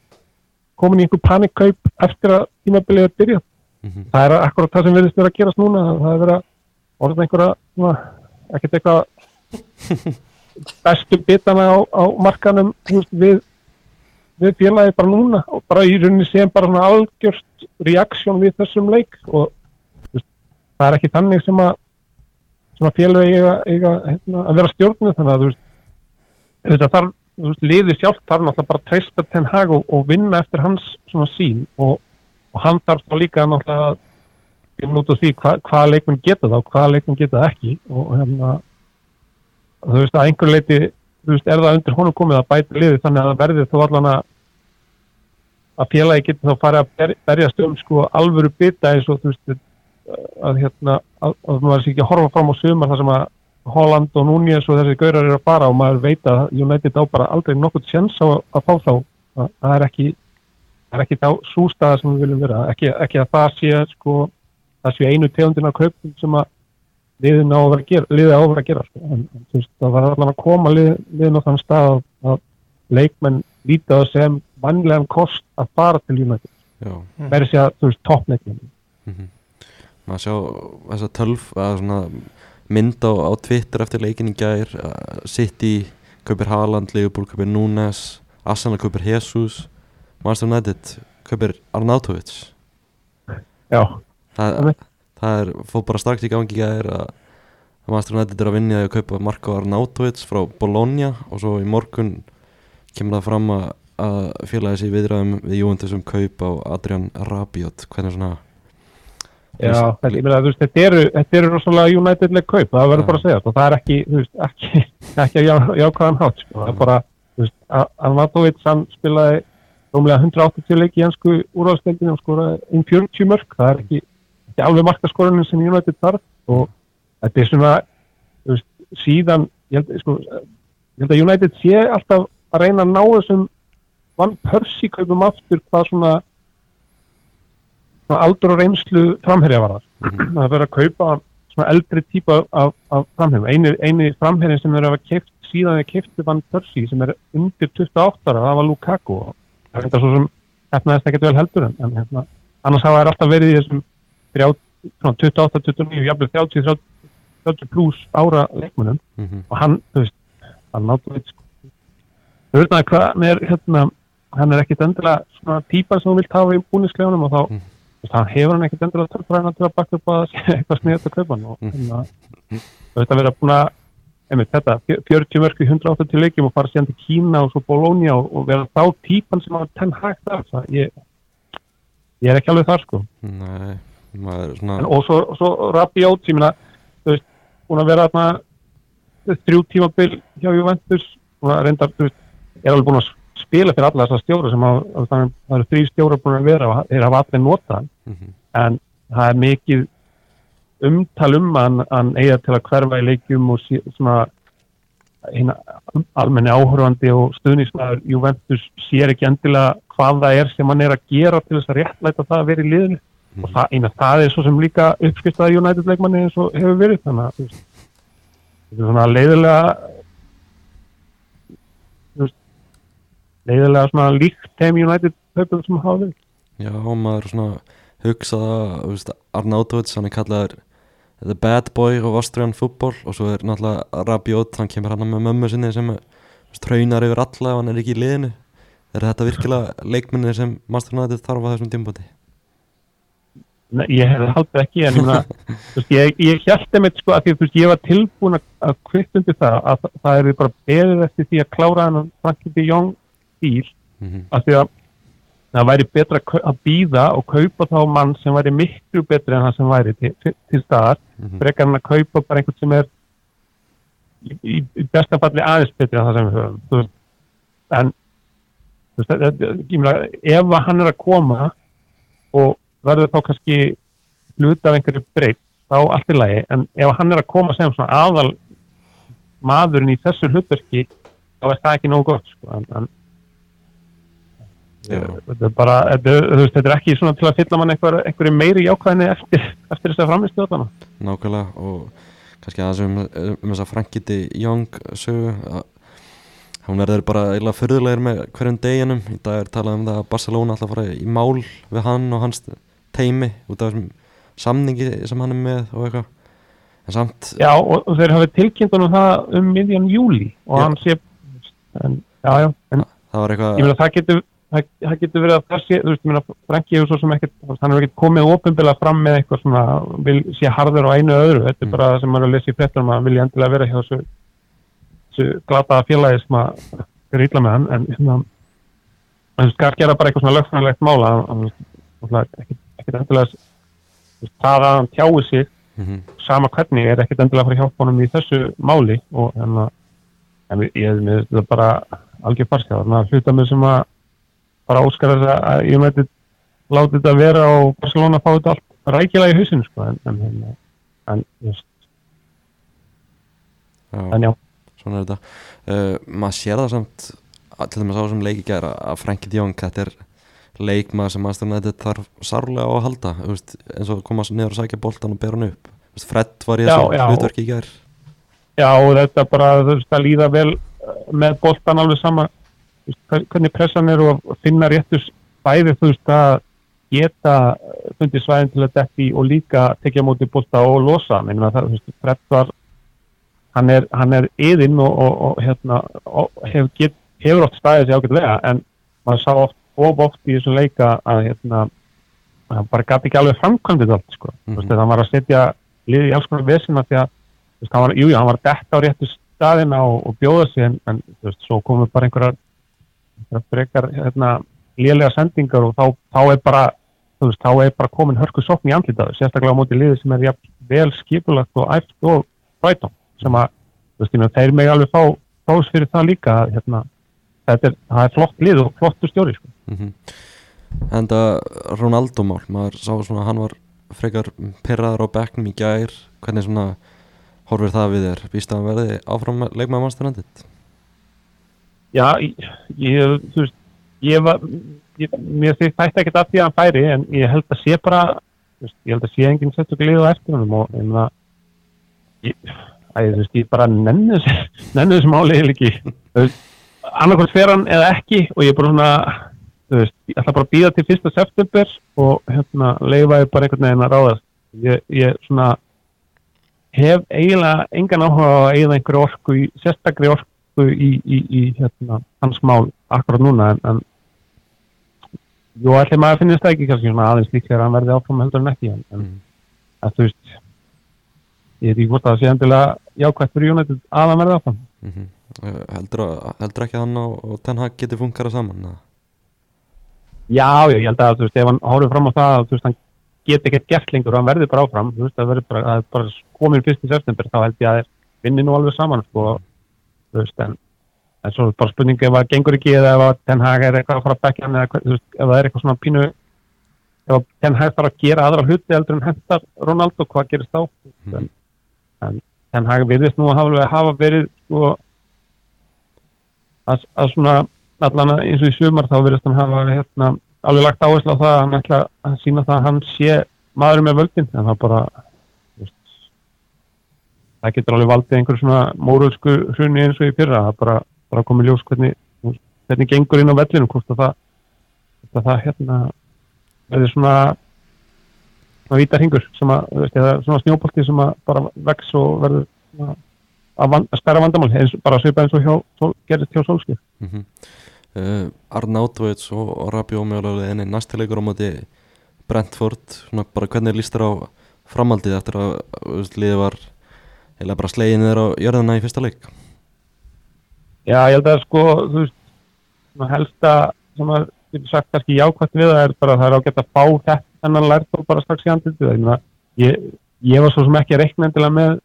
S3: komin í einhver panikkaup eftir að tímabilið er byrjað
S1: Mhm.
S3: það er akkurat það sem virðist vera að gerast núna það er vera orðin einhverja svona, ekkert eitthvað bestu bitana á, á markanum þú veist, við við félagi bara núna og bara í rauninni séum bara svona algjörst reaksjón við þessum leik og þú veist, það er ekki þannig sem að sem að félagi eiga, eiga hérna, að vera stjórnum þannig að þú veist, þetta þarf, þú veist, liði sjálft þarf náttúrulega bara að treysta ten hag og, og vinna eftir hans svona sín og, og hann þarf þá líka náttúrulega að finna út úr því hva, hvaða leikmenn geta það og hvaða leikmenn geta það ekki og hérna þú veist að einhver leiti þú veist, er það undir honum komið að bæta liði þannig að það verði þó allan að að félagi getur þá farið að ber- berjast um sko alvöru bita eins og þú veist að hérna að, að maður sé ekki að horfa fram á sumar þar sem að Holland og Núñez og þessi gaurar eru að fara og maður veit að United á bara aldrei nokkurt sjens á að fá þá það það er ekki það er ekki þá sústaða sem við viljum vera ekki, ekki að það sé sko það sé einu tegundin af kaupum sem að liðin á að vera að gera, liðið á að vera að gera sko. en, en þú veist það var allan að koma lið, liðin á þann stað að, að leikmenn líta það sem vannlegan kost að fara til United
S1: Já,
S3: verið sé að þú veist toppleikin
S1: maður sjá þessa tölf að svona mynd á, á Twitter eftir leikin í gær að City, kaupir Haaland, Liverpool, kaupir Núnes, Arsenal kaupir Jesus, Manchester United kaupir Arnautovic
S3: já,
S1: það,
S3: Einmitt.
S1: það er, fór bara strax í gangi í gær að að Manchester United er að vinja að kaupa Marko Arnautovic frá Bologna og svo í morgun kemur það fram að, að félagi sér viðræðum við Juventus um kaup á Adrian Rabiot hvernig svona
S3: Já, þetta, ég meina, þú veist, þetta eru, þetta eru rosalega United-leg kaup, það verður
S1: Já.
S3: bara að segja og það er ekki, þú veist, ekki, ekki að já, jákvæðan hátt, sko, það er bara þú veist, Arnatovits, hann spilaði rúmlega 180 leiki í hansku úrvalsdeldinu og skoraði inn 40 mörg það er ekki, ekki alveg markaskorunin sem United þarf og þetta er svona, þú veist, síðan ég held, sko, ég held að United sé alltaf að reyna að ná þessum vann Persi kaupum aftur hvað svona svona aldur og reynslu framherja var það það verður að kaupa svona eldri típa af, af framherjum eini, eini framherjum sem verður að hafa keift síðan þegar keifti vann Persi sem er undir 28 ára, það var Lukaku og það er þetta svo sem hefnaðist ekkert vel heldur en, en hérna, annars hafa þær alltaf verið í þessum 30 svona 28, 29, jafnvel 30, 30, 30 pluss ára leikmunum
S1: mm -hmm.
S3: og hann, þú veist, hann náttúrulega sko. þú veist að hvað hann er hérna, hann er ekkit endilega svona típa sem þú vilt hafa í búniskljónum og þá,
S1: Mm.
S3: þú veist, hann hefur hann ekkit endilega tölfræðina til að bakka upp að sé eitthvað sniðið að kaupa hann og
S1: Mm.
S3: hérna, þú veist að vera búin að einmitt þetta, fjö- 40 mörg í 180 leikjum og fara síðan til Kína og svo Bologna og, og vera þá típan sem hafa tenn hægt af það, ég ég er ekki alveg þar sko
S1: Nei, maður svona
S3: en, og svo, svo Rabiot ég meina, þú veist, hún að vera þarna þrjú tímabil hjá Juventus hún að reynda, þú veist, er alveg búin að spila fyrir alla þessar stjóra sem að, að það eru- það eru þrjú stjóra búin að vera og þeir hafa allir notað hann
S1: mhm,
S3: en það er mikið umtal um að hann- hann eiga til að hverfa í leikjum og sí, svona hinn almenni áhörfandi og stuðnismæður Juventus sér ekki endilega hvað það er sem hann er að gera til þess að réttlæta það að vera í liðinu og það, eina, það er svo sem líka uppskiptaði United leikmanni eins og hefur verið þannig að þú veist, þetta er svona leiðilega þú veist, leiðilega svona líkt þeim United höfum sem hafa verið
S1: já, maður svona hugsa það, þú veist, Arnautovits hann er kallaður the bad boy of Austrian football og svo er náttúrulega Rabiot, hann kemur hann með mömmu sinni sem ströynar yfir alla ef hann er ekki í liðinu er þetta virkilega leikminni sem Master United þarf á þessum tímpoti
S3: Nei, ég hefði haldið ekki en ég meina, þú veist, ég, ég hjælti mitt sko að því þú veist, ég var tilbúin að- að kvittundi það að það- það er bara beðið eftir því að klára hann Frankie de Jong bíl
S1: mm -hmm.
S3: að því að það væri betra að kau- að býða og kaupa þá mann sem væri miklu betri en hann sem væri til, til, til staðar Mm. frekar hann að kaupa bara einhvern sem er í, í, í besta falli aðeins betri en það sem við höfum þú veist, en þú veist, þetta- þetta- ég meina, ef að hann er að koma og verður þá kannski hluti af einhverju breytt þá allt í lagi, en ef hann er að koma sem svona aðal maðurinn í þessu hlutverki þá er það ekki nógu gott sko. en, en
S1: Já.
S3: þetta er bara, þetta, er- þú veist, þetta er ekki svona til að fylla mann einhver, einhverju meiri jákvæðinni eftir, eftir þess að framistu þarna
S1: nákvæmlega og kannski aðeins um, um þess að Frankiti Young sögu að hún verður bara eiginlega förðulegir með hverjum deginum í dag er talað um það að Barcelona alltaf fara í mál við hann og hans teimi út af þessum samningi sem hann er með og eitthvað en samt
S3: Já, og, og þeir hafi tilkynnt honum það um miðjan júli og
S1: Já.
S3: hann sé en, já, já, en
S1: það var
S3: ég
S1: eitthvað
S3: meina það getur það, það getur verið að það sé, þú veist, ég meina Franki hefur svo sem ekkert, hann hefur ekkert komið ofinbila fram með eitthvað svona, vil sé harður á einu og öðru, þetta er
S1: Mm.
S3: bara það sem maður er að lesa í fréttunum að hann vilja endilega vera hjá þessu þessu glataða félagi sem að er illa með hann, en hérna hann skal gera bara eitthvað svona lögfræðilegt mála, hann, hann, hann ekkert endilega þú veist, það að hann tjái sig
S1: mhm,
S3: sama hvernig er ekkert endilega að fara að hjálpa honum í þessu máli og en að en ég hefði með þetta bara algjör farskjá, þannig að hluta með sem að bara óskar þess að- að ég mæti láti þetta vera og Barcelona fá þetta allt rækilega í hausinu sko en, en, en, en, just,
S1: já,
S3: en já,
S1: svona er þetta uh, maður sér það samt að- til dæmis á þessum leik í gær að- að Frankit Young þetta er leikmaður sem aðstæðan þetta þarf sárlega á að halda þú veist, eins og koma niður og sækja boltan og bera hann upp Þú veist, Fred var í
S3: Já,
S1: þessu
S3: já.
S1: hlutverki í gær
S3: já og þetta bara þú veist að líða vel eh, með boltan alveg sama þú veist, hver- hvernig pressan er og að finna réttus bæði þú veist að geta eh, fundið svæðin til að detti og líka tekja á móti bólta og losa hann. Ég meina það, þú veist, Fred var hann er, hann er yðin og, og, og, hérna, og hef get, hefur oft staðið sér ágætlega en maður sá oft of oft í þessum leika að hérna, að hann bara gæti ekki alveg framkvæmdið allt sko. mm
S1: Mhm.
S3: -hmm. hann var að setja liðið í alls konar vesina því að þú veist, hann var, jú, jú, hann var detta á réttu staðina og, og bjóða sig en, en þú veist, svo komur bara einhverjar þetta er frekar hérna, lélega sendingar og þá, þá er bara þú veist, þá er bara komin hörku sókn í andlitaðu, sérstaklega á móti liði sem er jafn, vel skipulagt og æft og brætum, sem að þú veist, ég meina, þeir megi alveg fá fás fyrir það líka að, hérna, þetta er, það er flott lið og flottur stjóri sko.
S1: Mhm. Enda Ronaldo mál, maður sá svona að hann var frekar perraður á bekknum í gær hvernig svona horfir það við þér býst að hann verði áfram leikmaður mannstæðanandit
S3: Já, ég, ég, þú veist, ég var, ég, mér þykir þætti ekkert að því að hann færi, en ég held að sé bara, þú veist, ég held að sé enginn sett og glíðu á eftir honum og, en það, ég, æ, þú veist, ég bara nennu þessu, nennu þessu máli eða ekki, þú veist, annarkvæmt fer hann eða ekki og ég er bara svona, þú veist, ég ætla bara að býða til fyrsta september og hérna, leifa ég bara einhvern veginn að ráðast. Ég, ég svona, hef eiginlega engan áhuga á að eigða einhverju orku, í, sérstakri orku í, í, í hérna, hans mál akkurat núna en, en jú, allir maður finnist það ekki kannski svona aðeins líklega að hann verði áfram heldur en ekki en, en
S1: Mhm.
S3: að, þú veist ég veit ekki hvort að það sé endilega jákvæmt fyrir United að hann verði áfram
S1: mm heldur, að- heldur ekki að hann og, og Ten Hag geti funkara saman eða?
S3: Já, já, ég held að þú veist, ef hann horfir fram á það að þú veist, hann geti ekkert gert lengur og hann verður bara áfram, þú veist, það verður bara, það er bara komin fyrst í september, þá held ég að þeir vinni nú alveg saman, sko, þú veist, en, en svo er bara spurningu ef það gengur ekki eða ef að Ten Hag er eitthvað að fara að bekja hann eða, hver- þú veist, ef það er eitthvað svona pínu, ef að Ten Hag þarf að gera aðra hluti heldur en hentar Ronaldo, hvað gerist þá?
S1: Mhm.
S3: En Ten Hag virðist nú að hafa, hafa verið, sko, að, að svona, allan að eins og í sumar þá verðist hann hafa hérna, alveg lagt áherslu á það að hann ætla að sína það að hann sé maðurinn með völdin en það bara þú veist, það getur alveg valdið einhver svona mórölsku hrunni eins og í fyrra það bara, bara komið ljós hvernig þú veist, hvernig gengur inn á vellinu hvort að það, hvort að það hérna verður svona svona vítar hingur sem að, þú veist, eða svona snjópolti sem að bara vex og verður svona að, van, að stærra vandamál eins, bara svipað eins og hjá, Sol- gerðist hjá Solskjö
S1: Mm -hmm. uh, Arnautovits og, og Rabió mjögulega enni næstilegur á móti Brentford svona bara hvernig líst þér á framhaldið eftir að þú veist, liðið var eða bara slegin þeirra á jörðina í fyrsta leik
S3: Já, ég held að sko, þú veist, svona helsta sem að getur sagt kannski jákvæmt við það er bara að það er ágætt að fá þetta þennan lært og bara strax í andildið. Ég, meina, ég, ég var svo sem ekki að reikna endilega með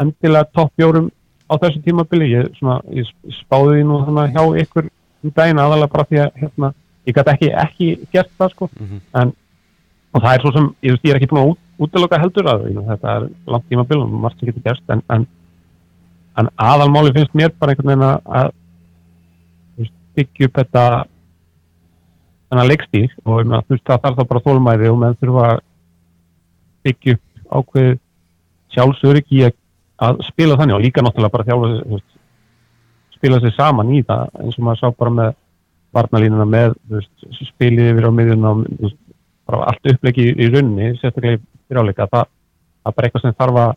S3: endilega toppjórum á þessu tímabili. Ég, svona, ég spáði því nú þannig hjá ykkur um daginn aðalega bara því að hérna, ég gæti ekki, ekki gert það sko
S1: mm
S3: og það er svo sem, ég, veist, ég er ekki búin að út- útiloka heldur að ég, þetta er langt tíma bil og margt sem getur gerst en, en, en aðalmáli finnst mér bara einhvern veginn að- að þú veist, byggja upp þetta þennan leikstík og ég meina, þú veist, það þarf þá bara þólmæði og menn þurfa að byggja upp ákveð sjálfsörygg í að, að spila þannig og líka náttúrulega bara þjálfa sig, þú veist, spila sig saman í það eins og maður sá bara með varnalínuna með þú veist, spilið yfir á miðjuna og þú veist, bara allt upplegi í, í runni, sérstaklega í fyriráleika, það það er bara eitthvað sem þarf að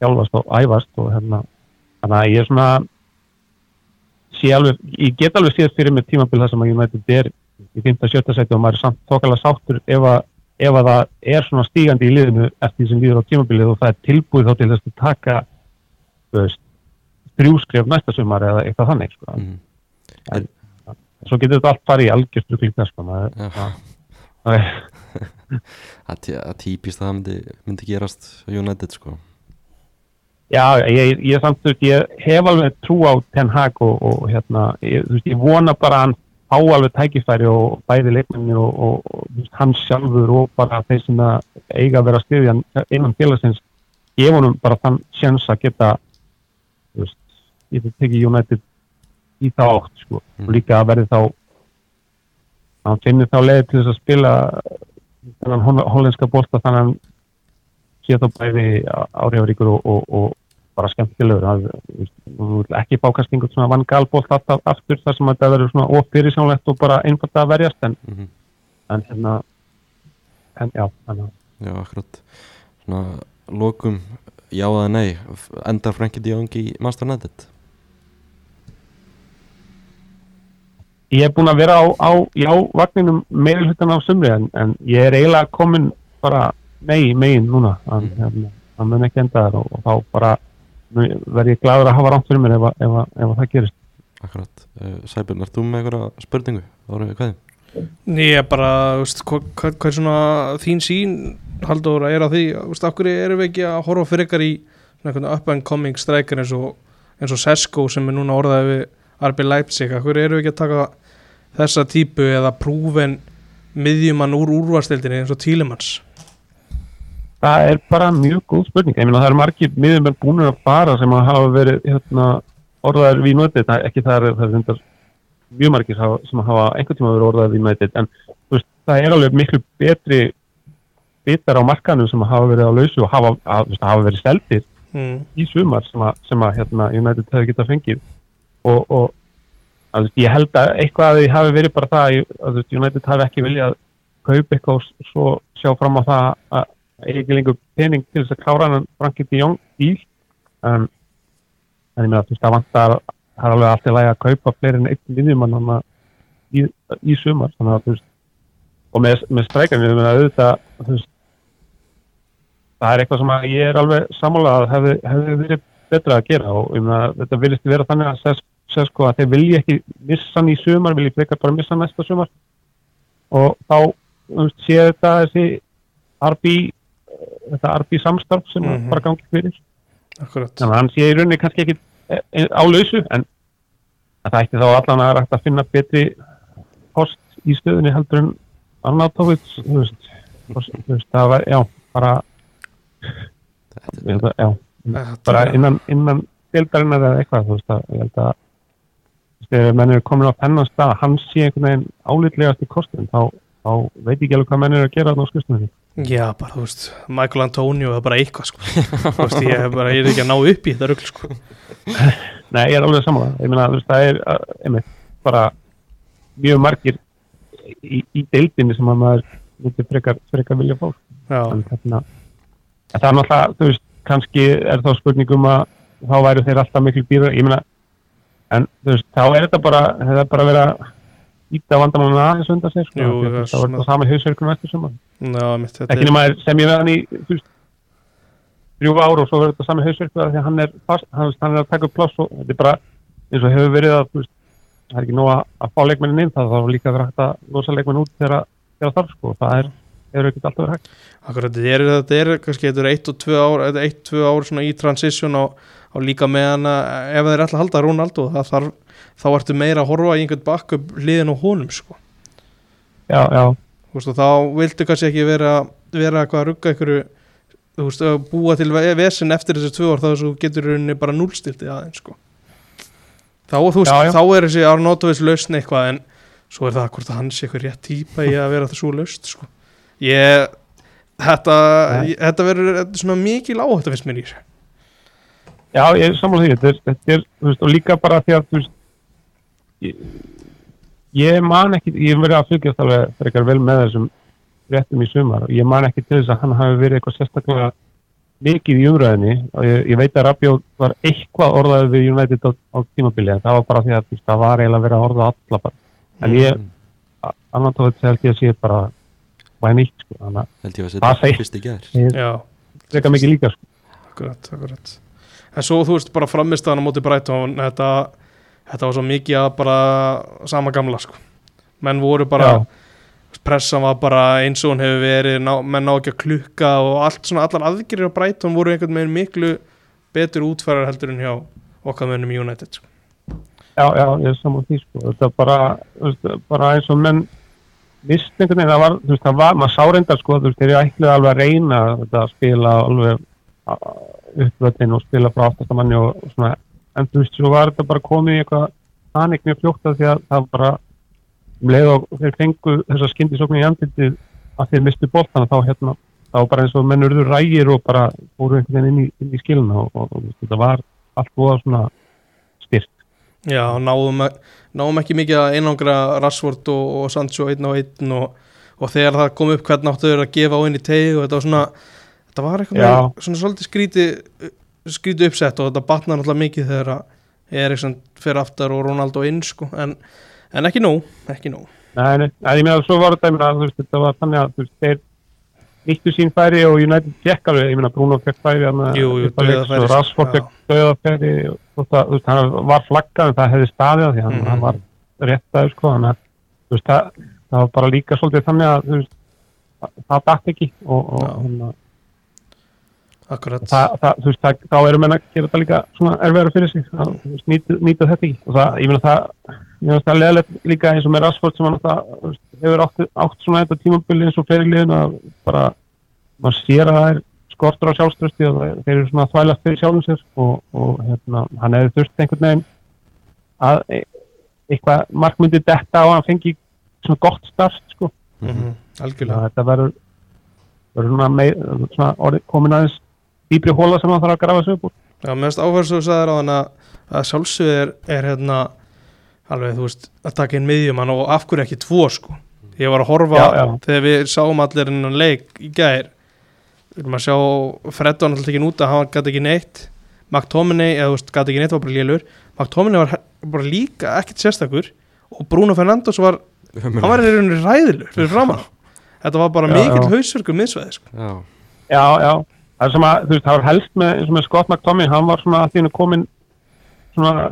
S3: hjálfast og æfast og hérna, þannig að ég er svona sé alveg, ég get alveg séð fyrir mig tímabil þar sem að United er í 5-7 seti og maður er samt tókala sáttur ef að, ef að það er svona stígandi í liðinu eftir því sem líður á tímabilið og það er tilbúið þá til þess að taka þú veist, þrjúskref næsta sumar eða eitthvað þannig sko.
S1: -hmm.
S3: svo getur þetta allt farið í algjörstu klíkna sko. maður-
S1: Já.
S3: maður-
S1: Það er tí- það er típist að það myndi, myndi gerast á United sko
S3: Já, ég, ég samt, þú veist, ég hef alveg trú á Ten Hag og, og hérna, ég, þú veist, ég vona bara að hann fá alveg tækifæri og bæði leikmenni og, og, og þú veist, hann sjálfur og bara þeir sem að eiga að vera að styðja hann innan félagsins, gefa honum bara þann sjans að geta, þú veist, ég þurft tekið United í þá átt, sko, og líka að verði þá, að hann finnir þá leiði til þess að spila þennan hol- hollenska bólta þannig að hann sé þá bæði áhrifaríkur og, og, og bara skemmtilegur Það, þú veist, þú vill ekki bákast einhvern svona vangalbólt alltaf aftur þar sem þetta verður svona ofyrirsjónlegt og bara einfalda að verjast en,
S1: mm
S3: en hérna en já, þannig að
S1: Já, akkurat Svona, lokum, já eða nei f- endar Frankie de Jong í Master United
S3: ég er búinn að vera á, á já-vagninum meira hlutan af sumri en, en ég er eiginlega komin bara megi, megin núna þannig
S1: Mhm.
S3: hérna, það mun ekki enda þar og, og þá bara mun- verð ég gladur að hafa rámt fyrir mér ef, að- ef, að- ef að það gerist
S1: Akkurat, uh, Sæbjörn, ert þú með einhverja spurningu? Það voru við hvað?
S2: Ég er bara, þú veist, hvað, hvað, hvað er svona þín sín, Haldur, er að því, þú veist, af hverju erum við ekki að horfa fyrir ykkar í svona einhvern up and coming striker eins og, eins og Sesko sem er núna orðaði við RB Leipzig, af hverju erum við ekki að taka þessa típu eða prúven miðjumann úr úrvarstildinni eins og Tílemans?
S3: Það er bara mjög góð spurning. Ég meina það eru margir miðjumenn búinir að fara sem að hafa verið hérna, orðaðir við United, það, ekki það er, það er hundar mjög margir hafa- sem að hafa einhvern tíma verið orðaðir við United, en þú veist, það er alveg miklu betri bitar á markanum sem að hafa verið á lausu og hafa, að, þú veist, hafa verið seldir
S2: Mm.
S3: í sumar sem að, sem að hérna, United hefði getað fengið og, og að, þú veist, ég held að eitthvað að því hafi verið bara það að, að þú veist, United hafi ekki viljað kaupa eitthvað og s- svo sjá fram á það að eigi ekki lengur pening til þess að klára hann Frankie de Jong í en, en ég meina þú veist það vantar það er alveg allt í lagi að kaupa fleiri en einn vinnumann hann í, í sumar þannig að þú veist og með, með strækjan ég meina auðvitað þú veist það er eitthvað sem að ég er alveg sammála að hefði, hefði verið betra að gera og ég meina þetta vilist vera þannig að sér, sér sko að þeir vilji ekki missa hann í sumar, vilji frekar bara missa hann næsta sumar og þá þú veist, sé þetta þessi RB þetta RB samstarf sem mm
S2: Mhm.
S3: bara gangi fyrir
S2: Akkurat.
S3: þannig að hann sé í rauninni kannski ekki eh, eh, á lausu en en það ætti þá allan að rætt að finna betri kost í stöðunni heldur en Arnátovits þú veist, þú veist, þú veist, það var, já, bara ég held að- já, bara innan, innan deildarinnar eða eitthvað, þú veist, að, ég held að þú veist, þegar menn eru komin á pennan stað hann sé einhvern veginn álitlegast í kostum þá, þá veit ég ekki alveg hvað menn eru að gera þarna á skurstunni
S2: Já, bara, þú veist, Michael Antonio er bara eitthvað, sko. þú veist, ég er bara, ég er ekki að ná upp í þetta rugl, sko.
S3: Nei, ég er alveg saman Ég meina, þú veist, það er uh, einmitt, bara mjög margir í, í deildinni sem að maður myndi frekar, frekar vilja fá
S2: Já,
S3: en þarna, en það er náttúrulega, þú veist, kannski er þá spurningum að þá væru þeir alltaf miklu býður ég meina, en þú veist, þá er þetta bara, þetta er bara að vera íta vandamann aðeins undan sér sko,
S2: Jú,
S3: Því að
S2: það er
S3: þá er
S2: svona-
S3: þetta saman hausverkunum eftir saman
S2: já, mitt, þetta
S3: ekki nema er- sem ég veðan í þú veist, þrjú ár og svo verður þetta sami hausverk því að hann er, fast, hann, hann er að taka upp pláss og þetta er bara eins og hefur verið að þú veist, það er ekki nóg að, að fá leikmennin inn það þá líka verður hægt að losa leikmenn út þegar það þarf sko, það er hefur ekkert alltaf verið hægt
S2: Akkurat, þetta er, þetta er kannski, þetta er eitt og tvö ár, þetta er eitt, tvö ár svona í transition á, á líka meðan að ef þeir ætla að halda Ronaldo, það þarf, þá ertu meira að horfa í einhvern bakkup liðin og honum, sko.
S3: já, já,
S2: Þú veist, og þá viltu kannski ekki vera, vera eitthvað að rugga einhverju, þú veist, að búa til ve- vesen eftir þessi tvö ár, þá þessu getur í rauninni bara núlstiltið aðeins, sko. Þá, þú veist,
S3: Já, já.
S2: þá er þessi Arnótovis lausn eitthvað, en svo er það hvort að hann sé eitthvað rétt típa í að vera það svo laust, sko. Ég, þetta,
S3: Nei.
S2: ég, þetta verður þetta er svona mikil áhætt að finnst mér í þessu.
S3: já, ég er sammála því þetta er, þetta er, þú veist, og líka bara því að þú veist ég, ég man ekki, ég hef verið að fylgjast alveg frekar vel með þessum réttum í sumar og ég man ekki til þess að hann hafi verið eitthvað sérstaklega mikið í umræðinni og ég, ég veit að Rabjóð var eitthvað orðaðið við United á, á tímabili en það var bara því að þú veist, það var eiginlega verið að orða alla bara en ég, annan tóð þetta held ég að sé bara væn eitt sko, þannig að
S1: Held ég að
S3: Hvað
S1: setja
S3: segir-
S1: fyrst í gær
S3: ég
S2: Já,
S3: freka mikið líka sko.
S2: akkurat, akkurat. En svo, þú veist, bara framistæðan á móti Brighton, þetta, þetta var svo mikið að bara sama gamla, sko. Menn voru bara,
S3: Já.
S2: pressan var bara eins og hún hefur verið, ná, menn ná ekki að klukka og allt svona, allar aðgerir á Brighton voru einhvern veginn miklu betur útfærar heldur en hjá okkar mönnum í United, sko.
S3: Já, já, ég er saman því sko. Þetta er bara, þú veist, bara eins og menn mist einhvern veginn, það var, þú veist, það var, maður sá reyndar sko, þú veist, þeir eru ætlið alveg að reyna þetta að spila alveg uppvöldin og spila frá aftastamanni og, og svona, en þú veist, svo var þetta bara komið í eitthvað panik mjög fljótt af því að það bara um leið og þeir fengu þessa skyndisóknu í andlitið að þeir mistu boltana þá hérna, þá var bara eins og menn urðu rægir og bara fóru einhvern veginn inn í, inn í skiluna og, og, og þú veist, þetta var allt voða svona styrt.
S2: Já, náðum, náðum ekki mikið að einangra Rashford og, og Sancho einn á einn og, og þegar það kom upp hvernig áttu þeir að gefa á inn í teig og þetta var svona þetta var eitthvað
S3: Já.
S2: með, svona svolítið skríti skríti uppsett og þetta batnar náttúrulega mikið þegar að Eriksson fer aftar og Ronaldo inn sko en, en ekki nóg, ekki nóg
S3: Nei, nei, nei, ég meina svo var þetta, ég meina, þú veist, þetta var þannig að þú veist, þeir nýttu sín færi og United fekk alveg, ég meina Bruno fekk færi þarna
S2: Jú, jú,
S3: í upphafi leiks
S2: dauðafæri,
S3: og Rashford
S2: já.
S3: fekk döða færi og þótt að, þú veist, hann var flaggað en það hefði staðið að því hann,
S2: Mhm.
S3: hann var réttaður sko, þannig að þú veist, það, það var bara líka svolítið þannig að þú veist, það, það dætt ekki og, og
S2: Já.
S3: hérna,
S2: akkurat
S3: það, það, þú veist, það, þá erum menn að gera þetta líka svona erfiðara fyrir sig það, þú veist, nýta, nýta þetta ekki og það, ég meina það ég meina það leðilegt líka eins og með Rashford sem hann það, þú veist, hefur átt, átt svona þetta tímabili eins og fleiri liðin að bara maður sér að það er skortur á sjálfströsti og það- þeir eru svona að þvælast fyrir sjálfum sér og, og hérna, hann hefði þurft einhvern veginn að e- eitthvað markmyndi detta og hann fengi svona gott start sko
S2: Mhm,
S3: Já,
S2: algjörlega
S3: þetta verður verður svona, mei- svona orðið, komin aðeins dýpri hóla sem það þarf að grafa sig upp úr
S2: Já, mér finnst áherslu að sagði ráðan að, að sjálfsögð er, er hérna alveg, þú veist, að taka inn miðjumann og af hverju ekki tvo, sko Ég var að horfa,
S3: Já, já.
S2: þegar við sáum allir innan leik í gær við erum að sjá Freddo hann alltaf ekki út að hann gæti ekki neitt McTominay, eða þú veist, gæti ekki neitt var bara lélur McTominay var he- bara líka ekkert sérstakur og Bruno Fernandos var, hann var í rauninni ræðilur fyrir framann Þetta var bara
S3: Já,
S2: mikill
S3: já.
S2: hausverku miðsvæði, sko
S1: Já,
S3: já, já, það er sem að þú veist, það var helst með, eins og með Scott McTomin hann var svona að þínu komin svona,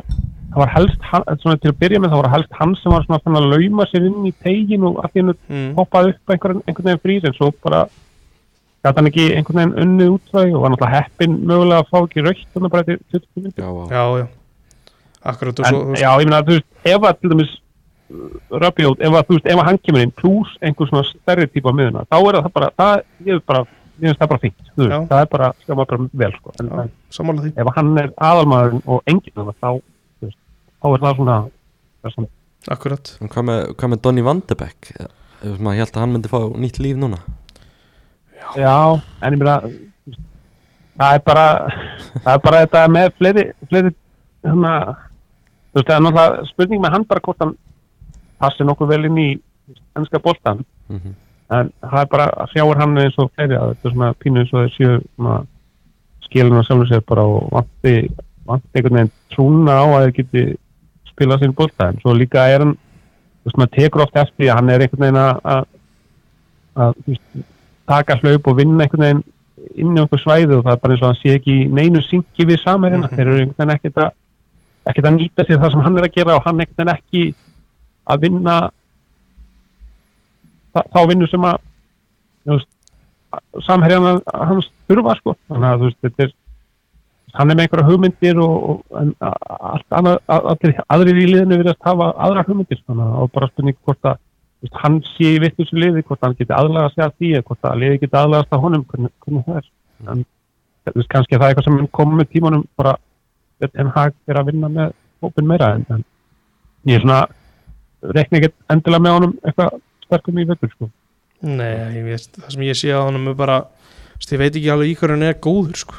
S3: það var helst, hann- svona til að byrja með það var helst hann sem var svona fann að lauma sér inn í tegin og að þínu
S2: mm.
S3: hoppaði upp einhvern, einhvern veginn frýs en svo bara gæti hann ekki einhvern veginn unnið útræði og var náttúrulega heppin mögulega að fá ekki raukt þannig bara til 20 minn
S1: já, já.
S2: Já, já Akkurat og
S3: en,
S2: svo, þú veist,
S3: já, ég meina, þú veist, ef að til dæmis Rabiot, ef að, þú veist, ef að hann kemur inn plus einhver svona stærri típa miðuna þá er það bara, það, ég er bara ég finnst það bara fínt, þú
S2: Já.
S3: veist, það er bara skjáma bara vel, sko, en,
S2: já,
S3: en
S2: sammála því
S3: ef að hann er aðalmaðurinn og enginn þarna, þá, þú veist, þá er það svona, það er svona
S2: Akkurat
S1: En Hvað með, hvað með Donny Van de Beek? Ef maður held að hann myndi fá nýtt líf núna
S3: Já, en ég meina það er bara það er bara þetta með fleiri, fleiri hana, þú veist, það er náttúrulega spurning með hann bara hvort hann passi nokkuð vel inn í ennska boltan
S1: Mhm.
S3: en það er bara sjáur hann eins og fleiri að þetta er svona pínu eins og þeir séu svona, skilin á sjálfum sér bara og vanti, vanti einhvern veginn trúna á að þeir geti spilað sín bolta en svo líka er hann þú veist, maður tekur oft eftir því að hann er einhvern veginn að, að, að þú veist, taka hlaup og vinna einhvern veginn inn í einhver svæði og það er bara eins og hann sé ekki í neinu syngi við samherjina
S2: Mhm.
S3: þeir eru einhvern veginn ekkert að ekkert að nýta sér það sem hann er að gera og hann einhvern veginn ekki að vinna þá, þá vinnu sem að þú veist, samherjana hans þurfa sko þannig að þú veist þetta er hann er með einhverja hugmyndir og, og en, a- allt annað, a- allir aðrir í liðinu virðast hafa aðra hugmyndir þannig að það er bara spurning hvort að þú veist, hann sé í vittu sem liði, hvort hann geti aðlagast sig að því, eða hvort að liði geti aðlagast að honum hvernig, hvernig það er en, þú veist, kannski að það er eitthvað sem mun koma með tímanum bara en hag er að vinna með hópin meira en, en ég er svona reikna ekkert endilega með honum eitthvað sterkum í vettur sko
S2: Nei, ég veist, það sem ég sé á honum er bara þú veist, ég veit ekki alveg í hverju hann er góður sko.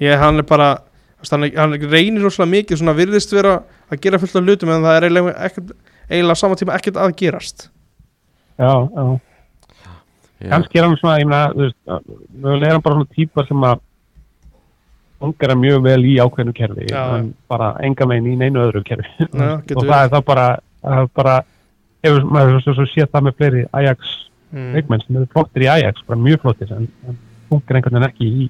S2: ég, hann er bara þú veist, hann, er- hann reynir rosalega mikið svona virðist vera að gera fullt af hlutum en það er eiginlega, ekkert, eiginlega á sama tíma ekkert að gerast
S3: já, já
S1: Já.
S3: kannski er hann svona, ég meina, þú veist, að- mögulega er hann bara svona típa sem að fungera mjög vel í ákveðnu kerfi,
S2: Já,
S3: en bara enga megin í neinu öðru kerfi.
S2: Já,
S3: og
S2: getur
S3: það er þá bara, það er bara hefur maður svo, svo séð það með fleiri Ajax
S2: mm,
S3: leikmenn sem eru flottir í Ajax, bara mjög flottir, en, en fungera einhvern veginn ekki í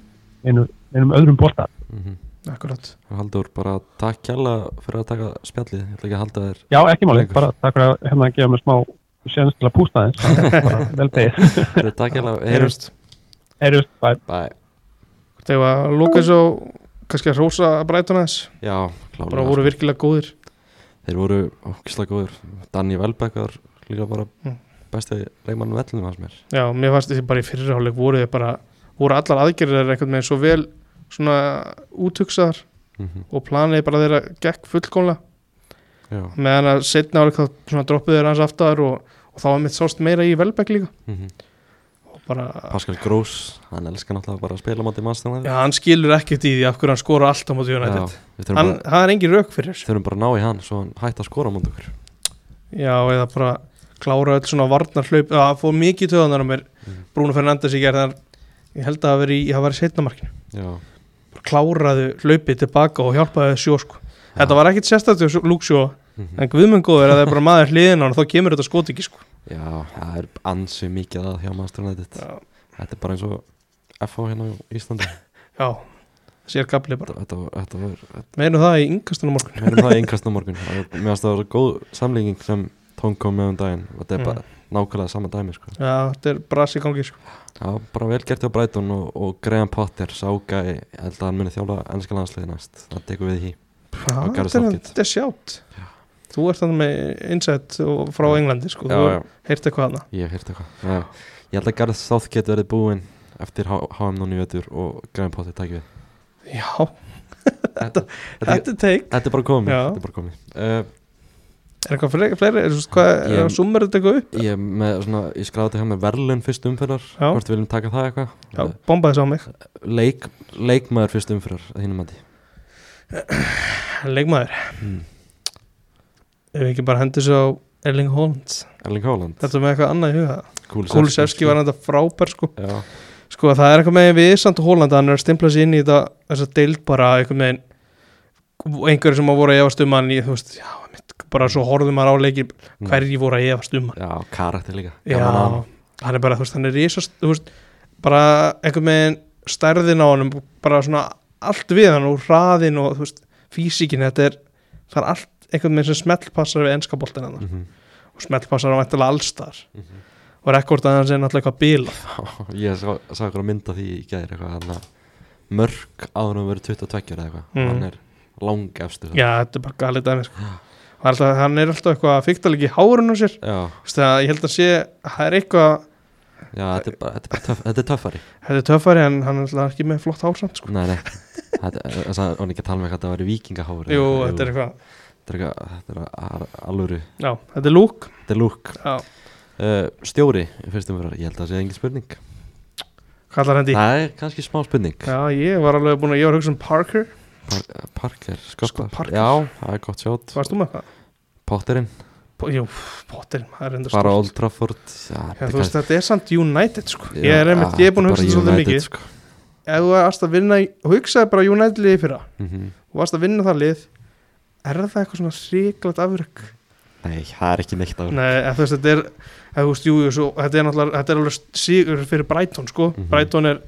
S3: einu, einum öðrum bolta.
S1: Mhm.
S2: Akkurat,
S1: Haldur, bara takk kjalla fyrir að taka spjallið Ég ætla ekki að halda þér
S3: Já, ekki máli,
S1: Lengur.
S3: bara takk fyrir að hérna að gefa mér smá séns til að pústa aðeins, það er bara vel tegir.
S1: Þetta er takk kjalla, heyrjumst
S2: heyrjumst
S3: Erjus, bæ.
S1: Bæ
S2: Þegar að lóka þessu og kannski að rósa að breyta hans
S1: Já, klálega
S2: bara voru virkilega góðir
S1: Þeir voru ógislega góður Danny Welbeck var líka bara
S2: Mm.
S1: besti leikmann vellinu hans mér
S2: Já, mér fannst þessi bara í fyrirháleik voru þeir bara voru allar aðgerðir einhvern veginn svo vel svona útugsaðar
S1: mm
S2: og planið bara þeirra gekk fullkomlega
S1: Já,
S2: meðan að setna áleik þá svona droppuðu þeir hans aftar og, og þá var mitt sást meira í Velbæk líka
S1: mm
S2: og bara,
S1: Pascal Gross, hann elskar náttúrulega bara að spila á móti mannstæðan
S2: já, hann skilur ekkert í því af hverju hann skora alltaf móti United
S1: við þurfum,
S2: hann,
S1: bara,
S2: það er engin rauk fyrir þessu.
S1: þurfum bara að ná í hann svo hann hætti að skora á móti okkur
S2: já, eða bara klára öll svona varnar hlaup það fór mikið í töðanar á mér
S1: Mm.
S2: Bruno Fernandes í gerð þannig ég held að það veri, það veri setna markinu
S1: Já,
S2: Bara kláraðu hlaupið tilbaka og hjálpaðu sjó sko. þetta var ekkert sérstættu lúksjó
S1: Mhm.
S2: en guðmengoður að það er bara maður hliðin á hann þá kemur þetta skot ekki sko.
S1: Já, það er ansi mikið að hjá mannstæðan þetta
S2: Já.
S1: Þetta er bara eins og FH hérna á Íslandi
S2: já, sér gafli bara
S1: Þetta, þetta, var- þetta var,
S2: meðinu það í yngkastunum morgun
S1: við erum það einhverst á morgun Það var- Mér finnst það var svo góð samlíking sem Tón kom með um daginn Þetta er
S2: Mm.
S1: bara nákvæmlega sama dæmi sko.
S2: já, þetta er brasi í gangi sko.
S1: Já, bara vel gert hjá Brighton og, og Graham Potter sáka í, ég held að hann muni þjála ennska landsliði næst, það tekur við í því
S2: já,
S1: Og Gareth
S2: þetta, er,
S1: Southgate.
S2: þetta er sjátt
S1: Já.
S2: þú ert þannig með insight og frá
S1: Já.
S2: Englandi sko,
S1: Já,
S2: þú
S1: já,
S2: heyrti eitthvað hana
S1: ég hef hýrt eitthvað Já, Ég held að Gareth Southgate verði búinn eftir H- HM núna í vetur og Graham Potter takk við
S2: já,
S1: Þetta, þetta,
S2: þetta er teik
S1: þetta er bara komið,
S2: Já.
S1: þetta er bara komið. Uh,
S2: er eitthvað fleiri, fleiri er, þú veist, hvað,
S1: Ég-
S2: er, summar þetta eitthvað upp
S1: ég, er með, svona, ég skráði þetta hjá með verðlun fyrst umfyrrar
S2: Já.
S1: hvort við viljum taka það eitthvað
S2: já, bombaði sá mig,
S1: Leik, Leikmaður fyrst umfyrrar að þínum mati
S2: leikmaður
S1: mm.
S2: ef ekki bara hendur svo Erling Holland
S1: Erling Haaland
S2: þetta er með eitthvað annað í huga
S1: Kulusevski.
S2: Kulusevski var þetta frábær sko
S1: Já,
S2: sko það er eitthvað með við samt og Hólanda hann er að stimpla sér inn í þetta þess að deild bara eitthvað með einhverju sem að voru að efast um hann í, þú veist, já, mitt, bara svo horfðum maður á leikir
S1: Mm.
S2: hverji voru að efast um hann
S1: Já, karakter líka
S2: já,
S1: Gaman að honum.
S2: hann er bara, þú veist, hann er risast þú veist, bara eitthvað með stærðin á hann, bara svona allt við hann og hraðin og þú veist físikin, þetta er, það er allt eitthvað með sem smellpassar við ennska boltin hann
S1: Mhm.
S2: og smellpassar á væntalega allstar mm og rekordaðan hans er náttúrulega eitthvað bíla
S1: Ég sá, sá ykkur að mynda því í gæðir eitthvað hann að mörg áður að vera 22 eða eitthvað
S2: Mm.
S1: hann er lang efstur
S2: Já, þetta er bara galið dæmi sko. Það er alltaf, Hann er alltaf eitthvað að fykta líka í hárun á sér
S1: já,
S2: Þess að ég held að sé, það er eitthvað
S1: já þetta, er bara, þetta, er bara töff, þetta er töffari
S2: Þetta er töffari en hann er alltaf ekki með flott hársamt sko.
S1: Nei, nei Þetta er það er ekki að tala með hvað þetta væri vikingaháður
S2: Jú, þetta er eitthvað
S1: Þetta er, eitthvað- þetta er al- alvöru
S2: Já, þetta er lúk
S1: Þetta er lúk
S2: Já,
S1: uh, Stjóri, fyrstum fyrir Ég held að það sé engin spurning
S2: kallar hendi
S1: Það er kannski smá spurning
S2: Já, ég var alveg búin að, ég var að hugsa um Parker
S1: Par, Parker, skottar
S2: Scott Sko, Parker.
S1: Já, það er gott sjátt
S2: Varst þú með það?
S1: Potterinn,
S2: Po- Jú, Potter, það er endur
S1: bara Old Trafford Já,
S2: Já, þú veist, þetta er samt United sko.
S1: Já,
S2: Ég er einmitt, ég er búin að
S1: þetta
S2: hugsa um
S1: bara
S2: svolítið
S1: United,
S2: mikið
S1: sko.
S2: Ef þú varst að vinna, í- hugsaði bara United liði fyrra
S1: Mhm.
S2: Þú varst að vinna það lið Er það eitthvað svona ríklegt afrök?
S1: Nei, það er ekki neitt af
S2: Nei, eða þú veist, þetta er eða þú veist, jú, jú, svo, þetta er náttúrulega þetta er alveg sigur fyrir Brighton, sko
S1: Mhm.
S2: Brighton er,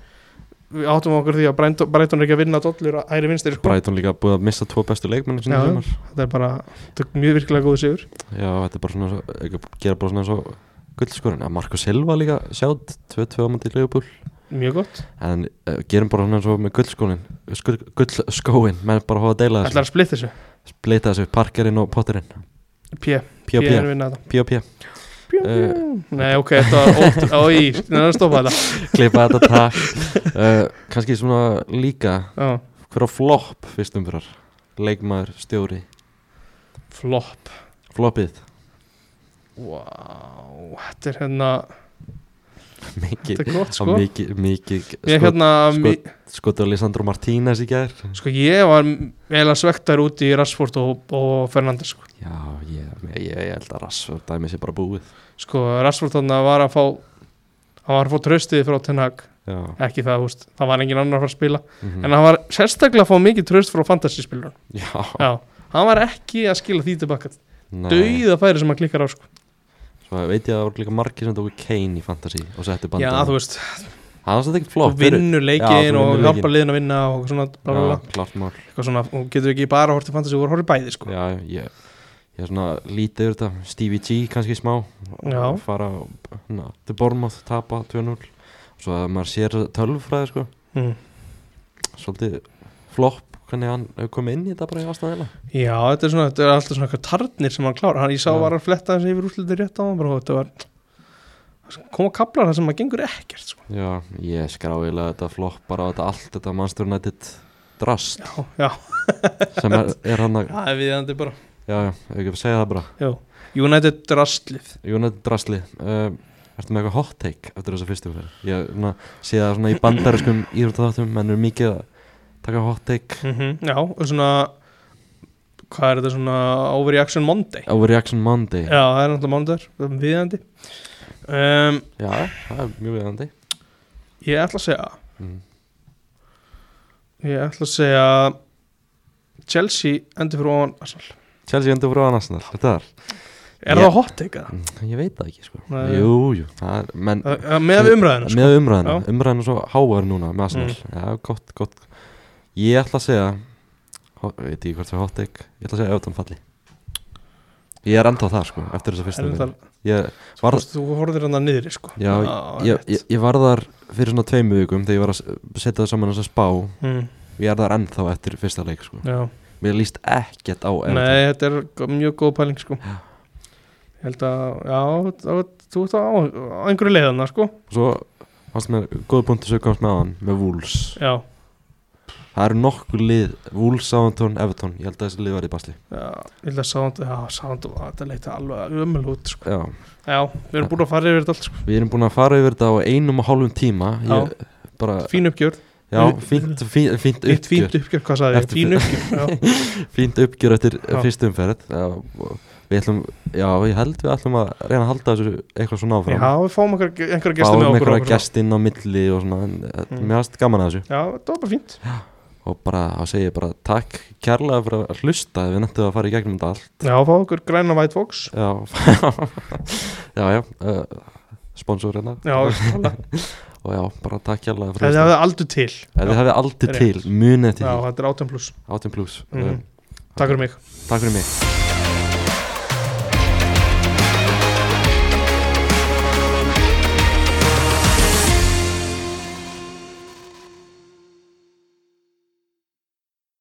S2: við áttum okkur því að Brighton, Brighton er ekki að vinna dollur að æri vinstri, sko
S1: Brighton líka búið að missa tvo bestu leikmenn
S2: Já.
S1: Já.
S2: þetta er bara, þetta er mjög virkilega góð sigur
S1: Já, þetta er bara svona svo- eitthvað- gera bara svona eins og gullskorun að Marko Silva líka sjátt 2-2 á mandi leifupúl
S2: mjög gott,
S1: en uh, gerum bara svona eins og með gullskorun gullskóin, menn bara hóða að deila þessu
S2: ætlar að splitt þessu
S1: splita þessu, parkerinn og potterinn
S2: P, P er að
S1: P.O.P.
S2: vinna þetta
S1: P.O.P. Eh,
S2: Nei, ok, þetta var ótt, oi, neðan að stoppa þetta
S1: Klippa þetta takk uh, Kannski svona líka
S2: Já,
S1: hver á flopp fyrst umfyrir leikmaður, stjóri,
S2: flop
S1: floppið
S2: Wow, þetta er hérna
S1: mikið,
S2: þetta er gott,
S1: sko?
S2: sko
S1: mikið, mikið
S2: Ég hérna,
S1: skot-
S2: mi-
S1: skotu á Lisandro Martínez í gær
S2: sko, ég var eiginlega svektar út í Rashford og, og Fernandes, sko
S1: Já, ég, ég, ég held að Rassford dæmi sé bara búið
S2: sko Rashford þannig var að fá hann var að fá tröstið frá Ten Hag
S1: Já,
S2: ekki það, þú veist, það var engin annar að fara að spila
S1: mm
S2: en hann var sérstaklega að fá mikið tröst frá fantasyspilur
S1: Já
S2: já, hann var ekki að skila því tilbaka
S1: nei.
S2: dauða færi sem hann klikkar á sko.
S1: Svo veit ég að það voru líka margir sem tóku Kane í Fantasy og settu bandið
S2: já,
S1: á.
S2: þú veist,
S1: Það var þetta ekkert
S2: þú
S1: flott
S2: vinnur
S1: Já,
S2: leikin
S1: þú
S2: og
S1: vinnur
S2: hjálpar
S1: leikinn.
S2: liðin að vinna og svona, bla, bla, bla,
S1: Já, klart mál
S2: eitthvað svona og getur ekki bara að horta fantasy og horta bæði sko.
S1: Já, ég, ég er svona lítið yfir þetta Stevie G kannski smá
S2: Já.
S1: Og Fara na, til Bormoth, tapa 2-0 Svo að maður sér tölvfræði sko
S2: mm.
S1: Svolítið flopp hvernig hann hefur komið inn í þetta bara í aðstæðilega
S2: já, þetta er svona þetta er alltaf svona eitthvað tarnir sem hann klára hann, ég sá
S1: Já.
S2: var að fletta þessi yfir útlitið rétt á hann bara, og þetta var koma kaplar það sem að gengur ekkert sko.
S1: Já, ég skráilega þetta flopp bara á þetta allt þetta Manchester United drast
S2: já, já,
S1: sem er, er hann að
S2: það er viðandi bara
S1: Já, já, ef ekki að segja það bara
S2: Já, United drastlið
S1: United drasli um, Ertu með eitthvað hot take eftir þessa fyrstu fyrir? Ég svona, sé það svona í bandariskum íþróttaþáttum menn er mikið að taka hot take
S2: mm Já, og svona hvað er þetta svona overreaction monday
S1: Overreaction Monday
S2: Já, það er náttúrulega mánudagur, það er viðandi um,
S1: Já, það er mjög viðandi
S2: Ég ætla að segja
S1: mm.
S2: ég ætla að segja Chelsea endur fyrir ofan Arsenal
S1: Chelsea endur frá annars Þetta er
S2: Er
S1: Já.
S2: það hot take eða?
S1: Ég veit það ekki sko
S2: Nei.
S1: Jú, jú, það er menn,
S2: Að- að Með umræðinu sko.
S1: Með umræðina,
S2: Já. Mm.
S1: umræðina er svo háar núna með Arsenal Já, gott, gott Ég ætla að segja ho- Veit ekki hvort það er hot take Ég ætla að segja Everton falli Ég er ennþá þar sko, eftir þess að
S2: Er
S1: fyrsta
S2: það-
S1: umferð. Ég, var,
S2: Þú horfðir hann að niður sko.
S1: Já,
S2: Á,
S1: ég, ég, ég var þar fyrir svona tveimu vikum Þegar ég var að s- setja það saman þess að spá
S2: Mm,
S1: Ég er þar ennþá eftir fyrsta leik sko
S2: já.
S1: Mér líst ekkert á Everton
S2: Nei, þetta er g- mjög góð pæling sko.
S1: Já.
S2: Ég held að já, þá- þú ert á, á einhverju leiðana sko.
S1: Svo fannst mér góð punktu sem komst með hann Með Wolves
S2: Já,
S1: Það eru nokkuð lið, Wolves, Southampton, Everton Ég held að þessi lið var í basli
S2: já, ég held að sánd já, sánd, þetta leiti alveg ömul út sko.
S1: Já,
S2: Já, við erum búin að fara yfir þetta allt sko.
S1: við erum búin að fara yfir þetta á einum og hálfum tíma ég, bara,
S2: Fín uppgjör,
S1: Já, fínt, fínt, fínt
S2: eitt fínt
S1: uppgjör
S2: uppgjör, hvað sagði ég?
S1: Eftir-
S2: Fín uppgjör, já,
S1: Fínt uppgjör eftir
S2: Já.
S1: fyrstu umferð já, og Við ætlum, já, ég held við ætlum að reyna að halda þessu eitthvað svona áfram
S2: já við fáum einhver- einhverja gesti
S1: Fáum
S2: með okkur,
S1: einhverja
S2: okkur
S1: gest inn á milli og svona en, mm.
S2: Mm.
S1: Mér varst gaman að þessu
S2: Já, þetta var bara fínt
S1: Og bara, þá segi ég bara takk kærlega fyrir að hlusta Við nættum að fara í gegnum þetta allt
S2: Já, fá okkur græna White Fox
S1: Já, já, já uh, Sponsor hérna
S2: Já, klálega.
S1: Og já, bara takk hérlega
S2: þetta
S1: fyrir að hlusta.
S2: hefði aldrei til
S1: Ef þið
S2: Já,
S1: hefði aldrei
S2: rétt.
S1: til, munið til
S2: já,
S1: því
S2: þetta er 18 pluss
S1: 18 plus
S2: Mhm. Takk fyrir mig
S1: Takk fyrir mig